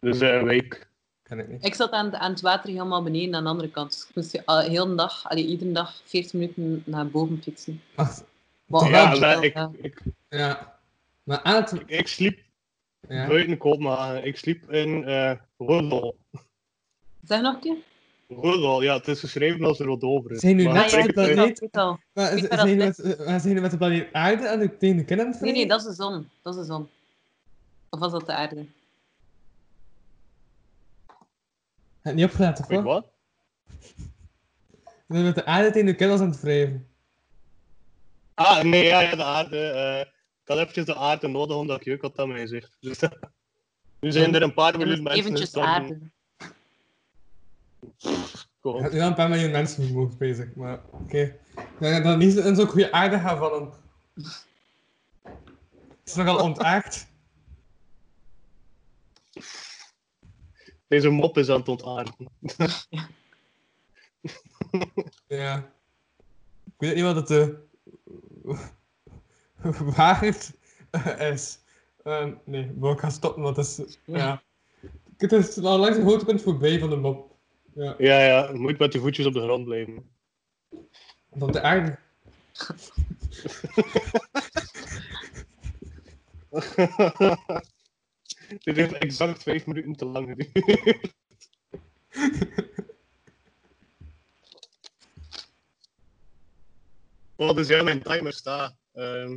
Dus eh, een week.
kan ik niet.
Ik zat aan, het- aan het water helemaal beneden aan de andere kant. Dus ik moest je al- heel de dag, allee, iedere dag 40 minuten naar boven fietsen.
Wacht,
Wat
Toch
wel
Ja,
Ja,
chill,
maar ik,
Oh, ja.
ik,
ja. Maar aan het...
ik, ik sliep
Ja.
buiten Kopenhagen. Ik sliep in eh Rodel.
Zeg nog een keer?
Rodel, ja, het is geschreven als Rodover.
Zijn jullie
Maar
net
ik-
zo
ik-
dat-
weet
niet?
al, ik weet al.
Maar
Niet
z-
waar
zijn
dat
jullie met- eh, zijn jullie met de planeet aarde aan de tegen de kinderen aan het
Nee, nee,
strijden?
dat is de zon. Dat is de zon. Of was dat de aarde?
Heb je niet opgelet, of
Weet
wat?
wat?
Zijn jullie met de aarde tegen de kinderen aan het wrijven?
Ah, nee, ja, ja de aarde. eh, ik had eventjes de aarde nodig omdat ik wat aan mij zegt. Dus, nu zijn er een paar miljoen mensen.
Eventjes
in stand-
aarde.
Ik
Cool.
heb nu al een paar miljoen mensen vermoord bezig, maar oké. Ik denk dat dat niet in zo'n goede aarde gaan vallen. Het is nogal ontaard.
Deze mop is aan het ontaarden.
Ja. Ik weet niet wat het eh, waarheid eh, is. Ehm, nee, maar ik ga stoppen, want het is... Ja. Het is al langs een hoogtepunt voorbij van de mop. Ja,
Ja, ja, je moet met je voetjes op de grond blijven.
van de aarde.
Dit heeft exact vijf minuten te lang geduurd. Oh, dus ja, mijn timer staat. ehm,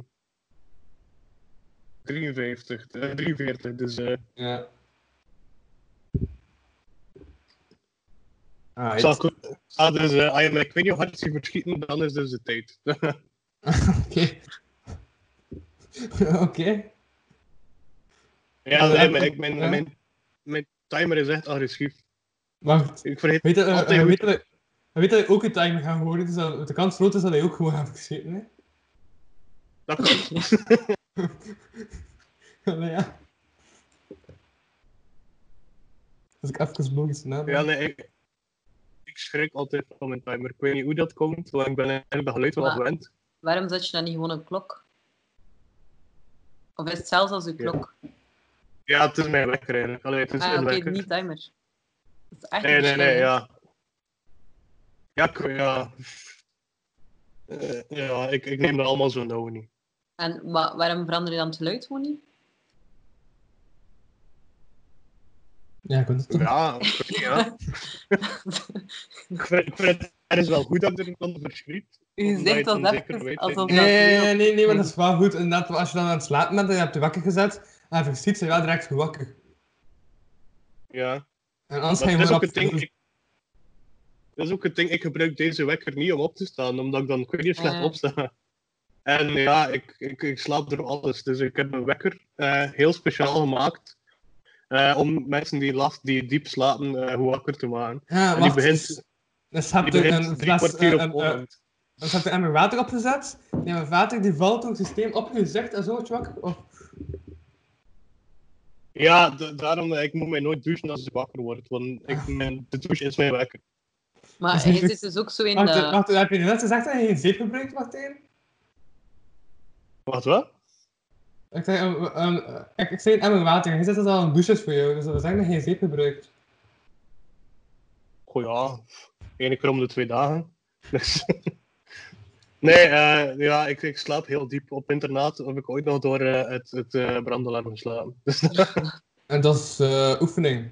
53, eh, 43, dus eh,
Ja. Ah,
zal ik... Ah, dus, eh, ah, ja, maar ik weet niet hoe hard ze verschieten, dan is dus de tijd.
Oké. Oké.
ja, nee, maar ik,
Ja.
mijn, mijn, mijn timer is echt agressief.
Wacht.
Ik vergeet
Weet dat, eh,
altijd
eh,
hoe-
weet dat, hij- weet dat hij ook een timer gaat horen, dus dat, de kans groot is dat hij ook gewoon gaat verschieten, hè?
dat kan.
Maar ja. Als ik even logisch nadenk.
Ja, nee, ik, ik schrik altijd van mijn timer. Ik weet niet hoe dat komt, want ik ben eigenlijk de geluid wel
Maar-
gewend.
Waarom zet je dan niet gewoon een klok? Of is het zelfs als een
Ja.
klok?
Ja, het is mijn wekker eigenlijk. Allee, het is
ah,
een
oké,
wekker.
niet timer. Dat is echt
Nee, nee, nee,
verschil, hè.
ja. Ja, ik, ja. Eh, ja, ik, ik neem dat allemaal zo nauw niet.
En wa- waarom verander je dan het geluid gewoon niet?
Ja, ik weet het toch.
Ja, ik weet- ja. ik vind ik vind het ergens wel goed dat er iemand verschrikt.
U
Omdat je
zegt
het
dat
dan zeker
even
weet,
alsof
Nee,
dat
nee,
heel-
nee, nee, nee, maar dat is wel goed. Inderdaad, als je dan aan het slapen bent en je hebt je wakker gezet, en je verschiet, zijn wel direct wakker.
Ja.
En anders ga
Maar
je
dat
gewoon
is ook
op
het ding.
de
Ik, dat is ook het ding. Ik gebruik deze wekker niet om op te staan, omdat ik dan ik weet niet slecht
Ah.
opsta. En ja, ik, ik, ik slaap door alles. Dus ik heb mijn wekker eh, heel speciaal gemaakt. eh, om mensen die, last, die diep slapen, eh, hoe wakker te maken.
Ja,
En die
wacht.
begint,
Dan staat
die
er
begint
een
drie
fles... eh,
kwartier op
een, eh,
ochtend.
Dan staat er emmer water opgezet. Die emmer water die valt door het systeem opgezegd en zo wordt je wakker. Of...
Ja, da- daarom, eh, ik moet mij nooit douchen als ik wakker word. Want
Ah.
ik, mijn, de douche is mijn wekker.
Maar hij zit dus ook zo in
Wacht, eh,
de...
wacht, heb je net gezegd dat je geen zeep gebruikt, Martijn?
Wat, wat?
Ik zei, ehm, ehm, eh, ik, ik zei een emmer water. Hij zegt dat al een douche is voor jou, dus dat wil zeggen dat je geen zeep gebruikt.
Goh ja, één keer om de twee dagen. Dus- nee, eh, ja, ik, ik slaap heel diep op internaat. Heb ik ooit nog door eh, het, het eh, brandalarm geslapen. Dus,
En dat is eh, oefening.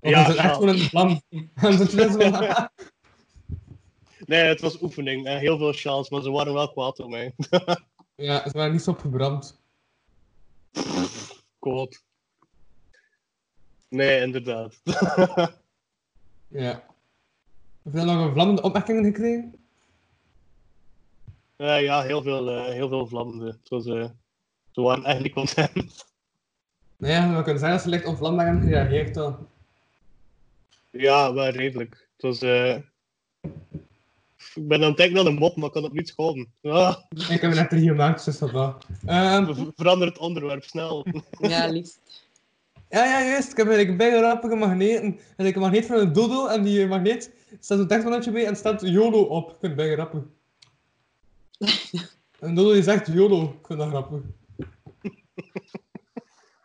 Of
Ja,
is het echt
ja.
gewoon een plan? Dan zit je dus van,
Nee, het was oefening. eh, heel veel chance, maar ze waren wel kwaad om mij.
Ja, ze waren niet zo opgebrand.
Kwaad. Nee, inderdaad.
Ja. Heb je dan nog een vlammende opmerkingen gekregen?
Eh, ja, heel veel, eh, heel veel vlammen. Het was, eh, ze waren echt niet content.
Nou ja, we kunnen zeggen dat ze licht onvlambaar hebben gereageerd dan.
ja, wel redelijk. Het was, eh, Ik ben aan het denken aan een mop, maar ik kan het niet schoon. Ah,
Ik heb er net drie gemaakt, dus dat wel. Ehm,
ver- verander het onderwerp snel.
Ja, liefst.
Ja, ja, juist. Ik heb eigenlijk bijgerapige magneten. En ik een magneet van een dodo en die eh, magneet staat een tekstmannetje bij en staat YOLO op. Ik vind het bijgrappig. en dodo die zegt YOLO. Ik vind dat grappig.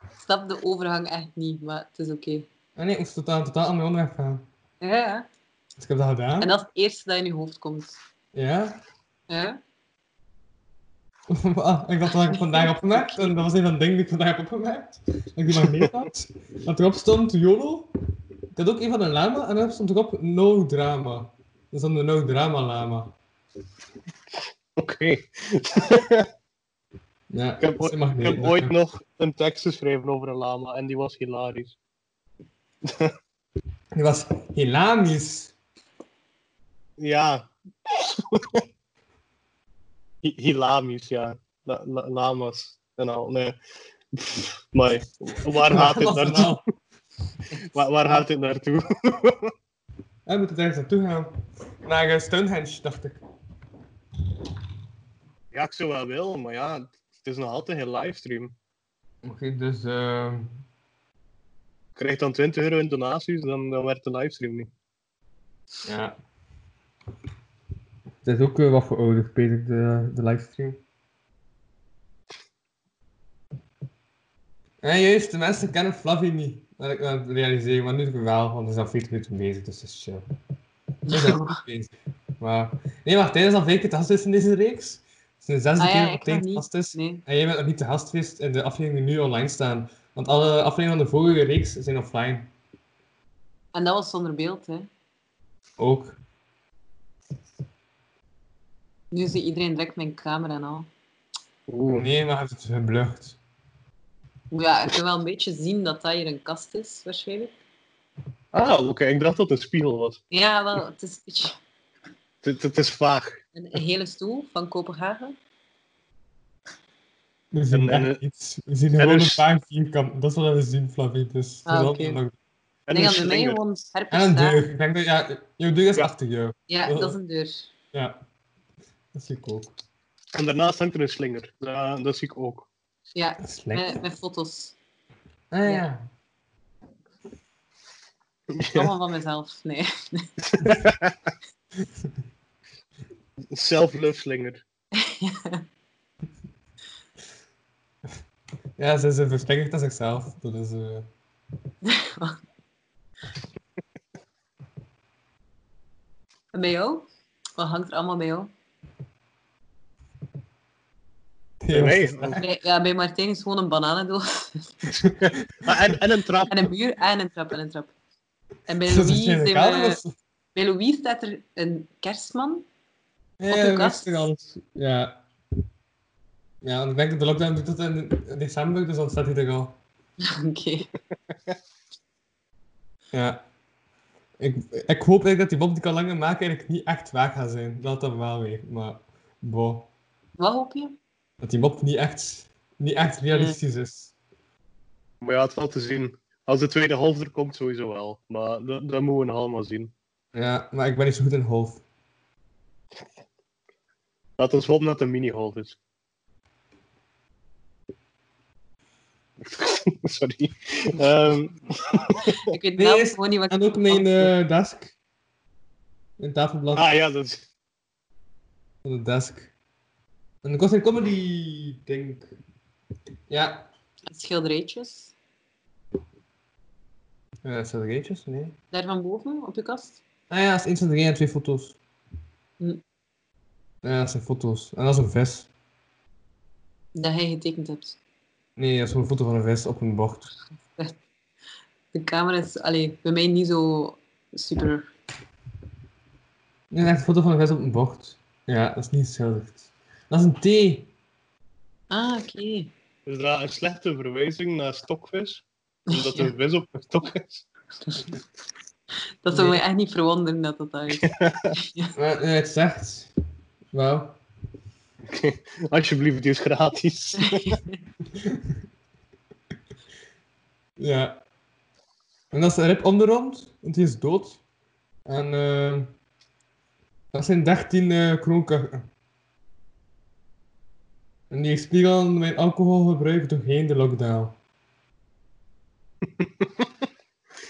Ik snap de overgang echt niet, maar het is oké.
En Ah, nee, ik moest totaal, totaal aan mijn onderweg gaan.
Ja, Ja.
Dus ik heb dat gedaan.
En dat is het eerste dat in je hoofd komt.
Ja.
Ja?
Ah, ik had dat vandaag opgemerkt. En dat was een van de dingen die ik vandaag heb opgemerkt. Dat ik die magneet had. Dat erop stond YOLO. Ik had ook een van de lama en daarop stond erop No Drama. Dus dan de No Drama lama.
Oké.
Ja,
Ik heb, ooit,
dat is een
ik
magneet,
heb
dat
ooit
kan.
nog een tekst geschreven over een lama en die was hilarisch.
Die was hilarisch.
Ja. Hi- Hilamisch, ja. La- la- lamas en al. Nee. Pff, Maar waar gaat dit naartoe?
wel.
Waar, waar gaat dit naartoe?
We moeten ergens naartoe gaan. Naar eh, Stonehenge, dacht ik.
Ja, ik zou wel willen, maar ja, het is nog altijd geen livestream.
Oké, dus... ehm
Ik krijg dan 20 euro in donaties, dan, dan werkt de livestream niet.
ja. Het is ook eh, wat verouderd, Peter, de, de livestream. Ja, juist, de mensen kennen Flavie niet. Dat ik dat realiseer, maar nu wel, want we zijn al 40 minuten bezig, dus dat is chill. We zijn goed bezig. Maar... Nee, Martijn is al vijf keer te gast geweest in deze reeks. Het is de zesde
Ah ja,
keer dat
ik
Martijn
nog
te
niet.
gast is.
Nee.
En jij bent nog niet te gast geweest in de afleveringen die nu online staan. Want alle afleveringen van de vorige reeks zijn offline.
En dat was zonder beeld, hè.
Ook.
Nu ziet iedereen direct mijn camera en al.
Oeh.
Nee, maar je hebt het geblucht.
Ja, ik kan wel een beetje zien dat dat hier een kast is, waarschijnlijk.
Ah, oké, ik dacht dat het een spiegel was.
Ja, wel, het is een beetje
Het, het is vaag.
een een hele stoel van Kopenhagen.
We zien
En-
echt
en-
iets. We zien
en
gewoon
dus-
een paar vierkanten. Dat is wat we zien, Flavie. Dus
Ah,
dat
oké.
is nog-
En
En
nee,
een
aan mij
slinger.
gewoon
En een
scherpe daar.
deur. Oh. Ik denk dat, ja, jouw deur is
Ja.
achter jou.
Ja, dat is een deur.
Ja. Dat zie ik ook.
En daarnaast hangt er een slinger. Ja, dat zie ik ook.
Ja,
Dat is lekker.
met, met foto's. Eh,
Ah ja.
Allemaal van mezelf. Nee.
Self-love slinger.
Ja, ze, ze verstrengelt aan zichzelf. Dat is... eh,
En bij jou? Wat hangt er allemaal bij jou?
heel-
Nee.
Bij, ja, bij Martijn is gewoon een bananendoos.
Ah, en, en een trap.
en een muur en een trap en een trap. En bij
Is dat
Louis,
iets in de
zijn
kamer,
we,
of-
bij Louis staat er een kerstman.
Ja,
Op uw
ja,
kast?
restaurant. Ja. Ja, want ik denk dat de lockdown doet tot in in december, dus dan staat hij er al.
Oké.
Ja. Ik, ik hoop eigenlijk dat die Bob die kan langer maken eigenlijk niet echt waar gaat zijn. Dat dan wel weer, maar boh.
Wat hoop je?
Dat die Bob niet echt, niet echt realistisch
Mm.
is.
Maar ja, het valt te zien. Als de tweede half er komt, sowieso wel. Maar dat, dat moeten we nog allemaal zien.
Ja, maar ik ben niet zo goed in hoofd.
Laten we hopen dat het een mini-half is. Sorry. Ehm,
Ik weet
Nee,
nou
is-
gewoon niet wat
En ook mijn eh, desk. Mijn tafelblad
ah ja, dat is...
van de desk. En ik was in comedy, denk Ja.
Schilderijtjes.
Eh, zijn er eentjes? Nee.
Daar van boven op je kast.
Ah ja, dat is één schilderij en twee foto's.
Hm.
Ja, dat zijn foto's. En dat is een vis.
Dat hij getekend hebt.
Nee, dat is gewoon een foto van een vis op een bocht.
De camera is allee, bij mij niet zo super
Een echt foto van een vis op een bocht. Ja, dat is niet geschilderd. Dat is een T.
Ah, oké.
Is dat een slechte verwijzing naar stokvis? Omdat
Ja,
er vis op een stok is?
dat zou
Nee.
mij echt niet verwonderen dat dat daar is.
Maar eh, het zegt... Wauw.
Alsjeblieft, die is gratis.
Ja. En dat is een rib onderrond, want die is dood. En eh, dat zijn 13 eh kroonkakken. En die spiegelen mijn alcoholgebruik doorheen de lockdown.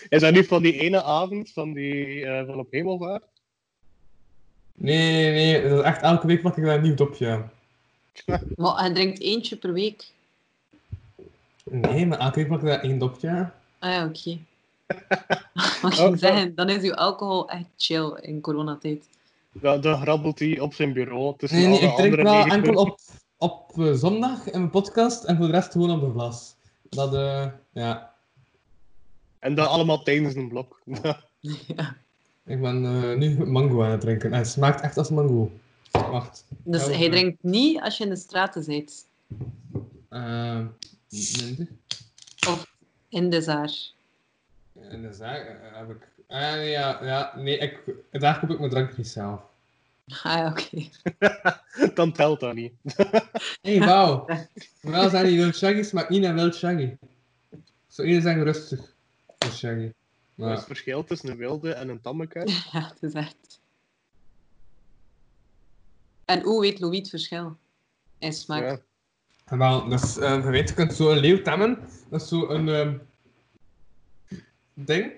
Is dat nu van die ene avond van, die, eh, van op hemelvaart?
Nee, nee, nee, dat is echt elke week plak ik daar een nieuw dopje aan.
maar hij drinkt eentje per week.
Nee, maar elke week plak ik daar één dopje aan.
Ah ja, oké. Mag
Oh,
ik
oh.
zeggen, dan is uw alcohol echt chill in coronatijd.
Dan, dan grabbelt hij op zijn bureau tussen
Nee, nee,
alle
ik drink
andere
wel
negen
enkel op, op eh, zondag in mijn podcast en voor de rest gewoon op de glas. Dat, eh, ja,
En dat allemaal tijdens een blok.
Ja.
ik ben eh, nu mango aan het drinken. En het smaakt echt als mango. Wacht.
Oh,
Dus
Ja,
hij
eh,
drinkt niet als je in de straten bent.
eh, minder.
In de zaar.
En dan zeg eh, heb ik... Ah, ja, ja, nee, ik, daar koop ik mijn drank niet zelf.
Ah ja, oké.
dan telt dat niet.
Hé, hey, wauw. Vooral zijn die wild shaggy, smaakt niet naar wild shaggy. Zo iedereen zeggen rustig. Wild shaggy.
Dat is het
Maar,
verschil tussen een wilde en een tamme kat.
Ja, het is echt. En hoe weet Louis het verschil? In smaak.
Ja.
En wel, dus, eh, je weet, je kunt zo'n leeuw temmen. Dat is zo'n ehm ding.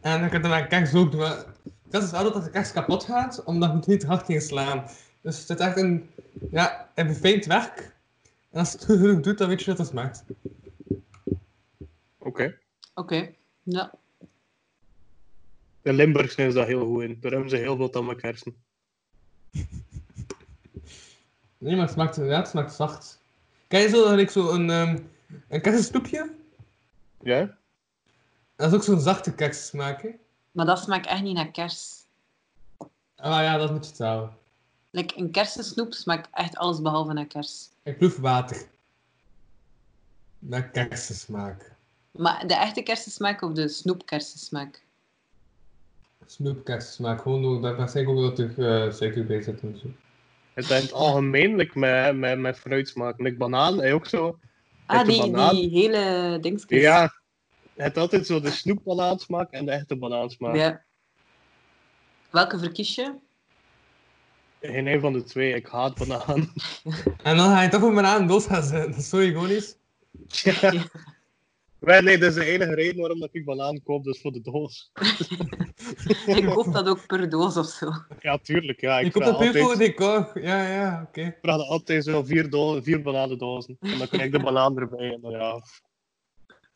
En dan kun je dan keks ook doen. maar De kans is wel groot dat de keks kapot gaat, omdat je moet niet hard ging slaan. Dus het is echt een, ja, een verfijnd werk. En als je het goed genoeg doet, dan weet je dat het smaakt.
Oké.
Oké. Ja.
In Limburg zijn ze daar heel goed in. Daar hebben ze heel veel tamme kersen.
Nee, maar het smaakt inderdaad, het smaakt zacht. Kan je zo, ik zo een, ehm een kersensnoepje?
Ja?
Dat is ook zo'n zachte kerssmaak, hè?
Maar dat smaakt echt niet naar kers.
Ah ja, dat moet je trouwen.
Like, een kersensnoep smaakt echt alles behalve naar kers.
Ik proef water. Naar kersensmaak.
Maar de echte kersensmaak of de snoepkersensmaak?
Snoepkersensmaak, gewoon door, dat waarschijnlijk ook dat er eh suiker bij zit en zo.
Het is in het algemeen like, met, met, met fruitsmaak. Like banaan, hij ook zo.
Ah,
Echte
die,
banaan.
die hele dingetjes.
Ja. Het is altijd zo de snoepbanaansmaak en de echte banaansmaak.
Ja. Welke verkies je?
Geen een van de twee. Ik haat banaan.
En dan ga je toch op mijn aan dood gaan zitten. Dat is zo ironisch.
Ja. Wel, Nee, dat is de enige reden waarom dat ik banaan koop. Dat is voor de doos.
Ik koop dat ook per doos of zo.
Ja, tuurlijk. Ja.
Je
Ik
komt
vraag
dat puur voor
altijd,
het decor. Ja, ja, oké.
ik vraag altijd zo vier, do vier bananendozen. En dan krijg ik de banaan erbij. En dan, ja.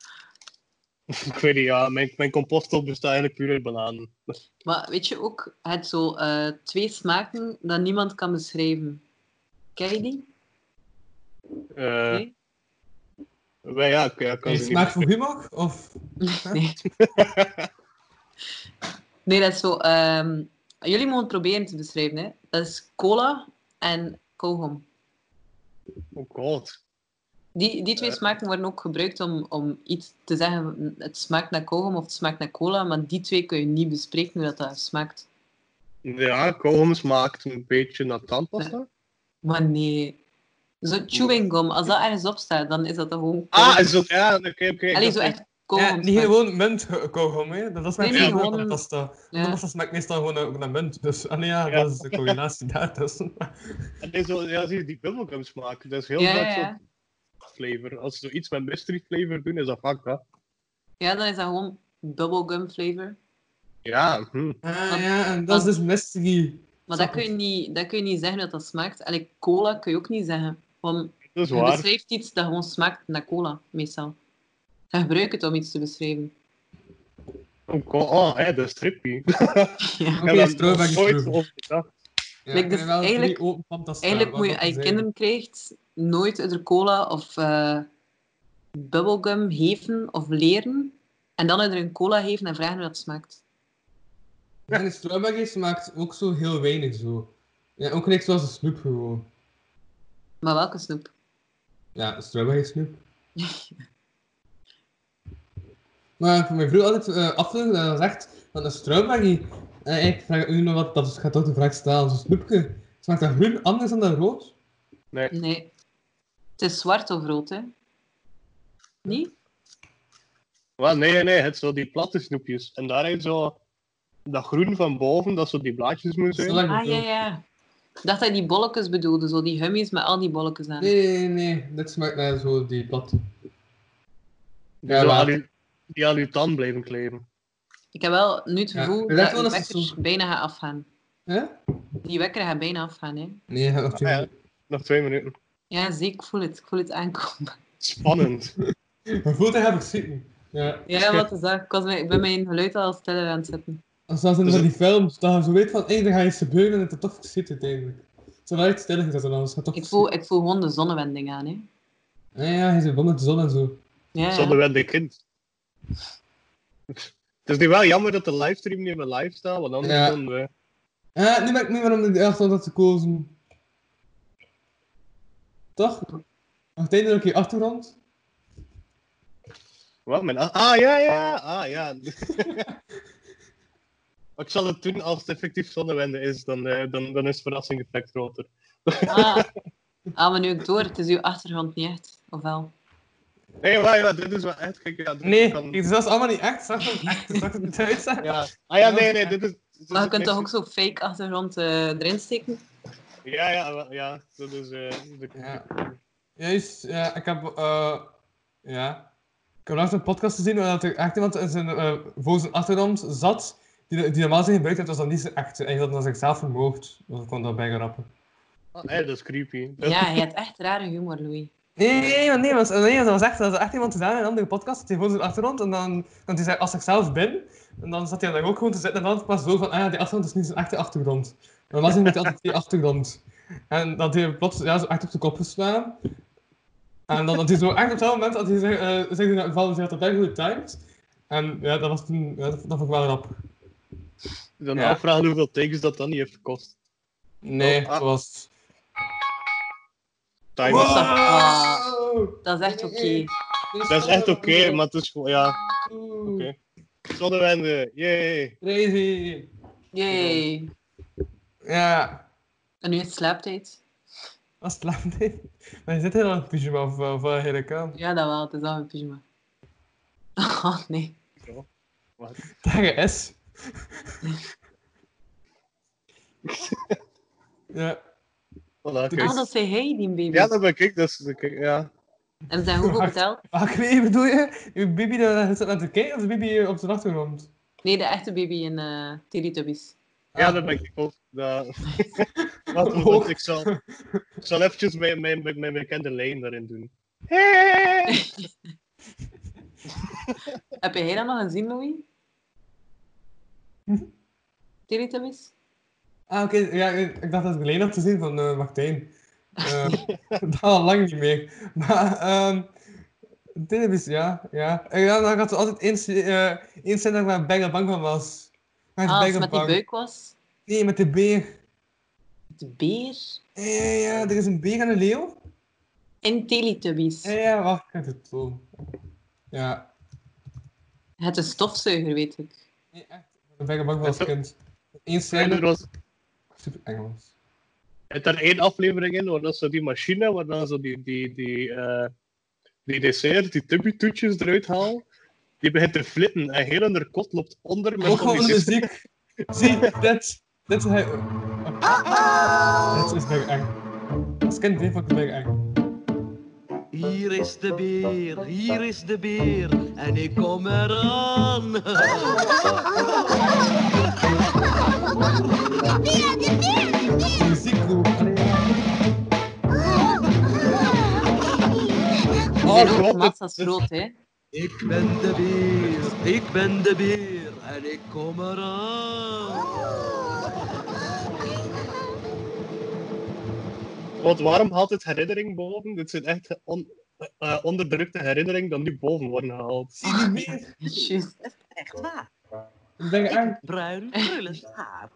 ik weet niet, ja. Mijn, mijn compostop bestaat eigenlijk puur uit bananen.
Maar weet je ook, het zo eh, twee smaken dat niemand kan beschrijven. Ken je die?
Eh,
Nee?
wel, ja, ik, ja, ik kan
Hey,
ze niet
Smaak voor humor? Of...
Nee. nee, dat is zo. ehm, jullie mogen het proberen te beschrijven. Hè. Dat is cola en kauwgom.
Oh god.
Die, die twee
Eh.
smaken worden ook gebruikt om, om iets te zeggen. Het smaakt naar kauwgom of het smaakt naar cola. Maar die twee kun je niet bespreken hoe dat, dat smaakt.
Ja, koolhom smaakt een beetje naar
Eh,
tandpasta.
Maar nee. Zo chewing gum, als dat ergens op staat, dan is dat toch gewoon...
Ah, is dat... Ja, oké, oké. ik
Allee,
dacht
zo
dat-
echt
Ja,
kauwgom
niet
smaak.
gewoon munt kauwgom, hè. Dat is mijn
Nee,
nee,
favoriete
gewoon-
pasta.
Ja.
Dat smaakt meestal gewoon ook naar munt. Dus ah, nee, ja,
Ja.
dat is de combinatie daartussen.
Het is wel, ja, zie je die bubblegum smaak. Dat is heel
Ja,
vaak
ja, ja.
zo'n flavor. Als ze iets met mystery flavor doen, is dat vaak dat.
Ja, dan is dat gewoon bubblegum flavor.
Ja, hm.
Ah
Want-
ja, en dat is dus mystery.
Maar dat kun, je niet, dat kun je niet zeggen dat dat smaakt. Allee, cola kun je ook niet zeggen. Want
dat is
je
waar.
beschrijft iets dat gewoon smaakt naar cola, meestal. Je gebruikt het om iets te beschrijven.
Oh, ko- oh hè, dat is trippy.
Ja.
Oké,
Ik heb daar
strawberry
nog nooit
proeven.
over gedacht.
Ja,
Like, dus
er wel drie
eigenlijk-
open fantasie
Eigenlijk
staan,
moet je,
wat
als je
dat
kinderen krijgt, nooit uit de cola of eh, bubblegum geven of leren. En dan uit er een cola geven en vragen hoe dat smaakt.
zijn. En de strawberries maakt ook zo heel weinig zo. Ja, ook niks zoals een snoep gewoon.
Maar welke snoep?
Ja, een strawberry snoep. maar voor mijn vroeg altijd eh afvullen dat is echt van een strawberry. En Eh, ik vraag u nog wat, dat is- gaat toch de vraag staan. Zo'n snoepje. Smaakt dat groen anders dan dat rood?
Nee. Het is zwart of rood, hè? Niet?
Wel, nee, nee, nee, het zijn zo die platte snoepjes. En daar is zo dat groen van boven, dat zo die blaadjes moeten zijn.
Zolang
Ah,
je
ja,
wil.
ja. Ik dacht dat je die bolletjes bedoelde, zo die hummies met al die bolletjes aan.
Nee, nee, nee, nee. Dit smaakt naar zo die platte.
Die
Ja,
zo
maar-
aan je- die aan je tand blijven kleven.
Ik heb wel nu het
Ja,
gevoel
dat
dat
wel
die
eens
wekker
zo-
bijna gaat afgaan.
Hè?
Die wekker gaat bijna afgaan, hè.
Nee, dat
Ah, ja.
natuurlijk.
Nog twee minuten.
Ja, zie, ik voel het. Ik voel het aankomen.
Spannend.
Maar voelt hij even zitten. Ja.
Ja, wat is dat? Ik, was mijn, ik ben mijn geluid al stiller aan het zetten.
Als dat in
Dus
van die
het-
films, dat je zo weet van, hé, hey, er gaat iets gebeuren en dat het toch zit uiteindelijk. Terwijl het stil is, dat er anders gaat toch
Ik voel, ik voel gewoon de zonnewending aan, hè.
Ja, ja, hij zit onder de zon en zo.
Ja,
Zonder
ja.
wel de kind. Het is nu wel jammer dat de livestream niet meer live staat, want anders eh,
Ja.
konden we...
Ja, nu ben ik niet meer om de achtergrond had gekozen. Toch? Uiteindelijk ook je achtergrond.
Wat, mijn... a- Ah, ja, ja, ah, ja. Maar ik zal het doen als het effectief zonnewende is, dan, eh, dan, dan is het verrassing effect groter.
Ah, ah, maar nu ik door. Het is uw achtergrond niet echt, of wel?
Nee, maar ja, dit is wel echt... Kijk, ja, dit
Nee,
kan-
dat is allemaal niet echt. Zag dat echt? Zag dat het uit?
Ja. Ah ja, nee, nee, dit is... dit is
Maar Ah, je kunt toch ook
effectief-
zo fake achtergrond eh, erin steken?
Ja, ja, wel, ja, dat is... eh, de-
Ja. Juist, ja, ik heb... eh, ja. Ik heb laatst een podcast gezien waar dat er echt iemand in zijn, eh voor zijn achtergrond zat die, die normaal zijn gebruikt heeft, was dan niet zijn echte. En hij had dan zichzelf vermoord. Dus ik kon dat bijgrappen.
Ah, nee, dat is creepy. Dat-
Ja, je hebt echt rare humor, Louis.
Nee, nee, nee, want nee, want- nee, want dat was echt, dat was echt iemand gedaan in een andere podcast. Die gewoon zijn achtergrond en dan, want die zei als ik zelf ben, en dan zat hij daar ook gewoon te zitten en dan pas zo van, ah ja, die achtergrond is niet zijn echte achtergrond. Normaal gezien moet hij altijd die achtergrond. En dat hij plots ja, zo echt op zijn kop geslaan. En dan dat hij zo echt op dat moment, dat hij zegt, eh zegt hij van, ze had dat erg goed getimed. En ja, dat was toen, ja, dat, dat vond ik wel rap.
Dan
Ja.
afvragen hoeveel takes dat dan niet heeft gekost.
Nee,
Oh, ah.
dat was...
Time.
Wow. Dat is echt oké.
Ah. Dat is echt oké, maar het is gewoon, ja...
Oké.
Zonnewende, yay!
Crazy.
Yay.
Ja.
En nu is het slaaptijd.
Dat is het lang, nee. Maar je zit helemaal in het pyjama of, of eh, hele kamer.
Ja, dat wel. Het is al een pyjama. Oh, nee.
Dagen S. ja.
Voilà, kijk.
Ah, dat zei hij, die baby.
Ja, dat ben ik, dat is... Kijk, ja.
En zijn hoeveel
Wacht.
geteld?
Ach, nee, bedoel je? Uw baby daar zit aan te kijken of de baby eh, op zijn achtergrond?
Nee, de echte baby in eh Teletubbies.
ja,
Ah.
dat ben ik ook. Dat... Wacht, wacht, wacht, ik zal, ik zal eventjes mijn, mijn, mijn, mijn bekende lijn daarin doen. Hey!
Heb jij dat nog gezien, Louis?
Hm?
Teletubbies?
Ah, oké. Ja, ik ik dacht dat ik alleen had te zien van eh Martijn. Eh, dat al lang niet meer. Maar, ehm dit is, ja, ja. En ja, dan had er altijd eens, eh eens zijn dat ik daar bijna bang van was. Maar ik
Ah,
ben
als het
er
met die
bang.
buik was.
Nee, met de beer.
De beer.
Ja, ja, ja, er is een beer en een leeuw.
In Teletubbies.
Ja, ja, wacht, ik heb het zo. Ja,
Het is een stofzuiger, weet ik.
nee, echt. Ik ben er bang voor als kind. Eén
En er
scène,
was
super Engels.
het er één aflevering in, waar dat zo die machine, waar dan zo die, die, die, eh, die dessert, die tubby-toetjes eruit haalt, die begint te flitten en heel in haar kot loopt onder met
Ook
van
gewoon de
die sis-
muziek. Zie, dit, dit is hij. Dit is bijna eng. Als kind deed ik het bijna eng.
Hier is de beer, hier is de beer en ik kom eraan.
De muziek roep. allee.
Die zijn
Oh,
ook
god,
massa's
dat is-
groot, hè?
Ik ben de beer, ik ben de beer en ik kom eraan.
Want waarom haalt het herinnering boven? Dit zijn echt on- eh, onderdrukte herinneringen die nu boven worden gehaald.
Zie die meer.
Juist.
Ik denk
Ik
echt,
heb bruin krullend haar.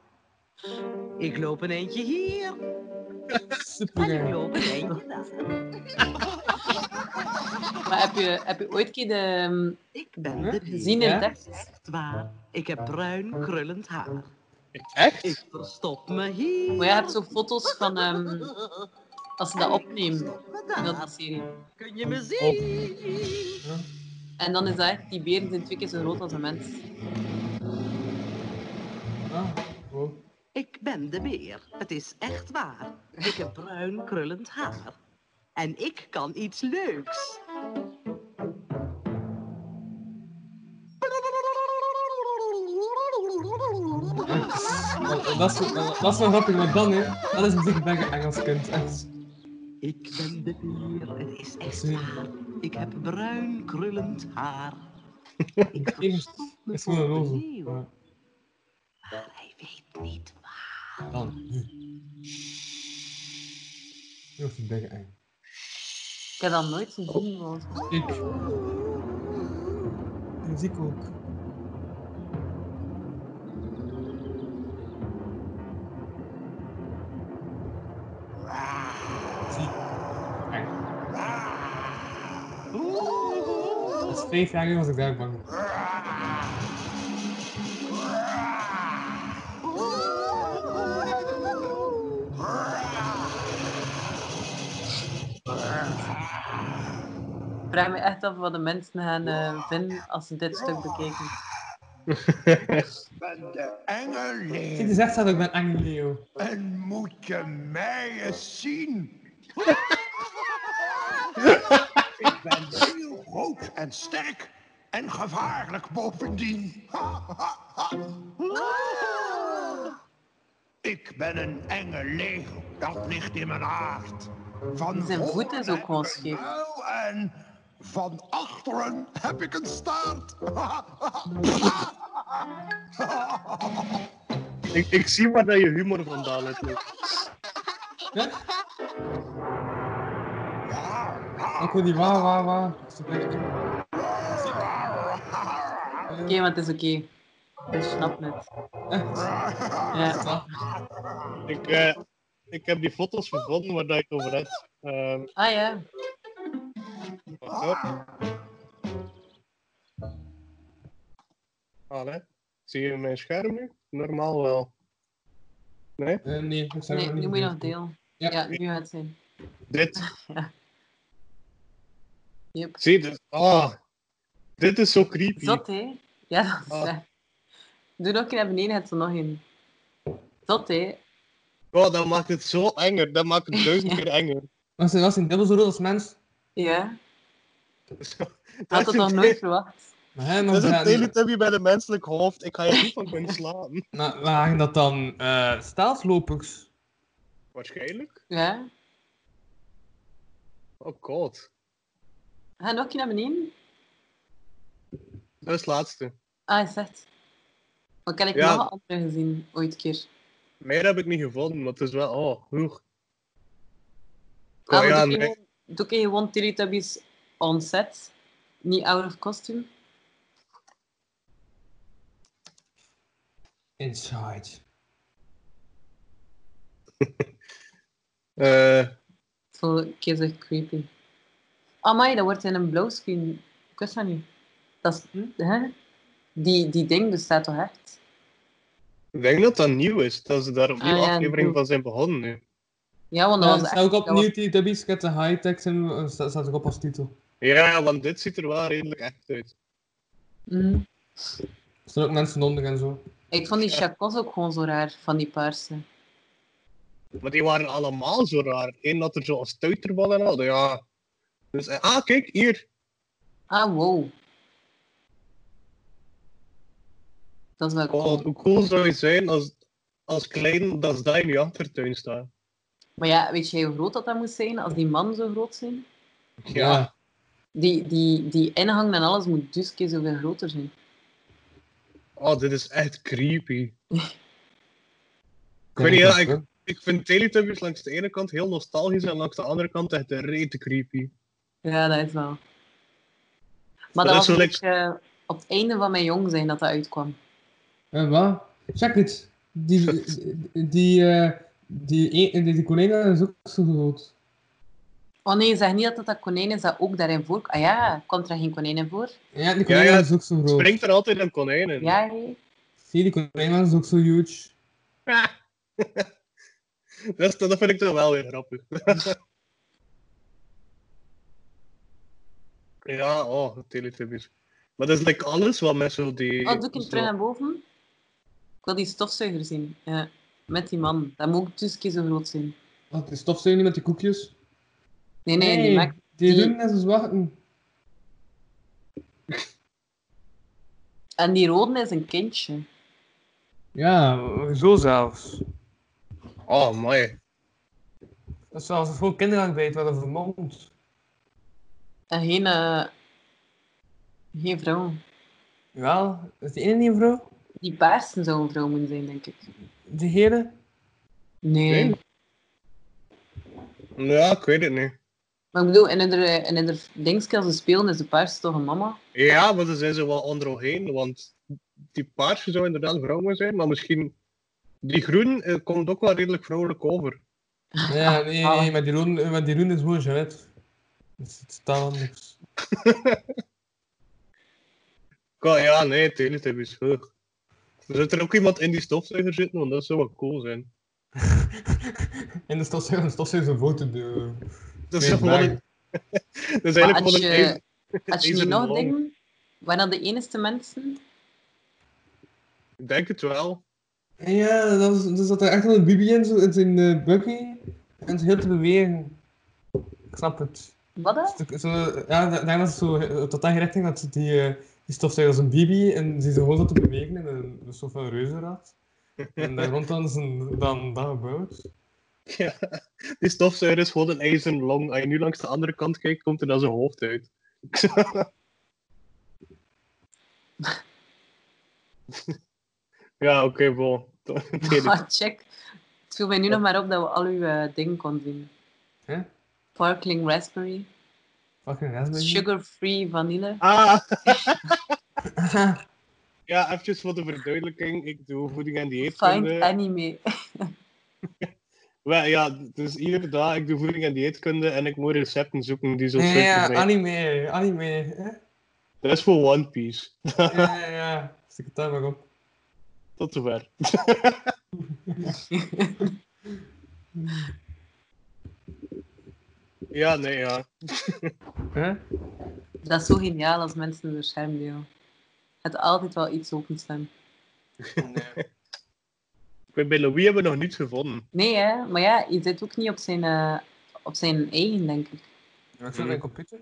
Ik loop een eindje hier en ik
super
loop een eindje daar.
Maar heb je, heb je ooit een keer de, ehm,
Ik ben de beer.
gezien in
Ja?
Texas?
Echt waar. Ik heb bruin krullend haar.
Echt?
Ik verstop me hier.
Maar je hebt zo foto's van ehm, als ze dat opnemen
Verstop me
in
daar.
dat serie.
Kun je me zien?
En dan is dat echt, die beren zijn twee keer zo groot als een mens.
Ah, wow.
Ik ben de beer. Het is echt waar. Ik heb bruin krullend haar. En ik kan iets leuks.
Dat- Dat is, dat dat is wel grappig, want dan, hè, dat is muziek dat je Engels kunt. Echt.
Ik ben de beer. Het is echt
Zie.
waar. Ik heb bruin krullend haar. Ik
Eerst
verstop me
is gewoon een
voor de
roze.
leeuw.
Maar
maar Hij weet niet waar.
dan, nu. Nu was het denk ik eng.
Ik heb dat nooit gezien. want-
Ik. De muziek ook. Zie. Eng. Dat is vijf jaar geleden was ik daar bang voor.
Ik vraag me echt af wat de mensen gaan eh, vinden als ze dit stuk bekijken.
ben de
Zie,
engeling
die zegt dat ik ben eng, Leo.
en moet je mij eens zien. ik ben heel groot en sterk en gevaarlijk bovendien. ik ben een engeling, dat ligt in mijn aard. Van
Zijn voet is
voren
ook
heb
gewoon
ik een
scheef.
muil En van achteren heb ik een staart.
Ik, ik zie waar dat je humor vandaan hebt. Luc.
Ik hoor die wa wa wa. Super eng.
Oké, maar het is oké. Ik snap het.
Echt.
Ja.
Wat?
Ik, eh, ik heb die foto's gevonden waar dat je het over hebt. Ehm,
Ah ja.
wacht hoor.
Ah.
Allee. Zie je mijn scherm nu? Normaal wel.
Eh, nee, ik zou
Nee,
het
nu
niet
moet je nog
doen.
deel.
Ja.
Ja, nu gaat het zijn.
Dit.
Yep.
Zie je dit? Ah. Dit is zo creepy.
Zot, hè? Ja, dat is
Ah.
echt. Doe nog een keer naar beneden, het er nog in. Zot, hè?
Oh, dat maakt het zo enger. Dat maakt het duizend keer enger.
Was hij was hij dubbel zo rood als mens?
Ja. Had
Dat
dat
is
nog
het-
nooit verwacht.
Maar hij
Dat
nog
is een
dat.
teletubby bij een menselijk hoofd. Ik ga je niet van kunnen slaan.
Maar waar hangen dat dan? eh staalslopers?
Waarschijnlijk.
Ja.
Oh god.
Ga nog een keer naar beneden?
Dat is het laatste.
Ah, is echt. Wat kan ik
Ja.
nog een andere gezien, ooit een keer?
Meer heb ik niet gevonden, want het is wel... Oh, hoeg.
Ah,
Oh,
maar
ja,
doe, ik
nee.
gewoon, doe ik gewoon Teletubbies on set? Niet out of costume?
Inside.
Eh,
Volgende keer is echt creepy. Amai, dat wordt in een blauw screen. Ik wist dat niet. Dat is,
Hm?
hè? Die, die ding bestaat toch echt?
ik denk dat dat nieuw is. Dat ze daar opnieuw
Ah, ja,
aflevering
nieuw.
van zijn begonnen nu.
Ja, want dat
Ja,
was
staat
echt...
ook
dat was-
opnieuw die Dubbies Get the High Tech en eh, staat staat ook op als titel.
Ja, want dit ziet er wel redelijk echt uit.
Mhm.
Er staan ook mensen onder en zo.
Ik vond die chacos ook gewoon zo raar, van die paarse.
Maar die waren allemaal zo raar. Eén had er zo'n stuiterbal en al. Ja. Dus, eh, ah, kijk, hier.
Ah, wow. Dat is wel cool.
Oh, hoe cool zou het zijn als, als klein dat ze daar in je achtertuin staan.
Maar ja, weet je hoe groot dat dat moest zijn, als die man zo groot zijn?
Ja.
Die, die, die inhang en alles moet dus keer zoveel groter zijn.
Oh, dit is echt creepy.
Ik
weet niet, ja, Ik vind Teletubbies langs de ene kant heel nostalgisch en langs de andere kant echt een rete creepy.
Ja, dat is wel. Maar
is
dat, was
wel
een
leuk.
beetje op het einde van mijn jong zijn dat dat uitkwam.
Eh, wat? Check het. Die, die, eh die, die, die, konijn is ook zo groot.
Oh nee, zeg niet dat dat dat konijn is dat ook daarin voorkomt. Ah ja, komt er geen konijn in voor?
Ja, die konijn
ja,
is ook zo groot.
Springt er altijd een konijn in.
Ja, hé.
Zie, die konijn is ook zo huge.
Dat, is- dat vind ik toch wel weer grappig. ja, oh, Teletubbies. Maar dat is like alles wat met zo die...
Oh, doe ik hem
zo-
terug naar boven? Ik wil die stofzuiger zien. Ja, met die man. Dat moet ook tussen keer zo groot zijn.
Wat, die stofzuigen met die koekjes?
Nee, nee, die maakt...
die
die-
doen net als wachten.
En die rode is een kindje.
Ja, zo zelfs.
Oh, mooi.
Dat is zelfs gewoon kinderarbeid wat een vermomd.
En geen... eh, geen vrouw.
Wel, is die ene niet vrouw?
Die paarsen zou een vrouw moeten zijn, denk ik.
Die hele?
Nee.
Nee. Ja, ik weet het niet.
Maar ik bedoel, in ieder, in ieder dingetje als ze spelen is de paars toch een mama?
Ja, maar ze zijn zo wel onderheen, want die paarse zou inderdaad vrouwen zijn, maar misschien... Die groen eh, komt ook wel redelijk vrouwelijk over.
Ja, nee, nee, maar die roen, maar die roen is gewoon Jeannette. Dat is totaal anders.
Ka- Ja, nee, Teletubbies. huh. Zit er ook iemand in die stofzuiger zitten? Want dat zou wel cool zijn.
En de stofzuiger, de stofzuiger is een foto doen.
Dat is,
Nee,
gewoon
maar-
een- dat is
Maar
eigenlijk
als
gewoon een...
je,
ijzer-
als je
ijzeren
nog
wand.
dingen, waren dat de enige mensen?
Ik denk het wel.
Ja, dat was, dus zat er echt wel een bibi in, zo, in zijn eh buggy. En het heel te bewegen. Ik snap het.
Wat dan?
Zo- Zo, ja, ik denk dat het zo eh, tot die richting dat die, eh, die stofzuiger als een bibi en die ze gewoon zat te bewegen in een een soort van reuzenrad. En daar rond dan is een, dan, dan gebouwd.
Ja. Die stofzuiger is gewoon een ijzeren long. Als je nu langs de andere kant kijkt, komt er dan zijn hoofd uit. ja, oké, bol.
Ah, check. Het viel mij nu nog maar op dat we al uw eh, dingen konden zien.
Hè?
Sparkling raspberry,
Fucking raspberry.
sugar-free vanille.
Ah, ja, eventjes voor de verduidelijking. Ik doe voeding en
Find
dieetkunde.
anime.
Wel, ja, dus iedere dag, ik doe voeding en dieetkunde en ik moet recepten zoeken die zo
Ja, ja,
suikervrij zijn.
anime, anime. Hè?
Dat is voor One Piece.
Ja, ja, ja. Stik het daar maar op.
Tot zover. ja, nee, ja.
Hè?
Dat is zo geniaal als mensen door scherm deel. Het altijd wel iets openstaan.
Ik weet, Bij Louis hebben we nog niets gevonden.
Nee, hè? Maar ja, je zit ook niet op zijn, eh, op zijn eigen, denk ik.
Ik zit mijn computer.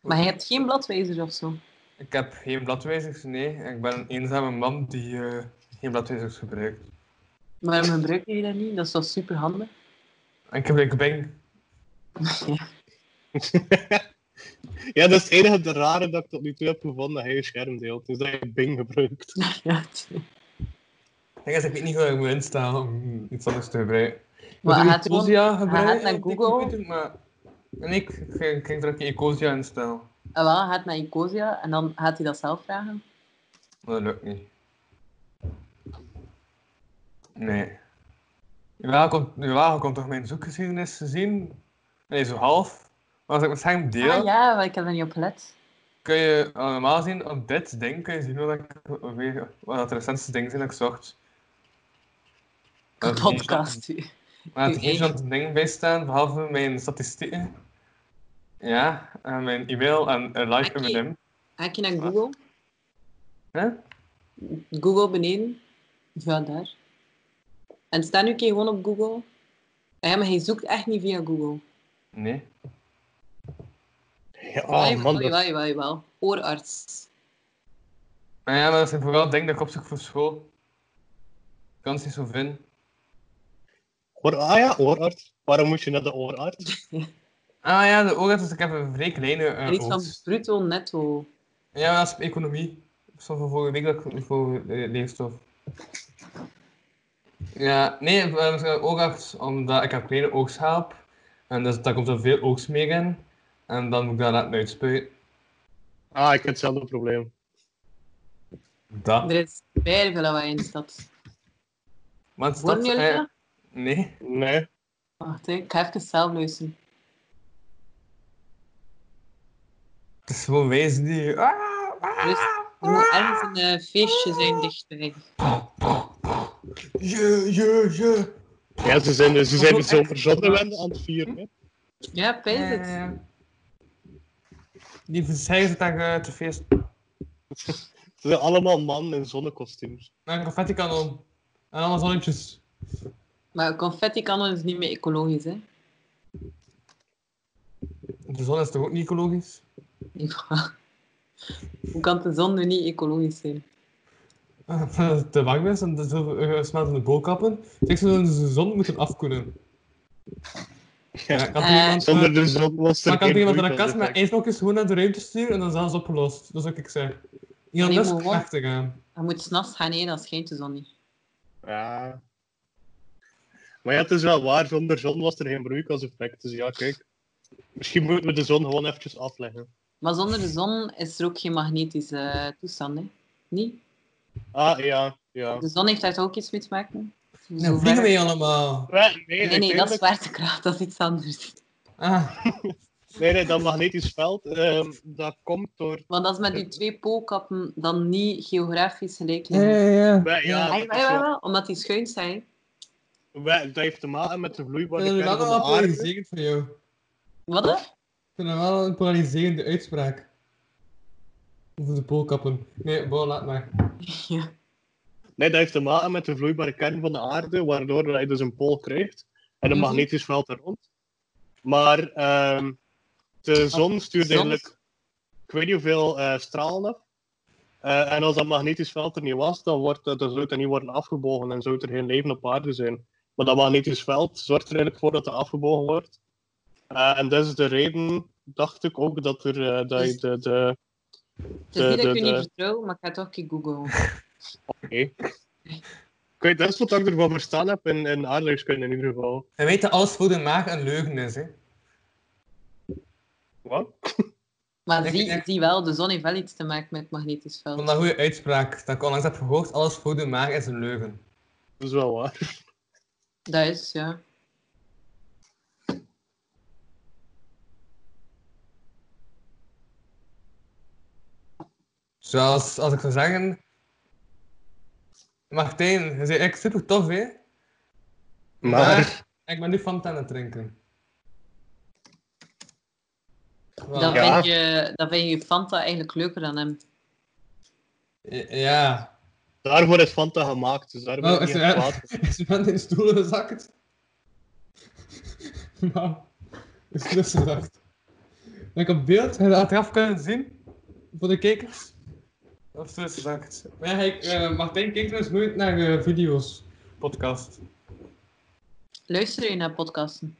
Maar je hebt geen bladwijzer of zo.
Ik heb geen bladwijzers, nee. Ik ben een eenzame man die eh, geen bladwijzers gebruikt.
Waarom gebruik je dat niet? Dat is toch super handig?
En ik gebruik Bing.
ja, dat is het enige de rare dat ik tot nu toe heb gevonden dat hij een scherm deelt. Dus dat je Bing gebruikt.
Ja, het-
Ik denk dat ik weet niet hoe ik moet instaan om iets anders te gebruiken.
Maar
ik
hij
heb
gaat gewoon-
Ecosia
hij
gebruikt
gaat naar
op die
Google.
computer, maar... En ik ging ging er een keer Ecosia instellen.
Ah, wel, hij gaat naar Nicosia en dan gaat hij dat zelf vragen.
Maar dat lukt niet. Nee. Jawel, komt, jawel, je komt toch mijn zoekgeschiedenis te zien? Nee, zo half. Maar als ik mijn scherm deel...
Ah ja, maar ik heb er niet op gelet.
kun je eh, normaal zien op dit ding kun je zien wat, ik, wat dat de recentste dingen zijn dat ik zocht.
Een podcast.
Maar
Uw
het heeft
eigen-
zo'n ding bij staan, behalve mijn statistieken. Ja, en mijn e-mail en een live
Oké.
M&M.
Ga ik je naar Google?
Hè?
Google beneden. Ja, daar. En sta nu een keer gewoon op Google. Ah Ja, maar hij zoekt echt niet via Google.
Nee.
Ja,
Jawel,
oh, man. dat-
Jawel, jawel, jawel. Oorarts.
Maar ja, maar dat zijn vooral dingen dat ik opzoek voor school. Ik kan het niet zo vinden.
Hoor, ah ja, oorarts. Waarom moet je naar de oorarts?
Ah ja, de oogarts, dus ik heb een vrij kleine eh,
en iets van
oogst.
bruto netto.
Ja, maar dat is op economie. Dat is van vorige week dat ik voor eh, leefstof. Ja, nee, eh, misschien oogarts, omdat ik heb kleine oogschaap. En dus, daar komt er veel oogsmeer in. En dan moet ik dat laten uitspuiten.
Ah, ik heb hetzelfde probleem.
Dat.
Er is bijna veel lawaai in de stad.
Maar het staat...
Worden jullie
eh,
dat?
nee.
Nee.
Wacht, hè, ik ga even zelf luisteren.
Het is gewoon wezen die... Ah, ah,
Dus er moet ergens een eh, feestje zijn dichtbij.
je, je, je.
Ja, ze zijn, ze zijn
Dat
de
is
zomer
echt-
zonnewende aan het vieren. Hè.
Ja, pijs het.
Eh, Die zeggen ze dat je te feest...
Ze zijn allemaal mannen in zonnekostuums.
Naar een confetti-kanon. En allemaal zonnetjes.
Maar confetti kan is niet meer ecologisch, hè?
De zon is toch ook niet ecologisch?
Die vraag. Hoe kan de zon nu niet ecologisch zijn?
te bang bent en zo eh, smeltende bolkappen. Zeg, ze zouden de zon moeten afkoelen. Ja, kan
Eh,
iemand, eh,
Zonder de zon was er
maar kan
geen
iemand een
broeikaseffect.
kast met ijsblokjes gewoon naar de ruimte sturen en dan zijn ze opgelost. Dat is wat ik zei. Elon
Nee,
Musk
maar wat?
weg te gaan.
Je moet s'nachts gaan heen, dan schijnt de zon niet.
Ja. Maar ja, het is wel waar, zonder zon was er geen broeikaseffect. Dus ja, kijk. Misschien moeten we de zon gewoon eventjes afleggen.
Maar zonder de zon is er ook geen magnetische eh, toestand, hè? Niet?
Ah, ja, ja.
De zon heeft daar toch ook iets mee te maken? Zo
Dan
ver-
Nou, vliegen wij allemaal.
Nee, nee,
Nee, nee, dat is
uiteindelijk-
zwaartekracht, dat is iets anders.
Ah,
nee, nee, dat magnetisch veld, ehm, dat komt door...
Want als met die twee poolkappen dan niet geografisch gelijk
ja,
liggen.
ja, ja.
Wij, ja,
Ah,
dat,
jawel,
is wel-
jawel, omdat die schuin zijn.
wij- dat heeft te maken met de
Ik vind het
vloeibaarheid
wel
van de
wel
aarde.
polariserend voor jou. Ik
Wat? hè?
vind het wel een polariserende uitspraak. Over de poolkappen. Nee, bon, laat maar.
Ja.
Nee, dat heeft te maken met de vloeibare kern van de aarde, waardoor je dus een pool krijgt en een
Mhm.
magnetisch veld er rond. Maar ehm, de zon stuurt
zon is-
eigenlijk, ik weet niet hoeveel eh, stralen af. Eh, en als dat magnetisch veld er niet was, dan, wordt, dat- dan zou het niet worden afgebogen en zou er geen leven op aarde zijn. Maar dat magnetisch veld zorgt er eigenlijk voor dat het afgebogen wordt. Eh, en dat is de reden, dacht ik ook, dat, er, eh, dat je
Dus-
de, de,
Het is niet dat
de-
ik u
de-
niet vertrouw, maar ik ga toch een keer googlen.
Ik weet, dat is wat ik ervan verstaan heb in, in aardrijkskunde in ieder geval.
En weet dat alles voor de maag een leugen is, hè?
Wat?
Maar
Ik-
zie,
ik-
zie wel, de zon heeft wel iets te maken met het magnetisch
Ik
veld.
vond dat een goede uitspraak. Dat ik onlangs heb gehoord, alles voor de maag is een leugen.
Dat is wel waar.
Dat is, ja.
Zoals als ik zou zeggen. Martijn, je zei echt super tof, hè? ik ben nu Fanta aan het drinken. Wel,
Dan,
Ja.
vind je, dan vind je Fanta eigenlijk leuker dan hem.
Ja.
daarvoor is Fanta gemaakt, dus daar ben ik
Oh,
niet
is
aan
er
kwaad.
is er iemand in de stoel gezakt? Nou, is dus gezakt. Ben ik op beeld? Heb je dat achteraf kunnen zien? Voor de kijkers? Of is dus gezakt? Maar ja, ik, eh, Martijn kijkt dus nooit naar eh, video's, podcast.
Luister je naar podcasten?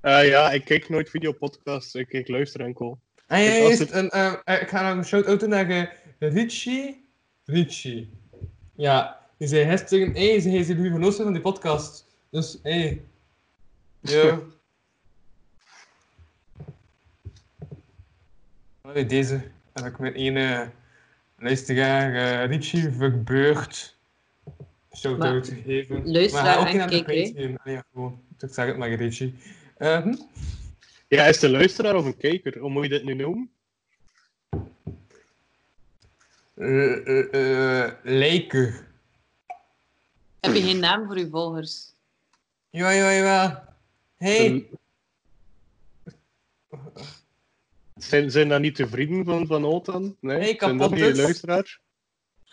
Eh, ja, ik kijk nooit videopodcasts, ik, ik luister enkel.
Ah, ja,
Dus als
juist. En, eh, eh, ik ga een shout-out doen naar eh, Richie. Richie. Ja, die zei gisteren, hé, hey, hij is de genootschap van die podcast. Dus, hé. Hey. Yo. Allee, deze heb ik met ene luisteraar, eh, Richie Verbeurt, shout-out gegeven.
Luisteraar
maar hij ook
en
niet aan de
kijker, hè?
Patreon. Ah ja, gewoon. Ik zeg het maar, Richie. Eh, hm?
Ja, is de luisteraar of een kijker? Hoe moet je dit nu noemen?
Eh, eh, eh, Lijker.
Heb je geen naam voor je volgers?
Jawel, jawel, jawel. Hey.
Zijn, zijn dat niet de vrienden van Van Otan? Nee,
Nee,
zijn dat niet de
kapottes.
luisteraar?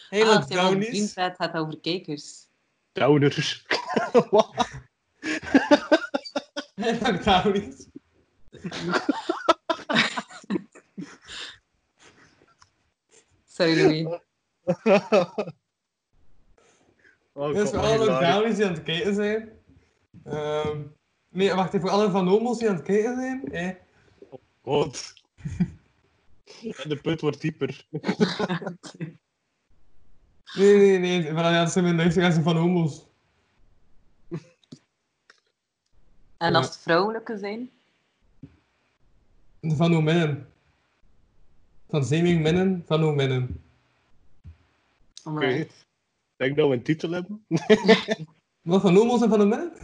Hey,
ah,
wat
het zijn wel
Downies.
vriendpraat gaat over kijkers.
Downers. Wat?
Hey, wat Downies.
Sorry, Louis.
oh,
Dus voor alle Downies die aan het kijken zijn. Ehm, nee, wacht even. Voor alle Van Omos die aan het kijken zijn. Eh, Hey.
God. En de put wordt dieper.
Nee, nee, nee. Van, ja, dat zijn mijn luisteraars en Van Omos.
En als het vrouwelijke zijn?
De Van Ominnen. Van Zeming Minnen, Van Ominnen.
Alright.
Ik denk dat we een titel hebben.
Wat van Nomos en van de Merk?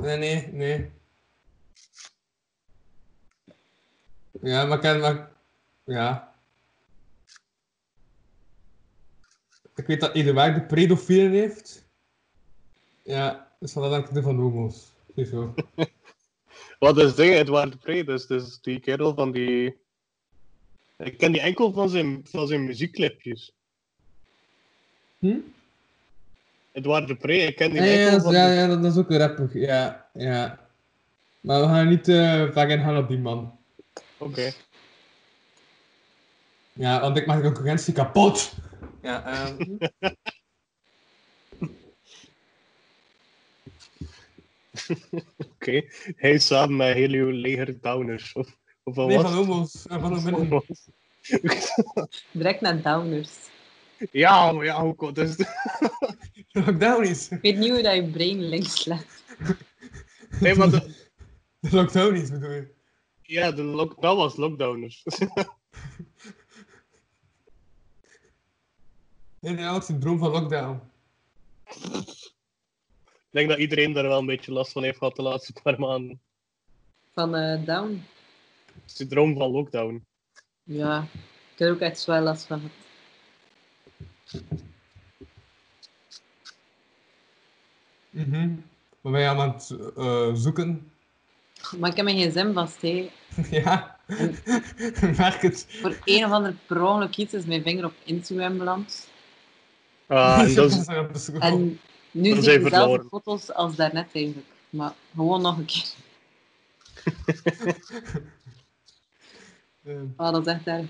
Nee, nee, nee. Ja, maar kan maar. Ja. Ik weet dat Eduard de predofielen heeft. Ja, dus dat dan de van homo's. Sowieso.
Wat is ding, Edward de Pre, dus, dus die kerel van die... Ik ken die enkel van zijn, van zijn muziekclipjes.
Hm?
Edward de Pre, ik ken die
Ja, ja,
enkel
dat
van...
is- ja,
de-
ja, dat is ook rapper. Ja, ja. Maar we gaan niet eh vaak ingaan op die man.
Oké.
Ja, want ik maak de concurrentie kapot. Ja, ehm.
Oké, hij is samen met heel uw leger downers. Of, of wat
nee,
was
van
het?
homo's. en Van homo's.
Direct naar Downers.
Ja, maar ja, hoe komt dus...
Lockdown is.
Ik weet niet hoe dat je brain links legt.
Nee, maar de,
De lockdown is, bedoel je?
ja, de lock, dat was lockdowners.
Inderdaad, het syndroom van lockdown.
ik denk dat iedereen daar wel een beetje last van heeft gehad de laatste paar maanden.
Van eh, Down.
Syndroom van lockdown.
Ja, ik heb er ook echt zwaar last van gehad.
Mhm. Maar ben je aan het eh, zoeken?
Maar ik heb mijn gsm vast, hè.
ja. Merk het.
Voor een of ander per ongeluk iets is mijn vinger op Instagram beland.
Ah, en dat is,
op de school.
En nu
Dat
zie
zijn
ik dezelfde
verloren.
foto's als daarnet eigenlijk. Maar gewoon nog een keer.
Eh,
Oh, dat is echt erg.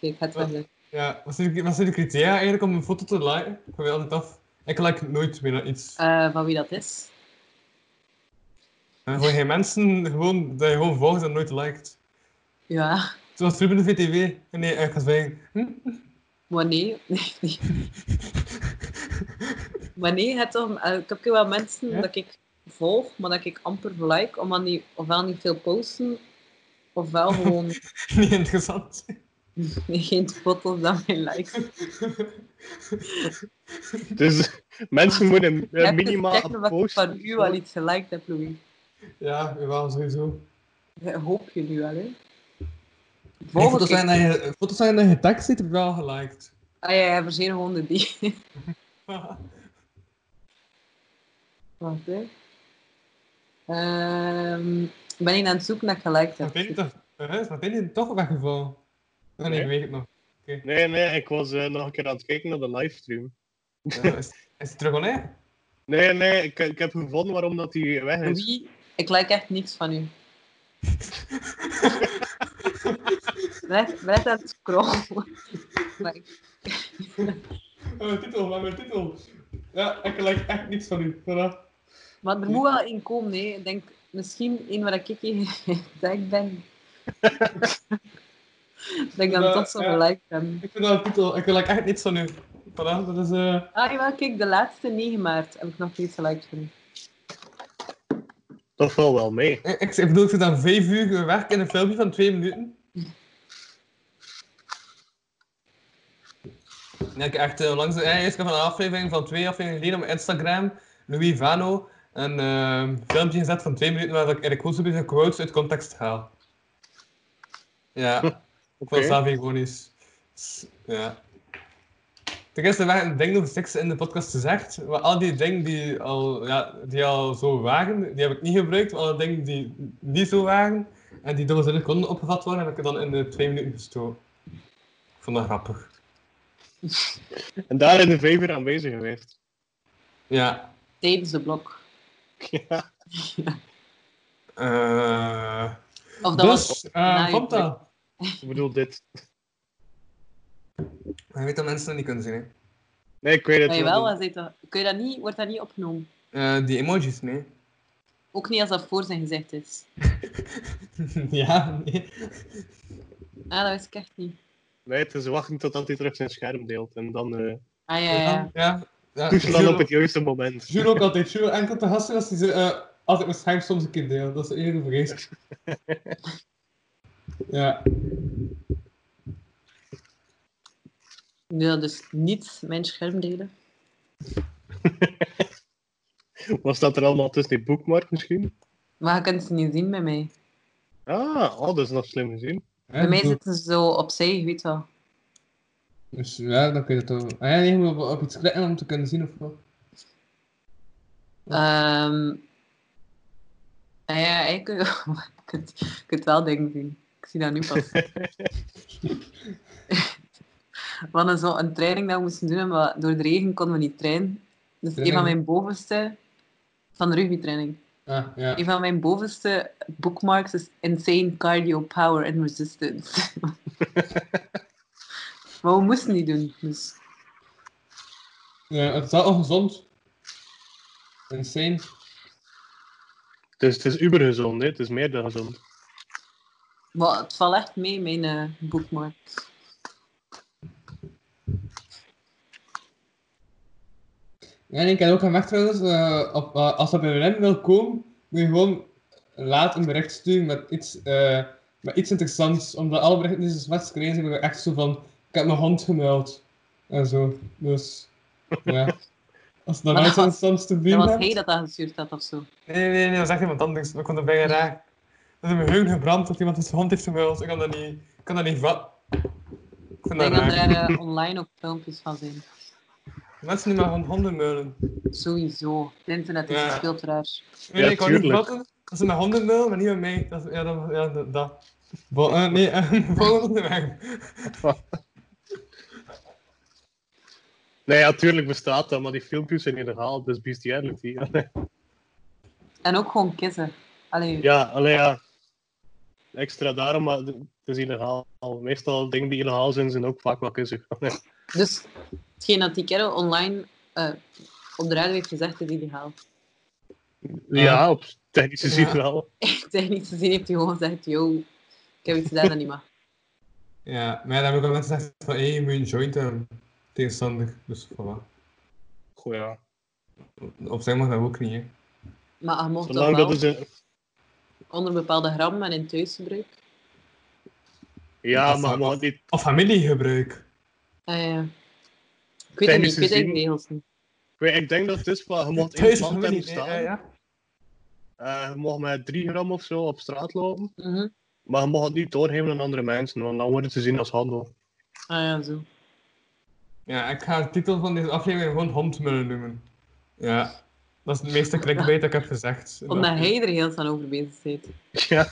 Kijk, het wel leuk.
ja, wat zijn, de, wat zijn de criteria eigenlijk om een foto te liken? Ik weet altijd af. Ik like nooit meer naar iets.
Ah.
Eh, van wie dat is.
En gewoon Eh, geen mensen gewoon, dat je gewoon volgt en nooit liked.
Ja,
Zoals Ruben de VTV. Nee, ik ga zwijgen. Hm?
maar nee. maar nee, het om, eh, ik heb ook wel mensen
Ja?
dat ik volg, maar dat ik amper like, omdat die ofwel niet veel posten, ofwel gewoon
Niet interessant.
geen foto's dan mijn likes.
dus mensen moeten eh, minimaal
Zeg me wat ik
posten.
van u al iets geliked heb, Louis.
ja, jawel, sowieso.
Dat Hoop je nu al, hè?
Nee,
Volgende
foto's, zijn
keer.
dat je, foto's zijn dat je getagd ziet, heb ik wel geliked.
Ah ja, ja, verzin gewoon de die. Wacht, hè. Ehm, ik ben niet aan het zoeken naar gelijk
Maar ben je
heb.
toch, hè, maar ben je toch weggevallen? Oh, nee,
Nee.
ik weet het nog.
Nee, nee, ik was eh, nog een keer aan het kijken naar de livestream.
Ja, is, is het terug al hè?
Nee, nee, ik, ik heb gevonden waarom dat die weg is.
Wie? Ik like echt niks van u. Blijf blijf aan het scrollen. Maar ik-
Mijn Oh, titel, maar mijn titel. Ja, ik like echt niks van u. Voilà.
Maar er moet wel in komen, hè. Ik denk misschien één waar ik in gedacht ben. dat ik dan
Ja,
toch zo
ja.
gelijk ben.
Ik vind dat een titel, ik like echt niks van u. Voilà, dat is... eh
Ah, jawel, kijk, de laatste 9 maart heb ik nog steeds gelijk van u.
Dat valt wel mee.
Eh, ik, ik bedoel, ik zit aan vijf uur werk in een filmpje van twee minuten. Ja, ik heb echt eh, langs de ja, eerst heb ik van een aflevering van twee afleveringen geleden op Instagram, Louis Vano, een ehm, filmpje gezet van twee minuten waar ik Erik Hoesebee zijn quotes uit context haal. Ja, ook van
Oké.
Savi gewoon is. S- Ja. Ten eerste waren dingen over seks in de podcast gezegd, maar al die dingen die al, ja, die al zo waren, die heb ik niet gebruikt, maar alle dingen die niet zo waren en die dubbelzinnig konden opgevat worden, heb ik er dan in de twee minuten gestoken. Ik vond dat grappig.
En daar in de vijver aanwezig geweest.
Ja,
Tijdens de blok.
Ja.
Eh,
Of dat was
dus, eh,
na je
Fanta.
Ik bedoel dit.
Maar je weet dat mensen dat niet kunnen zien, hè.
Nee, ik weet het
Maar Ah, jawel,
wel.
was dit toch- kun je dat niet, wordt dat niet opgenomen?
Eh, die emojis, nee.
Ook niet als dat voor zijn gezicht is.
ja, nee.
Ah, dat wist ik echt niet.
Nee, het is wachten totdat hij terug zijn scherm deelt. En dan eh
Ah ja, ja.
ja. ja.
toeslaan
Juro-
op het juiste moment.
Juro ook altijd. Juro enkel te gasten als hij ze... eh, als ik mijn schijf soms een keer deel. Dat is eerder vrees. ja.
Ja, dus niet mijn schermdelen.
Wat staat er allemaal tussen die boekmark misschien?
Maar je kunt ze niet zien bij mij.
Ah, oh, dat is nog slim gezien.
Bij mij zitten ze zo opzij, je weet wel.
Dus ja, dan kun je dat toch... Ah ja, nee, je moet op, op iets klikken om te kunnen zien of wat.
Ehm nou ja, ik kunt, kunt wel dingen zien. Ik zie dat nu pas. we hadden zo een training dat we moesten doen, maar door de regen konden we niet trainen. Dus een van
Training?
mijn bovenste, van de rugbytraining,
Ah, ja.
een van mijn bovenste bookmarks is Insane Cardio Power and Resistance. maar we moesten die doen, dus
ja het is wel ongezond. Insane.
Dus het is ubergezond, hè? het is meer dan gezond.
Maar het valt echt mee, mijn eh boekmark.
Ja, en ik heb ook gemerkt trouwens, eh, op, eh, als dat bij Willem wil komen, moet je gewoon laat een bericht sturen met iets, eh, met iets interessants. Omdat alle berichten die ze zwart kregen, zijn waren echt zo van, ik heb mijn hond gemuild. En zo. Dus, ja. Als dan
Maar
nooit
dat was-
interessants te
Dat
bieden
was
hebt-
hij dat dat gestuurd had of zo.
Nee, nee, nee, dat is echt iemand anders. Ik kon er bijna raak. Dat is in mijn heugen gebrand dat iemand zijn hond heeft gemuild. Ik kan dat niet, ik kan dat niet vatten. Ik
Ik
vind dat
denk dat
raar.
er eh, online ook filmpjes van zijn.
Mensen die maar van honden muilen.
Sowieso. Het internet is
Ja.
veel te raar.
Nee, nee, ik kan niet
tuurlijk.
vatten dat ze met honden muilen, maar niet met mij. Dat is, ja, dat. Ja, dat, dat. Bo- eh, nee, eh, volgende weg.
Nee, ja, tuurlijk bestaat dat, maar die filmpjes zijn illegaal, dus bestiality.
En ook gewoon kissen. Allee,
ja, alleen ja. Extra daarom, maar het is illegaal. Meestal dingen die illegaal zijn, zijn ook vaak wel kussig.
Dus hetgeen dat die kerel online eh, op de radio heeft gezegd, is illegaal.
Ja, op technische zin
Ja.
wel.
Technisch gezien heeft hij gewoon gezegd, yo, ik heb iets gedaan dat niet mag.
Ja, maar ja, dan heb ik ook mensen gezegd van, hé, je moet een joint hebben. Tegenstandig, dus voilà.
Goh, ja.
Op zijn mag dat ook niet, hè.
Maar je mocht toch
Zolang dat
wel
is een...
onder bepaalde gram en in thuisgebruik.
Ja,
Dat is
maar,
wel-
maar niet...
Of familiegebruik.
Eh, ik weet het niet,
Technisch
ik weet eigenlijk
gezien-
de regels niet.
Ik weet- Ik denk dat het is wel... Je mocht in
Thuis
het
is
land
familie,
hebben
nee, eh,
staan.
ja.
Eh, je mocht met 3 gram of zo op straat lopen.
Mhm.
Maar je mag het niet doorgeven aan andere mensen, want dan worden ze zien als handel.
Ah ja, zo.
Ja, ik ga de titel van deze aflevering gewoon hondmullen noemen. Ja, dat is het meeste clickbait dat ik heb gezegd.
Omdat hij er heel snel over bezig zit.
Ja.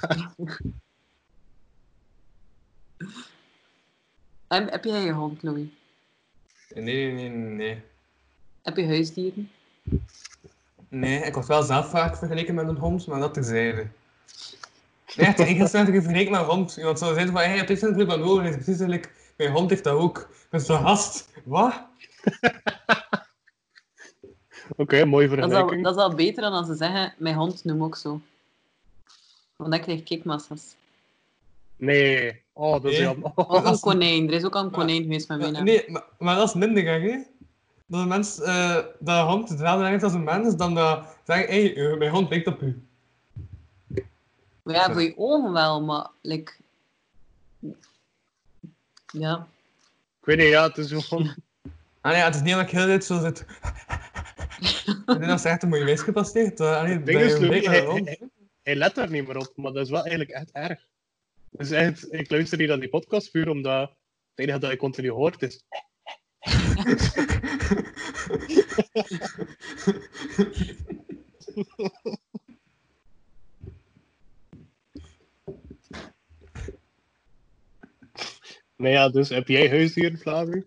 Heb, heb jij je hond, Louis?
Nee, nee, nee, nee.
Heb je huisdieren?
Nee, ik word wel zelf vaak vergeleken met een hond, maar dat terzijde. Nee, echt, ik heb zelf vergeleken met een hond. Iemand zou zeggen van, hey, het is een club aan ogen, het is precies gelijk. Mijn hond heeft dat ook. Ik ben zo gast. Wat?
Oké, mooie
Dat is, al,
vergelijking.
dat is al beter dan als ze zeggen, mijn hond noem ook zo. Want dan krijg ik kikmassa's.
Nee. Oh, dat is
Nee.
jammer.
Of
dat
een
is-
konijn. Er is ook al een
Maar-
konijn geweest met mijn naam.
Nee, maar, maar dat is minder gek, hè? Dat een mens eh, dat een hond hetzelfde heeft als een mens, dan dat zeggen, hey, eh, mijn hond lijkt op u.
Maar ja, voor je ogen wel, maar... Like... Ja.
Ik weet niet, ja, het is gewoon...
Ah nee, het is niet dat ik heel de tijd zo zit. Ik denk dat ze echt een mooie wijs gepasseerd. Uh, nee,
ding is,
dat je
Louis,
vergelijkt met
hij,
een hond.
hij- hij let daar niet meer op, maar dat is wel eigenlijk echt erg. Dus echt, ik luister niet aan die podcast puur omdat het enige dat ik continu hoort is... Nou ja, dus heb jij huisdieren, Flavio?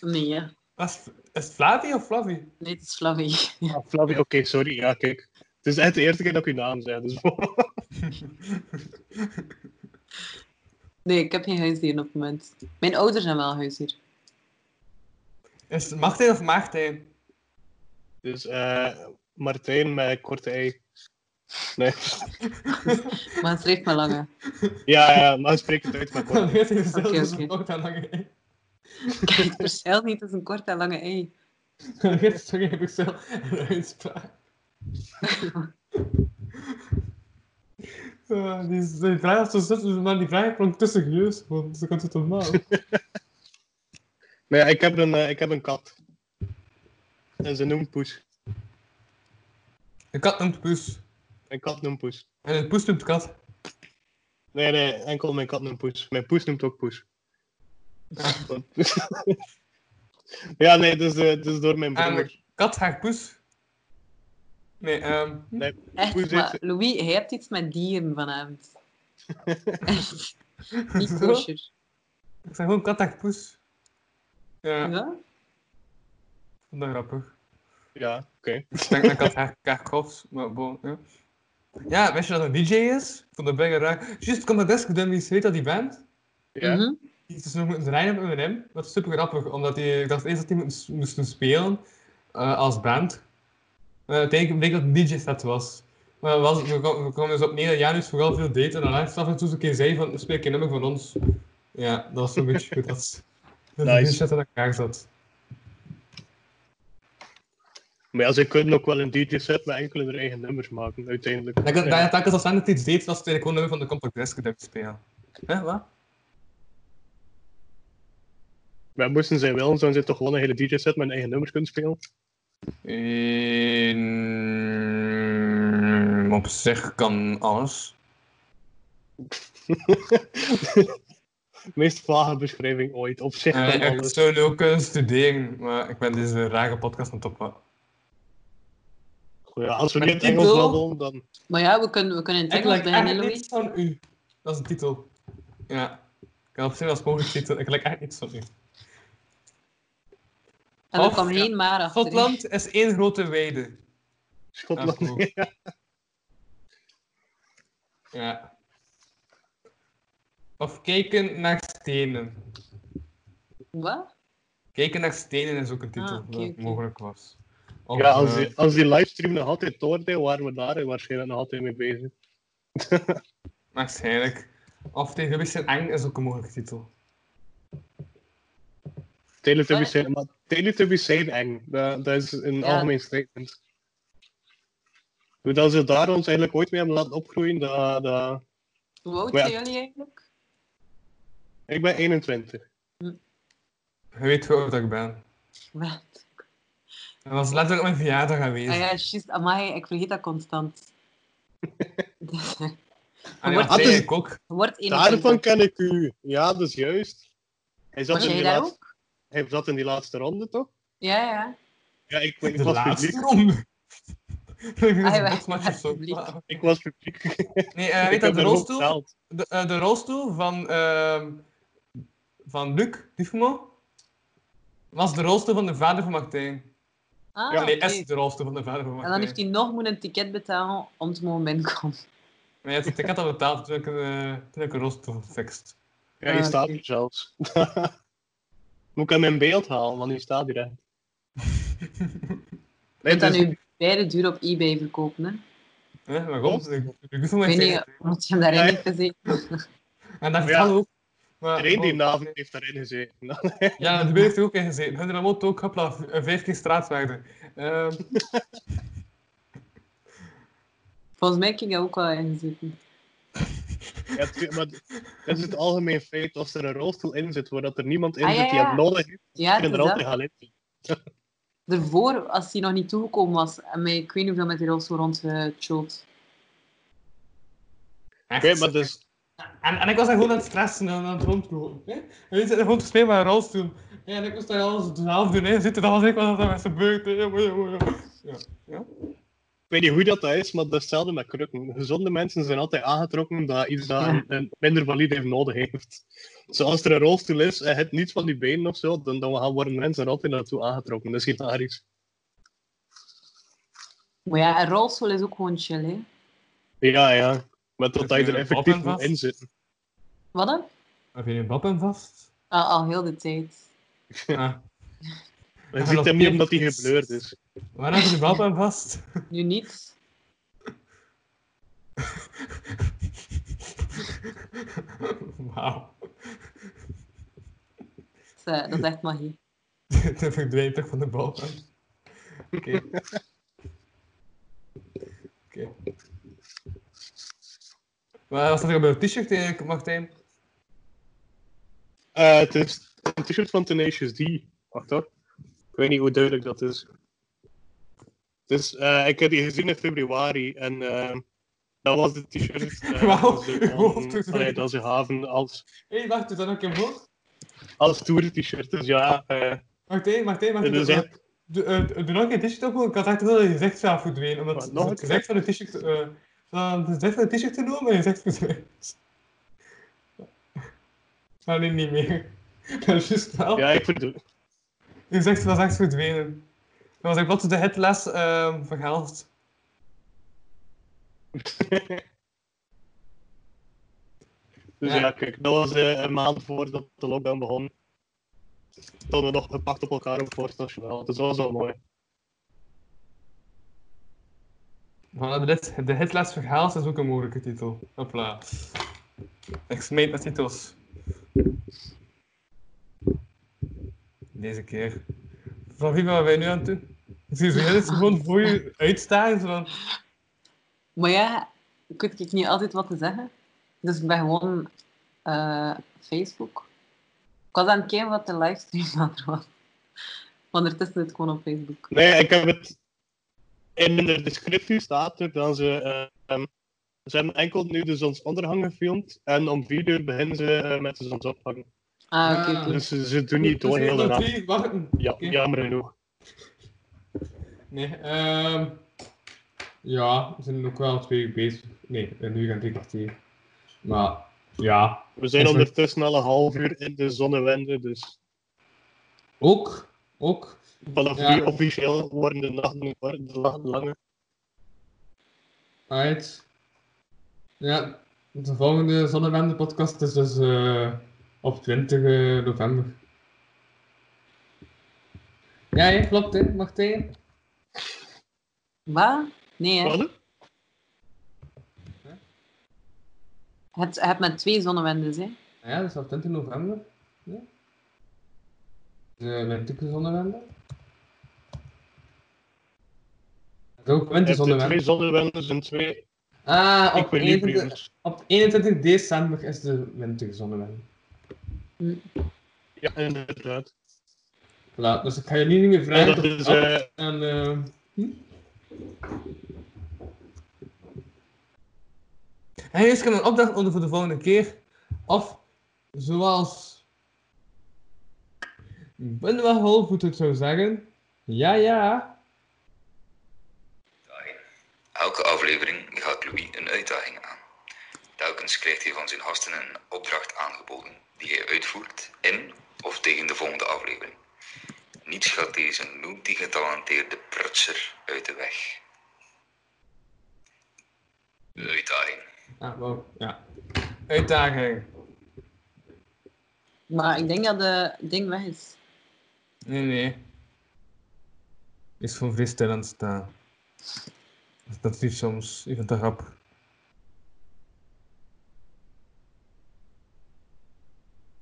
Nee, ja.
Wat Is, is het Flavie of Flavie?
Nee, het is Flavie.
Ah, Flavio, oké, sorry. Ja, kijk. Het is echt de eerste keer dat ik uw naam zeg. Dus...
Nee, ik heb geen huisdieren op het moment. Mijn ouders zijn wel huisdier.
Is het Martijn of Maartijn?
Dus eh, Martijn met korte ei. Nee.
Maar het schrijft me lange.
Ja, ja, maar spreek het uit met korte
Dat
ei.
weet ik zelf
Oké,
dat
oké.
het ook aan lang
Kijk, het verschil niet tussen kort en lange ei.
Dat weet ik heb ik zo een uitspraak. Eh, die, is- dus die vraag is zo zut, maar die vraag klonk tussen geus, want ze kan het normaal.
Maar ja, ik heb een, eh, ik heb een kat. En ze noemt Poes.
Een kat noemt poes.
Mijn kat noemt Poes.
En een poes noemt kat.
Nee, nee, enkel mijn kat noemt Poes. Mijn Poes noemt ook Poes. Want Poes- ja, nee, dus, eh dus door mijn
En
broer.
Kat haakt poes. Nee, ehm...
Nee, Poes
Echt,
heeft-
maar Louis, hij hebt iets met dieren vanavond. Echt. Niet
Zo?
kosher.
Ik zeg gewoon kat haakt poes. Ja, ik
Ja?
vond dat grappig.
Ja, oké.
Ik denk dat kat haakt haakt kofs, maar bon, ja. Ja, wist je dat een DJ is? Ik vond dat bijna raar. Just Come Desk Dummies, weet dat die band?
Ja.
Mhm.
Die is nog moeten draaien op M&M. Dat is super grappig, omdat die, ik dacht eerst dat die moesten- moesten spelen eh, als band. Maar uiteindelijk bleek dat het een DJ-set was. Maar dat was, we, kwam- we kwamen dus op neer dat Janus vooral veel deed en dan af en toe eens een keer zei van speel een keer nummer van ons. Ja, dat was zo'n beetje hoe dat, dat de
Nice.
DJ-set aan elkaar zat.
Maar ja, ze kunnen ook wel een DJ-set met enkele hun eigen nummers maken, uiteindelijk.
Dat ik
Ja.
ja. telkens als Sander iets deed, was het eigenlijk gewoon nummer van de Compact Disc gedrukt spelen. Hè, wat?
Maar moesten zij wel, zouden ze toch gewoon een hele DJ-set met hun eigen nummers kunnen spelen?
op zich kan alles.
Meest vage beschrijving ooit, op zich kan
ik
alles.
zou ook kunnen studeren, maar ik ben deze rare podcast aan het oppakken.
Goh, ja, als we
Maar
niet in het
die
Engels
wil-
babbelen, dan...
Maar ja, we kunnen, we kunnen in het
Ik
Engels
lijk
beginnen,
echt
Louis.
niets van u. Dat is een titel. Ja. Ik had op zich als mogelijk titel. Ik lijk echt niets van u.
En er
Of-
kwam geen maar achter.
Schotland is één grote weide.
Schotland.
Ah, cool.
ja.
Ja. Of kijken naar stenen.
Wat?
Kijken naar stenen is ook een titel
Ah, oké,
dat
oké.
mogelijk was. Of,
Ja, als
eh,
die, als die livestream nog altijd doordeed, waren we daar waarschijnlijk nog altijd mee bezig.
waarschijnlijk. Of Teletubbies zijn eng is ook een mogelijke titel.
Teletubbies
Wat?
zijn, maar Teletubbies zijn eng. Dat, dat is een
Ja.
algemeen statement. Hoe Dat ze daar ons eigenlijk ooit mee hebben laten opgroeien, dat, dat...
Hoe oud
Maar ja.
zijn jullie eigenlijk?
Ik ben 21.
Je weet hoe oud ik ben.
Wat?
Dat was letterlijk op mijn verjaardag
Ah ja,
aanwezig.
juist. Amai, ik vergeet dat constant. Dus, eh,
En dat zei
wordt-
Ah, dus-
ik ook.
je wordt 21.
Daarvan ken ik u. Ja, dat is juist. Hij zat,
Was
in
jij
die
daar
laatste,
ook?
hij zat in die laatste ronde, toch?
Ja, ja.
Ja, ik, ik
De
was
laatste
publiek.
ronde.
Ah,
Een
ja,
botsmatch of zo.
publiek.
Ik was publiek.
Nee, eh,
ik
weet dat
heb
de
er ook
rolstoel,
betaald.
de, eh, de rolstoel van, ehm, van Luc Dufemo was de rolstoel van de vader van Martijn.
Ah,
nee,
oké.
is de rolstoel van de vader van Martijn.
En dan heeft hij nog moeten een ticket betalen om te mogen binnenkomen.
Maar ja, ik had al betaald toen ik, een, eh, toen ik een rolstoel fixt.
Ja, die
Ah,
staat
oké.
er zelfs. Moet ik hem in beeld halen, want die staat hier echt. Nee,
Je
dus,
kunt dat nu beide duur op eBay verkopen. Hè?
Hè, maar goed, ik, ik hoef hem
Ik weet
niet
niet, eh.
tegen.
moet je hem daarin
Ja,
niet gezien?
En dat
ja.
vertelde ook. Maar,
iedereen die
oh,
avond heeft daarin gezeten.
Ja, dat ben ik er ook in gezeten. Hun remote ook, hopla, v- eh, vijf keer straatwaarde. Ehm,
Volgens mij ging dat ook wel inzitten.
Ja, tu- maar dat is het algemeen feit, als er een rolstoel in zit waar dat er niemand in
Ah,
zit
ja,
die
ja.
hem nodig heeft,
Ja,
kan
het
er
is
altijd
dat.
gaan in.
Daarvoor, als hij nog niet toegekomen was, en mij, ik weet niet hoeveel met die rolstoel rondgechilled.
echt.
Oké, maar dus,
En, en ik was daar gewoon aan het stressen en aan het rondlopen. Hè? En die zitten gewoon te spelen met een rolstoel. Ja, en ik moest daar alles zelf doen. Hè? Zitten, dat was ik wat er met gebeurd. Hè? Jongen, jongen, jongen. Ja. Ja?
ik weet niet hoe dat, dat is, maar dat is hetzelfde met krukken. Gezonde mensen zijn altijd aangetrokken dat iets dat een, een minder valide heeft nodig heeft. Zoals er een rolstoel is en het niet van die benen of zo, dan, dan gaan- worden mensen er altijd naartoe aangetrokken. Dat is hilarisch.
Maar ja, een rolstoel is ook gewoon chill, hè.
Ja, ja. Maar totdat je
Heb je
er
een
effectief
pop-in
moet
vast?
in zit.
Wat dan?
Heb je een bab aan vast?
Al, al heel de tijd.
Ah.
Je
Ah,
ziet
dat
hem niet
is-
omdat hij gebleurd is.
Waar heb je de bab aan vast?
Nu niet.
Wauw.
Dat is, eh, dat is echt magie.
De verdwijnt toch van de bal. Oké. Oké. eh, Maar wat staat er op je t-shirt eigenlijk, Martijn?
Eh, het is een t-shirt van Tenacious D. Wacht hoor. Ik weet niet hoe duidelijk dat is. Dus eh, ik heb die gezien in februari en eh, dat was de t-shirt. eh,
Wauw,
dat ze
uw hoofd
hadden-
doet er
allee,
weer.
Dat ze haven als,
Hé, wacht, is dat ook een bocht?
als tour t-shirt. Dus ja, eh,
Wacht hé, wacht hé, wacht
dat is
hé.
dus echt.
Doe eh, doe nog een t-shirt op, ik had echt wel je gezicht zelf "Ah, verdwenen. Omdat
Wat, nog
het
een keer?
gezicht van het t-shirt... eh, van het gezicht van het t-shirt te doen, maar je gezicht verdwenen. Ah, nee, niet meer. Dat is juist wel.
Ja, ik vind het.
Je gezicht was echt verdwenen. Dan was ik plots de hitles ehm verhelst.
Dus
Ja.
Dus ja, kijk, dat was eh, een maand voordat de lockdown begon. Stonden we nog gepakt op elkaar op Forst Nationaal. Dus dat was wel mooi.
Maar dit, de hitles verhelst is ook een moeilijke titel. Hopla. Ik smijt met titels. Deze keer. Van wie waren wij nu aan toe? Ik zie ze heel gewoon voor je uitstaan. zo van-
Maar ja, ik weet ik niet altijd wat te zeggen. Dus ik ben gewoon eh, Facebook. Ik was aan het kijken wat de livestream aan er was. Want ertussen zit gewoon op Facebook.
Nee, ik heb het. In de descriptie staat er dat ze. eh, ehm, ze hebben enkel nu de zonsondergang gefilmd. En om vier uur beginnen ze eh, met de zonsopgang.
Ah, oké.
Ja.
oké.
Dus ze, ze doen niet
Dus
door
we
heel de
nog
nacht.
drie wachten.
Ja,
Oké.
jammer genoeg.
Nee, ehm ja, we zijn ook wel twee uur bezig. Nee, een uur en drie kwartier. Maar ja,
We zijn
Is er-
ondertussen al een half uur in de zonnewende. Dus
ook, ook.
vanaf
Ja.
nu officieel worden de nachten worden de nachten langer.
Alright. Ja, de volgende Zonnewende podcast is dus eh, op 20 eh, november. Ja, ja, klopt hè, Martijn.
Wat? Nee, hè.
Wat?
Het, je hebt met twee zonnewendes, hè.
Ja, dat is op 20 november. Ja. De winterzonnewende. Dat is ook
Je hebt de
winterzonnewende.
twee zonnewenden en twee
Ah, op,
equilibriums.
21 op 21 december is de winterzonnewende.
Ja, inderdaad.
Voilà, dus ik ga jullie niet meer
Ja,
vragen.
dat
tot-
is, eh,
En, ehm, hm? En eerst kan een opdracht onder voor de volgende keer. Of zoals Benoit Holvoet het zou zeggen. Ja, ja.
Elke aflevering gaat Louis een uitdaging aan. Telkens krijgt hij van zijn gasten een opdracht aangeboden die hij uitvoert in of tegen de volgende aflevering. Niets gaat deze multigetalenteerde prutser uit de weg. De uitdaging.
Ah, wow. Ja. Uitdaging.
Maar ik denk dat de ding weg is.
Nee, nee. Is gewoon freestyle aan het staan. Dat is soms even te grap.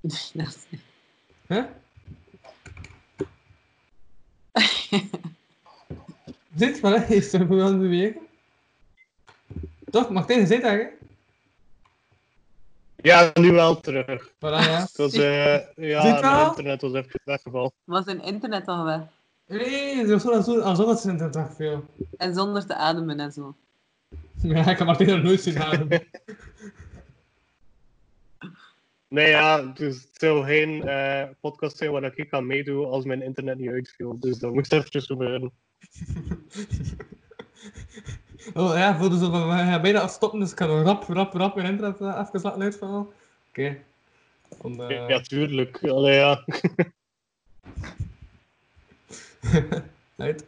Dat is-
Hè? Zit maar, hè? Is er wel aan het bewegen? Toch, Martijn, zit daar, hè?
ja, nu wel terug.
Voilà, ja.
Het was, eh,
Dit
ja,
wel?
mijn internet was even weggevallen.
Was een internet al weg.
Nee, dat is zo, zo, alsof dat ze in de dag veel.
En zonder te ademen en zo.
Ja, ik kan Martijn nog nooit zien halen.
Nee, ja, dus het zou geen eh, podcast zijn waar ik kan meedoen als mijn internet niet uitviel. Dus dat moest eventjes gebeuren.
Oh ja, voelde zo van, we gaan bijna afstoppen, dus ik kan rap, rap, rap mijn internet eh, even laten uitvallen. Oké. Dan, eh,
Ja, tuurlijk. Allee, ja.
uit.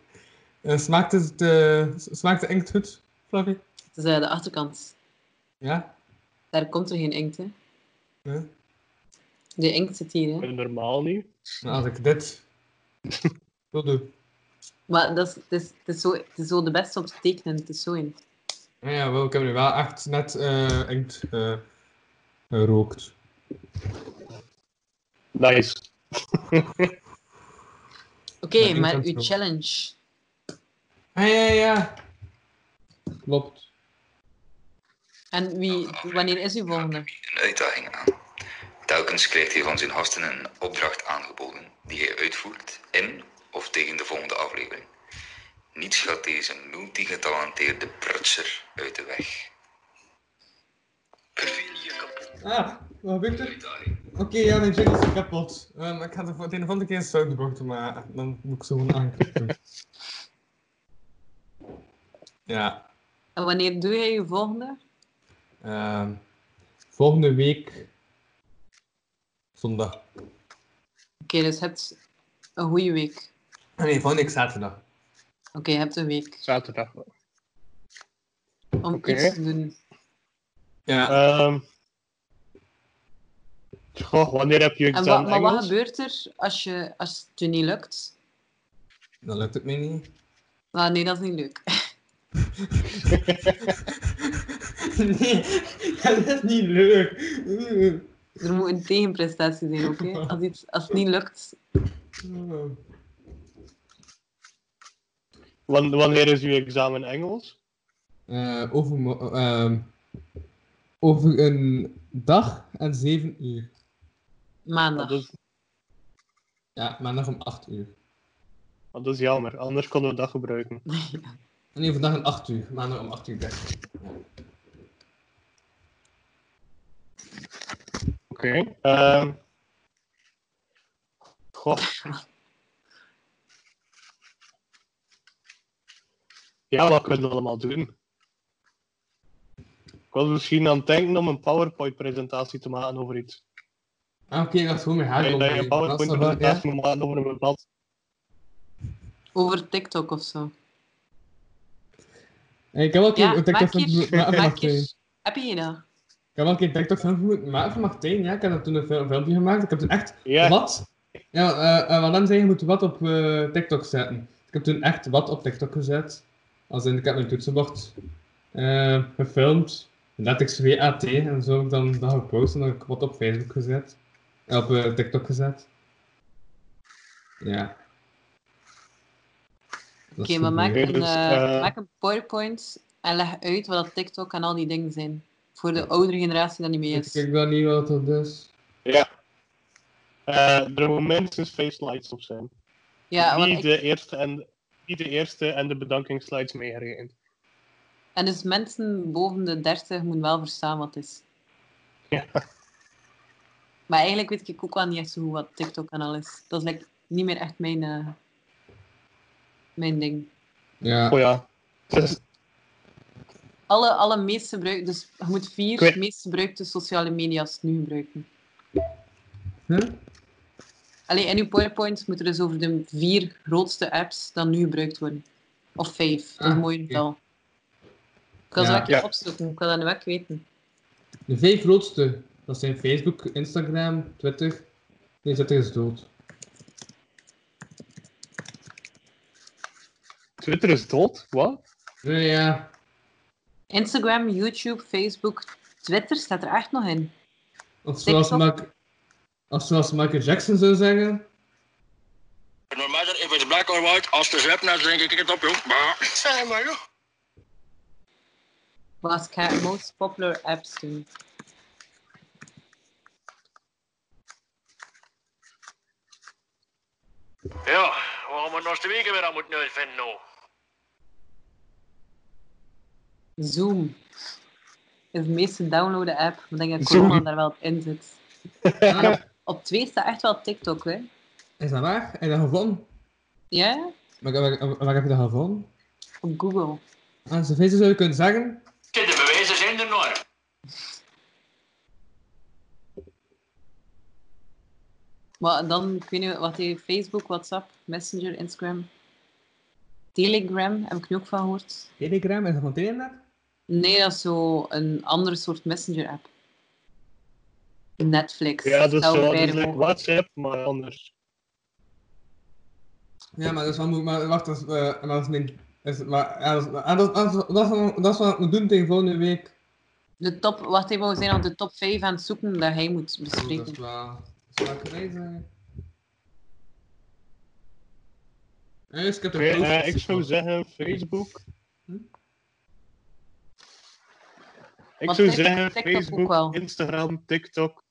Eh, smaakt het, eh, smaakt de inkt goed, Flavie?
Het is eh, de achterkant.
Ja?
Daar komt er geen inkt, hè.
Ja?
De inkt zit hier, hè.
Normaal niet.
Nou, als ik dit wil doen.
Maar dat is, het, is, het, is zo, het is zo de beste om te tekenen. Het is zo in.
Ja, Ah ja, wel, ik heb nu wel echt net eh inkt eh, gerookt.
Nice.
Oké,
Ja, inkt
maar
hangt
uw
zo.
challenge.
Ah, ja, ja. Klopt.
En wie, wanneer is uw volgende?
Een uitdaging aan. Telkens krijgt hij van zijn gasten een opdracht aangeboden die hij uitvoert in of tegen de volgende aflevering. Niets gaat deze multigetalenteerde prutser uit de weg.
Verveel je kapot.
Ah, wat gebeurt er?
Uitdaging.
Oké, ja, mijn jingle is kapot. Ehm, ik ga er voor het een of andere keer een soundboard maar dan moet ik ze gewoon aanklikken. ja,
En wanneer doe jij je volgende?
ehm, volgende week zondag.
Oké, dus je hebt een goede week.
Ah, Nee, volgende week zaterdag.
Oké, je hebt een week
Zaterdag.
om
Oké.
iets te doen.
Ja,
Ehm goh, wanneer heb je
En
examen
wat, maar wat
Engels?
gebeurt er als, je, als het je niet lukt?
dan lukt het mij niet.
Ah, nee, dat is niet leuk.
nee, dat is niet leuk.
Er moet een tegenprestatie zijn, oké? Als, iets- als het niet lukt,
Wan- wanneer is je examen Engels?
Eh, over, ehm, over een dag en zeven uur.
maandag.
Dat is,
Ja, maandag om 8 uur.
dat is jammer, anders konden we dat gebruiken.
Nee, vandaag om 8 uur. Maandag om 8 uur. Best.
Oké. Ehm, goh. Ja, wat kunnen we allemaal doen? Ik was misschien aan het denken om een PowerPoint-presentatie te maken over iets.
Ah, oké, dat is gewoon mijn haar.
Dat je een
opnieuw. Dat is toch wel- ja?
PowerPoint-presentatie moet maken over een bepaald...
Over TikTok of zo.
Hey, Ik heb wel een
Ja,
keer een TikTok
maak
van
hier.
maken van
Maak
Martijn.
hier. Heb je dat?
Ik heb wel een keer een TikTok van moeten maken van Martijn. Ja, ik heb dat toen een fil- filmpje gemaakt. Ik heb toen echt
Ja,
wat. Ja, eh eh, want dan zei je, je moet wat op eh, TikTok zetten. Ik heb toen echt wat op TikTok gezet. Als in, ik heb mijn toetsenbord eh, gefilmd. Letterlijk 2 AT en zo heb ik dan dat gepost en dan heb ik wat op Facebook gezet. Eh, op eh, TikTok gezet. Ja. Dat
Oké,
is
maar
goed,
maak
hè.
idee.
een,
Dus,
eh,
eh,
maak een PowerPoint en leg uit wat dat TikTok en al die dingen zijn. Voor de oudere generatie dat niet mee
Weet
is.
ik dan niet wat dat is.
eh, er moeten minstens vijf slides op zijn.
Ja, want
niet,
ik-
de eerste en, niet de eerste en de bedankingsslides meegerekend.
en dus mensen boven de 30 moeten wel verstaan wat het is.
Ja.
Maar eigenlijk weet ik ook wel niet echt zo goed wat TikTok en al is. Dat is like, niet meer echt mijn, eh, mijn ding.
Ja.
Oh ja. Dus
Alle, alle meest gebruikte, dus je moet vier
Ik weet-
meest gebruikte sociale media's nu gebruiken.
Hm?
Alleen in je PowerPoint moet er dus over de vier grootste apps dan nu gebruikt worden. Of vijf, dat is
Ah,
een mooi
oké.
getal. Ik kan ze
Ja.
wel een keer
Ja.
opzoeken, ik kan dat nu ook weten.
De vijf grootste, dat zijn Facebook, Instagram, Twitter. Nee, Twitter is dood.
Twitter is dood? Wat?
Nee, ja.
Instagram, YouTube, Facebook, Twitter staat er echt nog in.
Of zoals,
TikTok?
Mark, of zoals Michael Jackson zou zeggen.
No matter if it's black or white, als de zwep naar drink ik het op, joh. Maar, zeg maar, joh.
Was ik ga most popular apps doen.
Ja, waarom we ons de weken weer aan moeten uitvinden, nou?
Zoom is de meest gedownloade app. Ik denk dat
Zoom.
corona daar wel in zit.
Ah,
Op twee staat echt wel TikTok, hè?
is dat waar? Heb je dat gevonden?
Ja?
Waar, waar, waar heb je dat gevonden?
Op Google.
Aan zijn vissen zou je kunnen zeggen.
Kijk, de bewijzen zijn er nog.
Maar dan, ik weet niet wat die Facebook, WhatsApp, Messenger, Instagram, Telegram, heb ik nu ook van gehoord.
Telegram, is dat van Telenet?
Nee, dat is zo een andere soort Messenger-app. Netflix.
Ja, dat is,
zou
zo, dat
beide
is like
mogen.
WhatsApp, maar anders.
Ja, maar dat is wel moe- Maar wacht, dat is, eh, maar dat is mijn... Is, maar, ja, dat, is, ah, dat, dat, is- dat, is, wat- dat is wat we doen tegen volgende week.
De top, wat even, we zijn al de top 5 aan het zoeken dat hij moet
Oh, dat
bespreken.
is wel... Dat is wel crazy. Ja, dus ik heb de
Oké, eh,
post-
ik zou zeggen Facebook.
Hm?
Ik
Want
zou
TikTok-
zeggen
TikTok ook wel.
Facebook, Instagram, TikTok.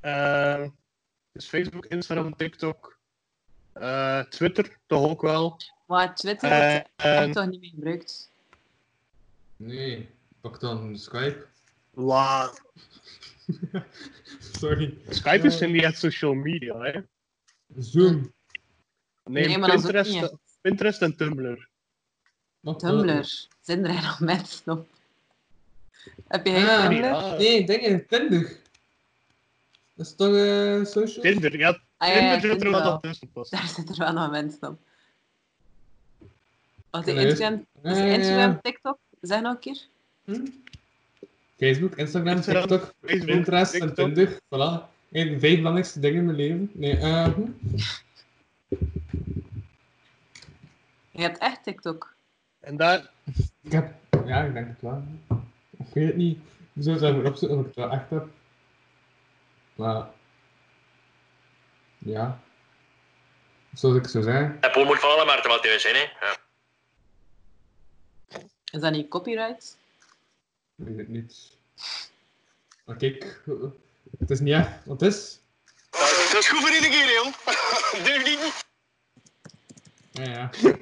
Eh, dus Facebook, Instagram, TikTok, eh, Twitter toch ook wel.
Maar Twitter
Eh,
wordt
en
echt toch niet meer gebruikt.
Nee, pak dan Skype.
wa-
Sorry.
Skype is niet echt social media, hè?
Zoom.
Nee,
Nee, maar dat is ook
Pinterest,
niet echt.
Pinterest en Tumblr.
Wat eh, dan?
Tumblr. Zijn er nog mensen op? Heb jij
Ah,
Tumblr?
Eh, ja.
Nee, denk je, Tinder. Dat is toch eh social?
Tinder, ja.
Ah, ja, ja,
Tinder zit
ik vind
er
het
wel
wel.
op tussen pas.
Daar zitten wel nog mensen op. Wat de
Nee.
Instagram, dus
Ja, ja, ja.
Instagram, TikTok, zeg nog een keer.
Hm? Facebook, Instagram,
Instagram,
TikTok,
Facebook,
Pinterest en
TikTok.
Tinder. Voilà. Eén vijf belangrijkste dingen in mijn leven. Nee, eh... hm.
Je hebt echt TikTok.
En daar,
Ik heb... Ja, ik denk het wel. Ik weet het niet. Ik zou het even opzoeken of ik het wel echt heb. Maar... Ja. Zoals ik zou zeggen.
En Paul moet vallen, maar het wel thuis zijn, hè. Ja.
Is dat niet copyright?
Ik weet het niet. Maar kijk... eh, Het is niet echt wat het is.
Dat is goed voor iedere keer, jong. Durf niet.
Ja,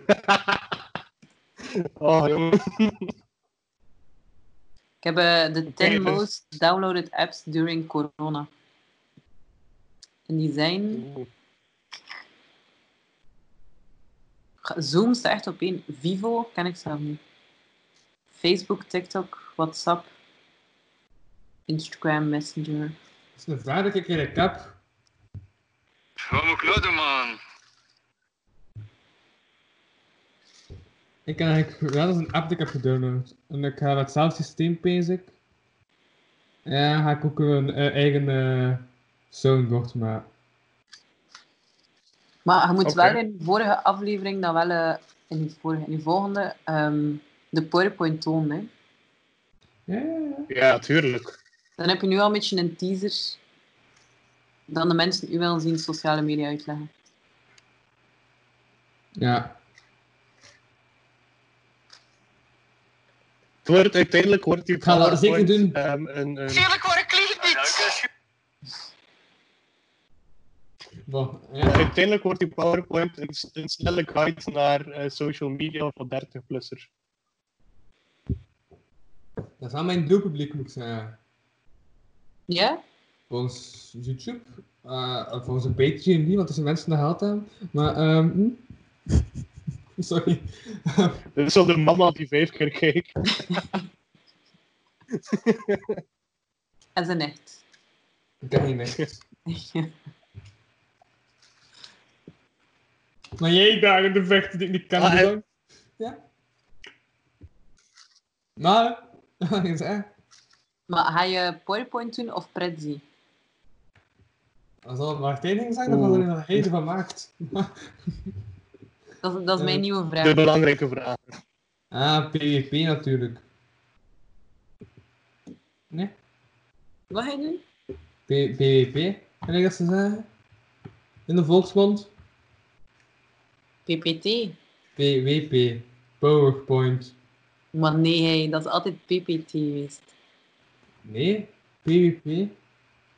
ja.
oh jongen.
Ik heb eh, de 10
dus-
most downloaded apps during corona. En die zijn... Ga- Zoom staat echt op één. Vivo ken ik zelf niet. Facebook, TikTok, WhatsApp, Instagram, Messenger.
Het is een vraag dat ik eigenlijk heb.
Wat moet ik nou doen, man?
Ik kan eigenlijk, ja, dat is een app die ik heb gedownload. En ik ga dat zelf systeem bezig. En ga ik ook een eh, eigen eh soundboard maken.
Maar je moet
Oké.
wel in de vorige aflevering, dan wel eh, in, de vorige, in de volgende, ehm, de PowerPoint tonen. Hè.
Ja, ja, ja.
Ja, tuurlijk.
Dan heb je nu al een beetje een teaser dan de mensen u wel zien sociale media uitleggen.
Ja,
Het wordt, uiteindelijk wordt die
Ik ga dat zeker doen.
ehm, een, een,
Tuurlijk word ik lieg niet.
wat?
Maar
Ja.
uiteindelijk wordt die PowerPoint een, een snelle guide naar eh, social media voor 30-plussers.
Dat is aan mijn doelpubliek, moet ik zeggen.
Ja?
Volgens YouTube, eh, of volgens een Patreon niet, want er zijn mensen die geld aan. Maar, ehm... hm? Sorry.
Dit is al de mama die vijf keer keek.
En zijn echt.
ik heb geen echt. Maar jij daar in de vechten die ik niet kan
Ah, en-
doen. Ja. Nou, Maar, dat is echt.
maar ga je PowerPoint doen of Prezi?
Als dat Martijn ging zeggen, dan hadden we er nog eten van maakt.
Dat, is- dat is
Eh,
mijn nieuwe vraag.
De belangrijke vraag.
ah, PvP natuurlijk. Nee,
Wat ga je doen?
P- PvP, kan ik dat ze zeggen? In de volksmond?
PPT.
PWP, PowerPoint.
Maar nee, hey, dat is altijd PPT geweest.
Nee, PvP.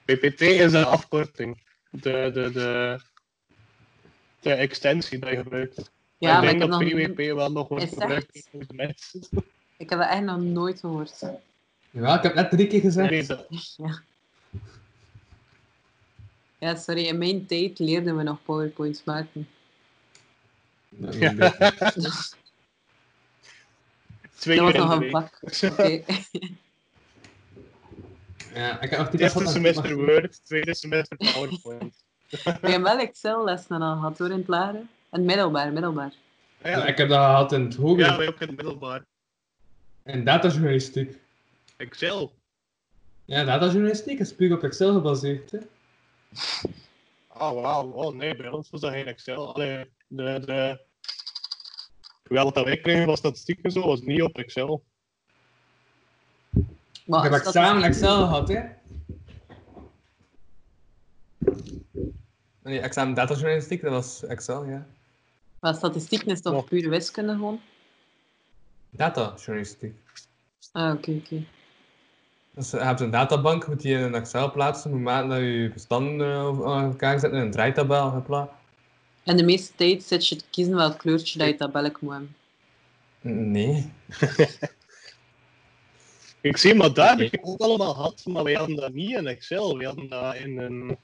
PPT is een afkorting. De, de, de, de extensie die je gebruikt.
Ja,
ik
maar
denk
ik heb,
dat
nog,
PWP wel nog wordt
Is dat-
gebruikt door de mensen.
ik heb dat echt nog nooit gehoord.
Jawel, ik heb net drie keer gezegd.
Nee, dat-
Ja, sorry, in mijn tijd leerden we nog PowerPoints maken.
Dat is
Ja.
een beetje-
twee
Dat was
keer in de
nog een
week.
bak. Oké.
ja, ik heb nog
Het
die
eerste semester Word, tweede semester PowerPoint.
We hebben wel Excel-lessen al gehad hoor, in het lagere. En middelbaar, middelbaar.
Ja,
Ja,
ik heb dat gehad in het hoger.
ja wij ook in het middelbaar.
En datajournalistiek.
Excel.
Ja, datajournalistiek is puur op Excel gebaseerd. Hè?
Oh, wauw. Oh nee, bij ons was dat geen Excel. Allee, de, de... Wel, dat wij kregen was statistiek en zo, was niet op Excel.
Maar
ik heb
dat-
examen Excel gehad, hè? Nee, examen datajournalistiek, dat was Excel, ja.
Maar statistiek is toch
Ja.
pure wiskunde gewoon?
Datajournalistiek.
Ah, oké, oké.
Dus je hebt een databank, moet die in een Excel plaatsen, moet maken dat je bestanden eh, over- aan elkaar zetten in een draaitabel geplaatst.
En de meeste tijd zit je te kiezen welk kleurtje dat je tabelk moet hebben.
Nee.
Ik zie, maar daar heb ik ook allemaal gehad, maar wij hadden dat niet in Excel. We hadden dat in een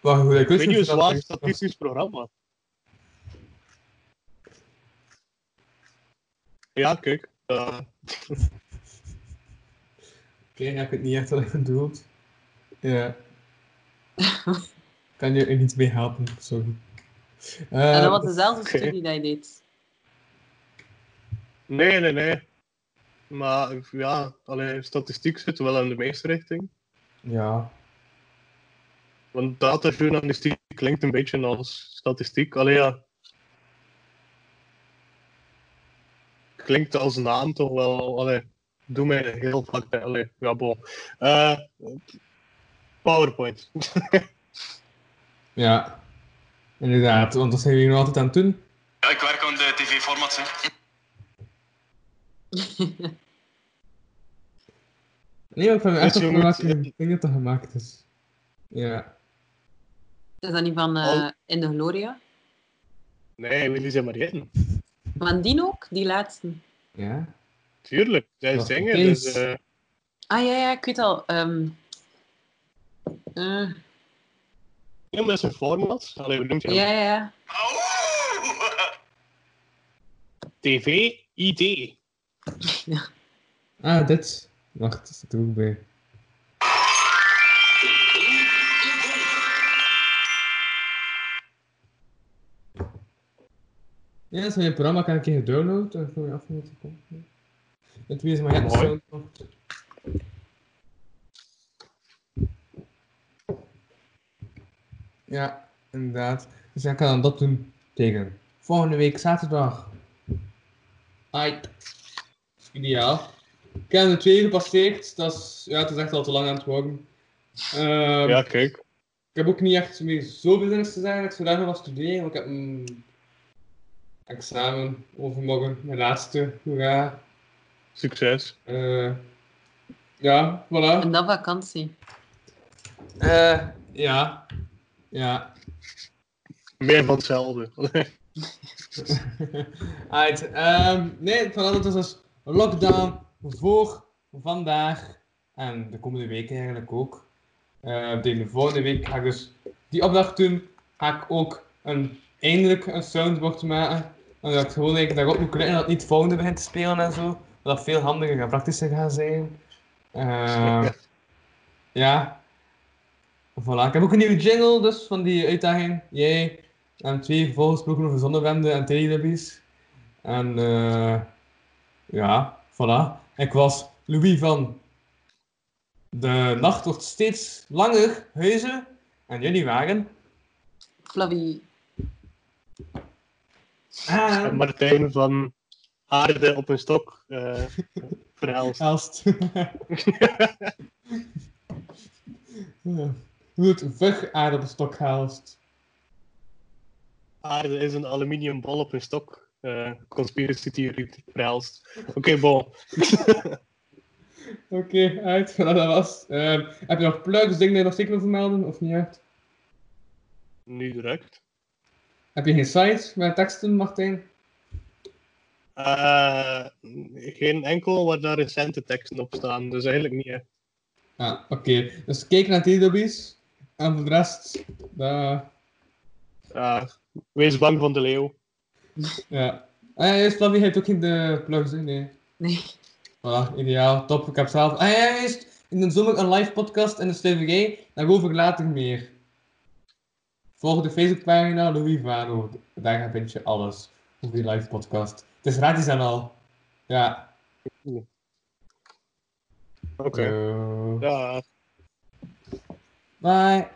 Maar goed, ik
ik
wist
weet niet hoe
niet
zwaar
dat-
statistisch programma. Ja, kijk. eh,
Oké, ja, ik weet niet echt wat ik bedoeld. Ja. kan je er niet mee helpen, sorry.
en
Eh,
dat was dezelfde
oké.
studie dat je deed.
nee, nee, nee. Maar ja, allee, statistiek zit wel in de meeste richting.
Ja,
Want datajournalistiek klinkt een beetje als statistiek. Allee, ja. Klinkt als naam toch wel. Allee, doe mij een heel vak. bij. Allee, ja, bon. Eh, PowerPoint.
ja. Inderdaad, want dat zijn we hier nog altijd aan het doen.
Ja, ik werk aan de tv-formats, hè.
Nee, maar ik ben echt
Dus je
op
moet-
welke ding dat dat gemaakt is. dus- Ja.
Is dat niet van eh,
Oh.
Al-
In de Gloria?
Nee, Willy zijn maar hitten.
Van die ook? Die laatste?
Ja.
Tuurlijk, zij
Wacht,
zingen.
oké.
Dus, eh,
Ah ja, ja, ik weet al. ehm, eh,
ja, maar dat is een format. Allee, we doen het
ja, ja, ja.
TV, ID.
Ah, dit. Wacht, dat zit er ook bij. Ja, dat is mijn programma. Kan ik je gedownload? Dan kom je af met de Het wie is maar het
Mooi.
soundboard. Ja, inderdaad. Dus ik kan dan dat doen tegen volgende week zaterdag. Ai. Ideaal. Ik heb de twee gepasseerd. Dat is, ja, het is echt al te lang aan het worden. Ehm,
Ja, kijk.
ik heb ook niet echt meer zoveel zin in te zeggen. Ik zou daar nog wat studeren, want ik heb een examen overmorgen. Mijn laatste, hoera.
Succes.
Eh, ja, voilà.
En dan vakantie.
Eh, ja. Ja.
Meer van hetzelfde.
Alright. ehm, nee, vanaf dat is dus een lockdown voor vandaag en de komende week eigenlijk ook. Eh, de volgende week ga ik dus die opdracht doen. Ga ik ook een, eindelijk een soundboard maken. En dat ik gewoon eigenlijk daarop moet klikken dat het niet volgende begint te spelen en zo. Dat dat veel handiger en praktischer gaat zijn. Ehm, ja. Voilà. Ik heb ook een nieuwe jingle dus van die uitdaging. Jij en twee volgesproken over zonnewenden en teletubbies. En eh, ja, voilà. Ik was Louis van De Nacht wordt steeds langer, huizen. En jullie waren...
Flavie.
Ah,
Martijn van Aarde op een stok. eh verhaal.
Elst. ja. Hoe het vug aardappelstok haalst.
Aarde Ah, is een aluminium bol op een stok. eh conspiracy theory verhaalst. Oké, bon.
Oké, uit. Voilà, dat was. Ehm, heb je nog plugs, dingen die je nog zeker wil vermelden? Of niet echt?
Nu direct.
Heb je geen site met teksten, Martijn?
Eh, geen enkel waar daar recente teksten op staan. Dus eigenlijk niet echt.
Ah, oké. Dus kijk naar Teletubbies. En voor de rest, eh,
Eh, wees bang van de leeuw.
ja. Ah ja, juist, Flavie heeft ook geen de plugs, hè? nee.
Nee.
Voilà, ideaal, top. Ik heb zelf... Ah ja, juist, in de zomer een live podcast in de CVG. Daarover later meer. Volg de Facebookpagina Louis Vano. Daar vind je alles over die live podcast. Het is gratis en al. Ja.
Oké.
Zo.
Dag.
Eh, Bye.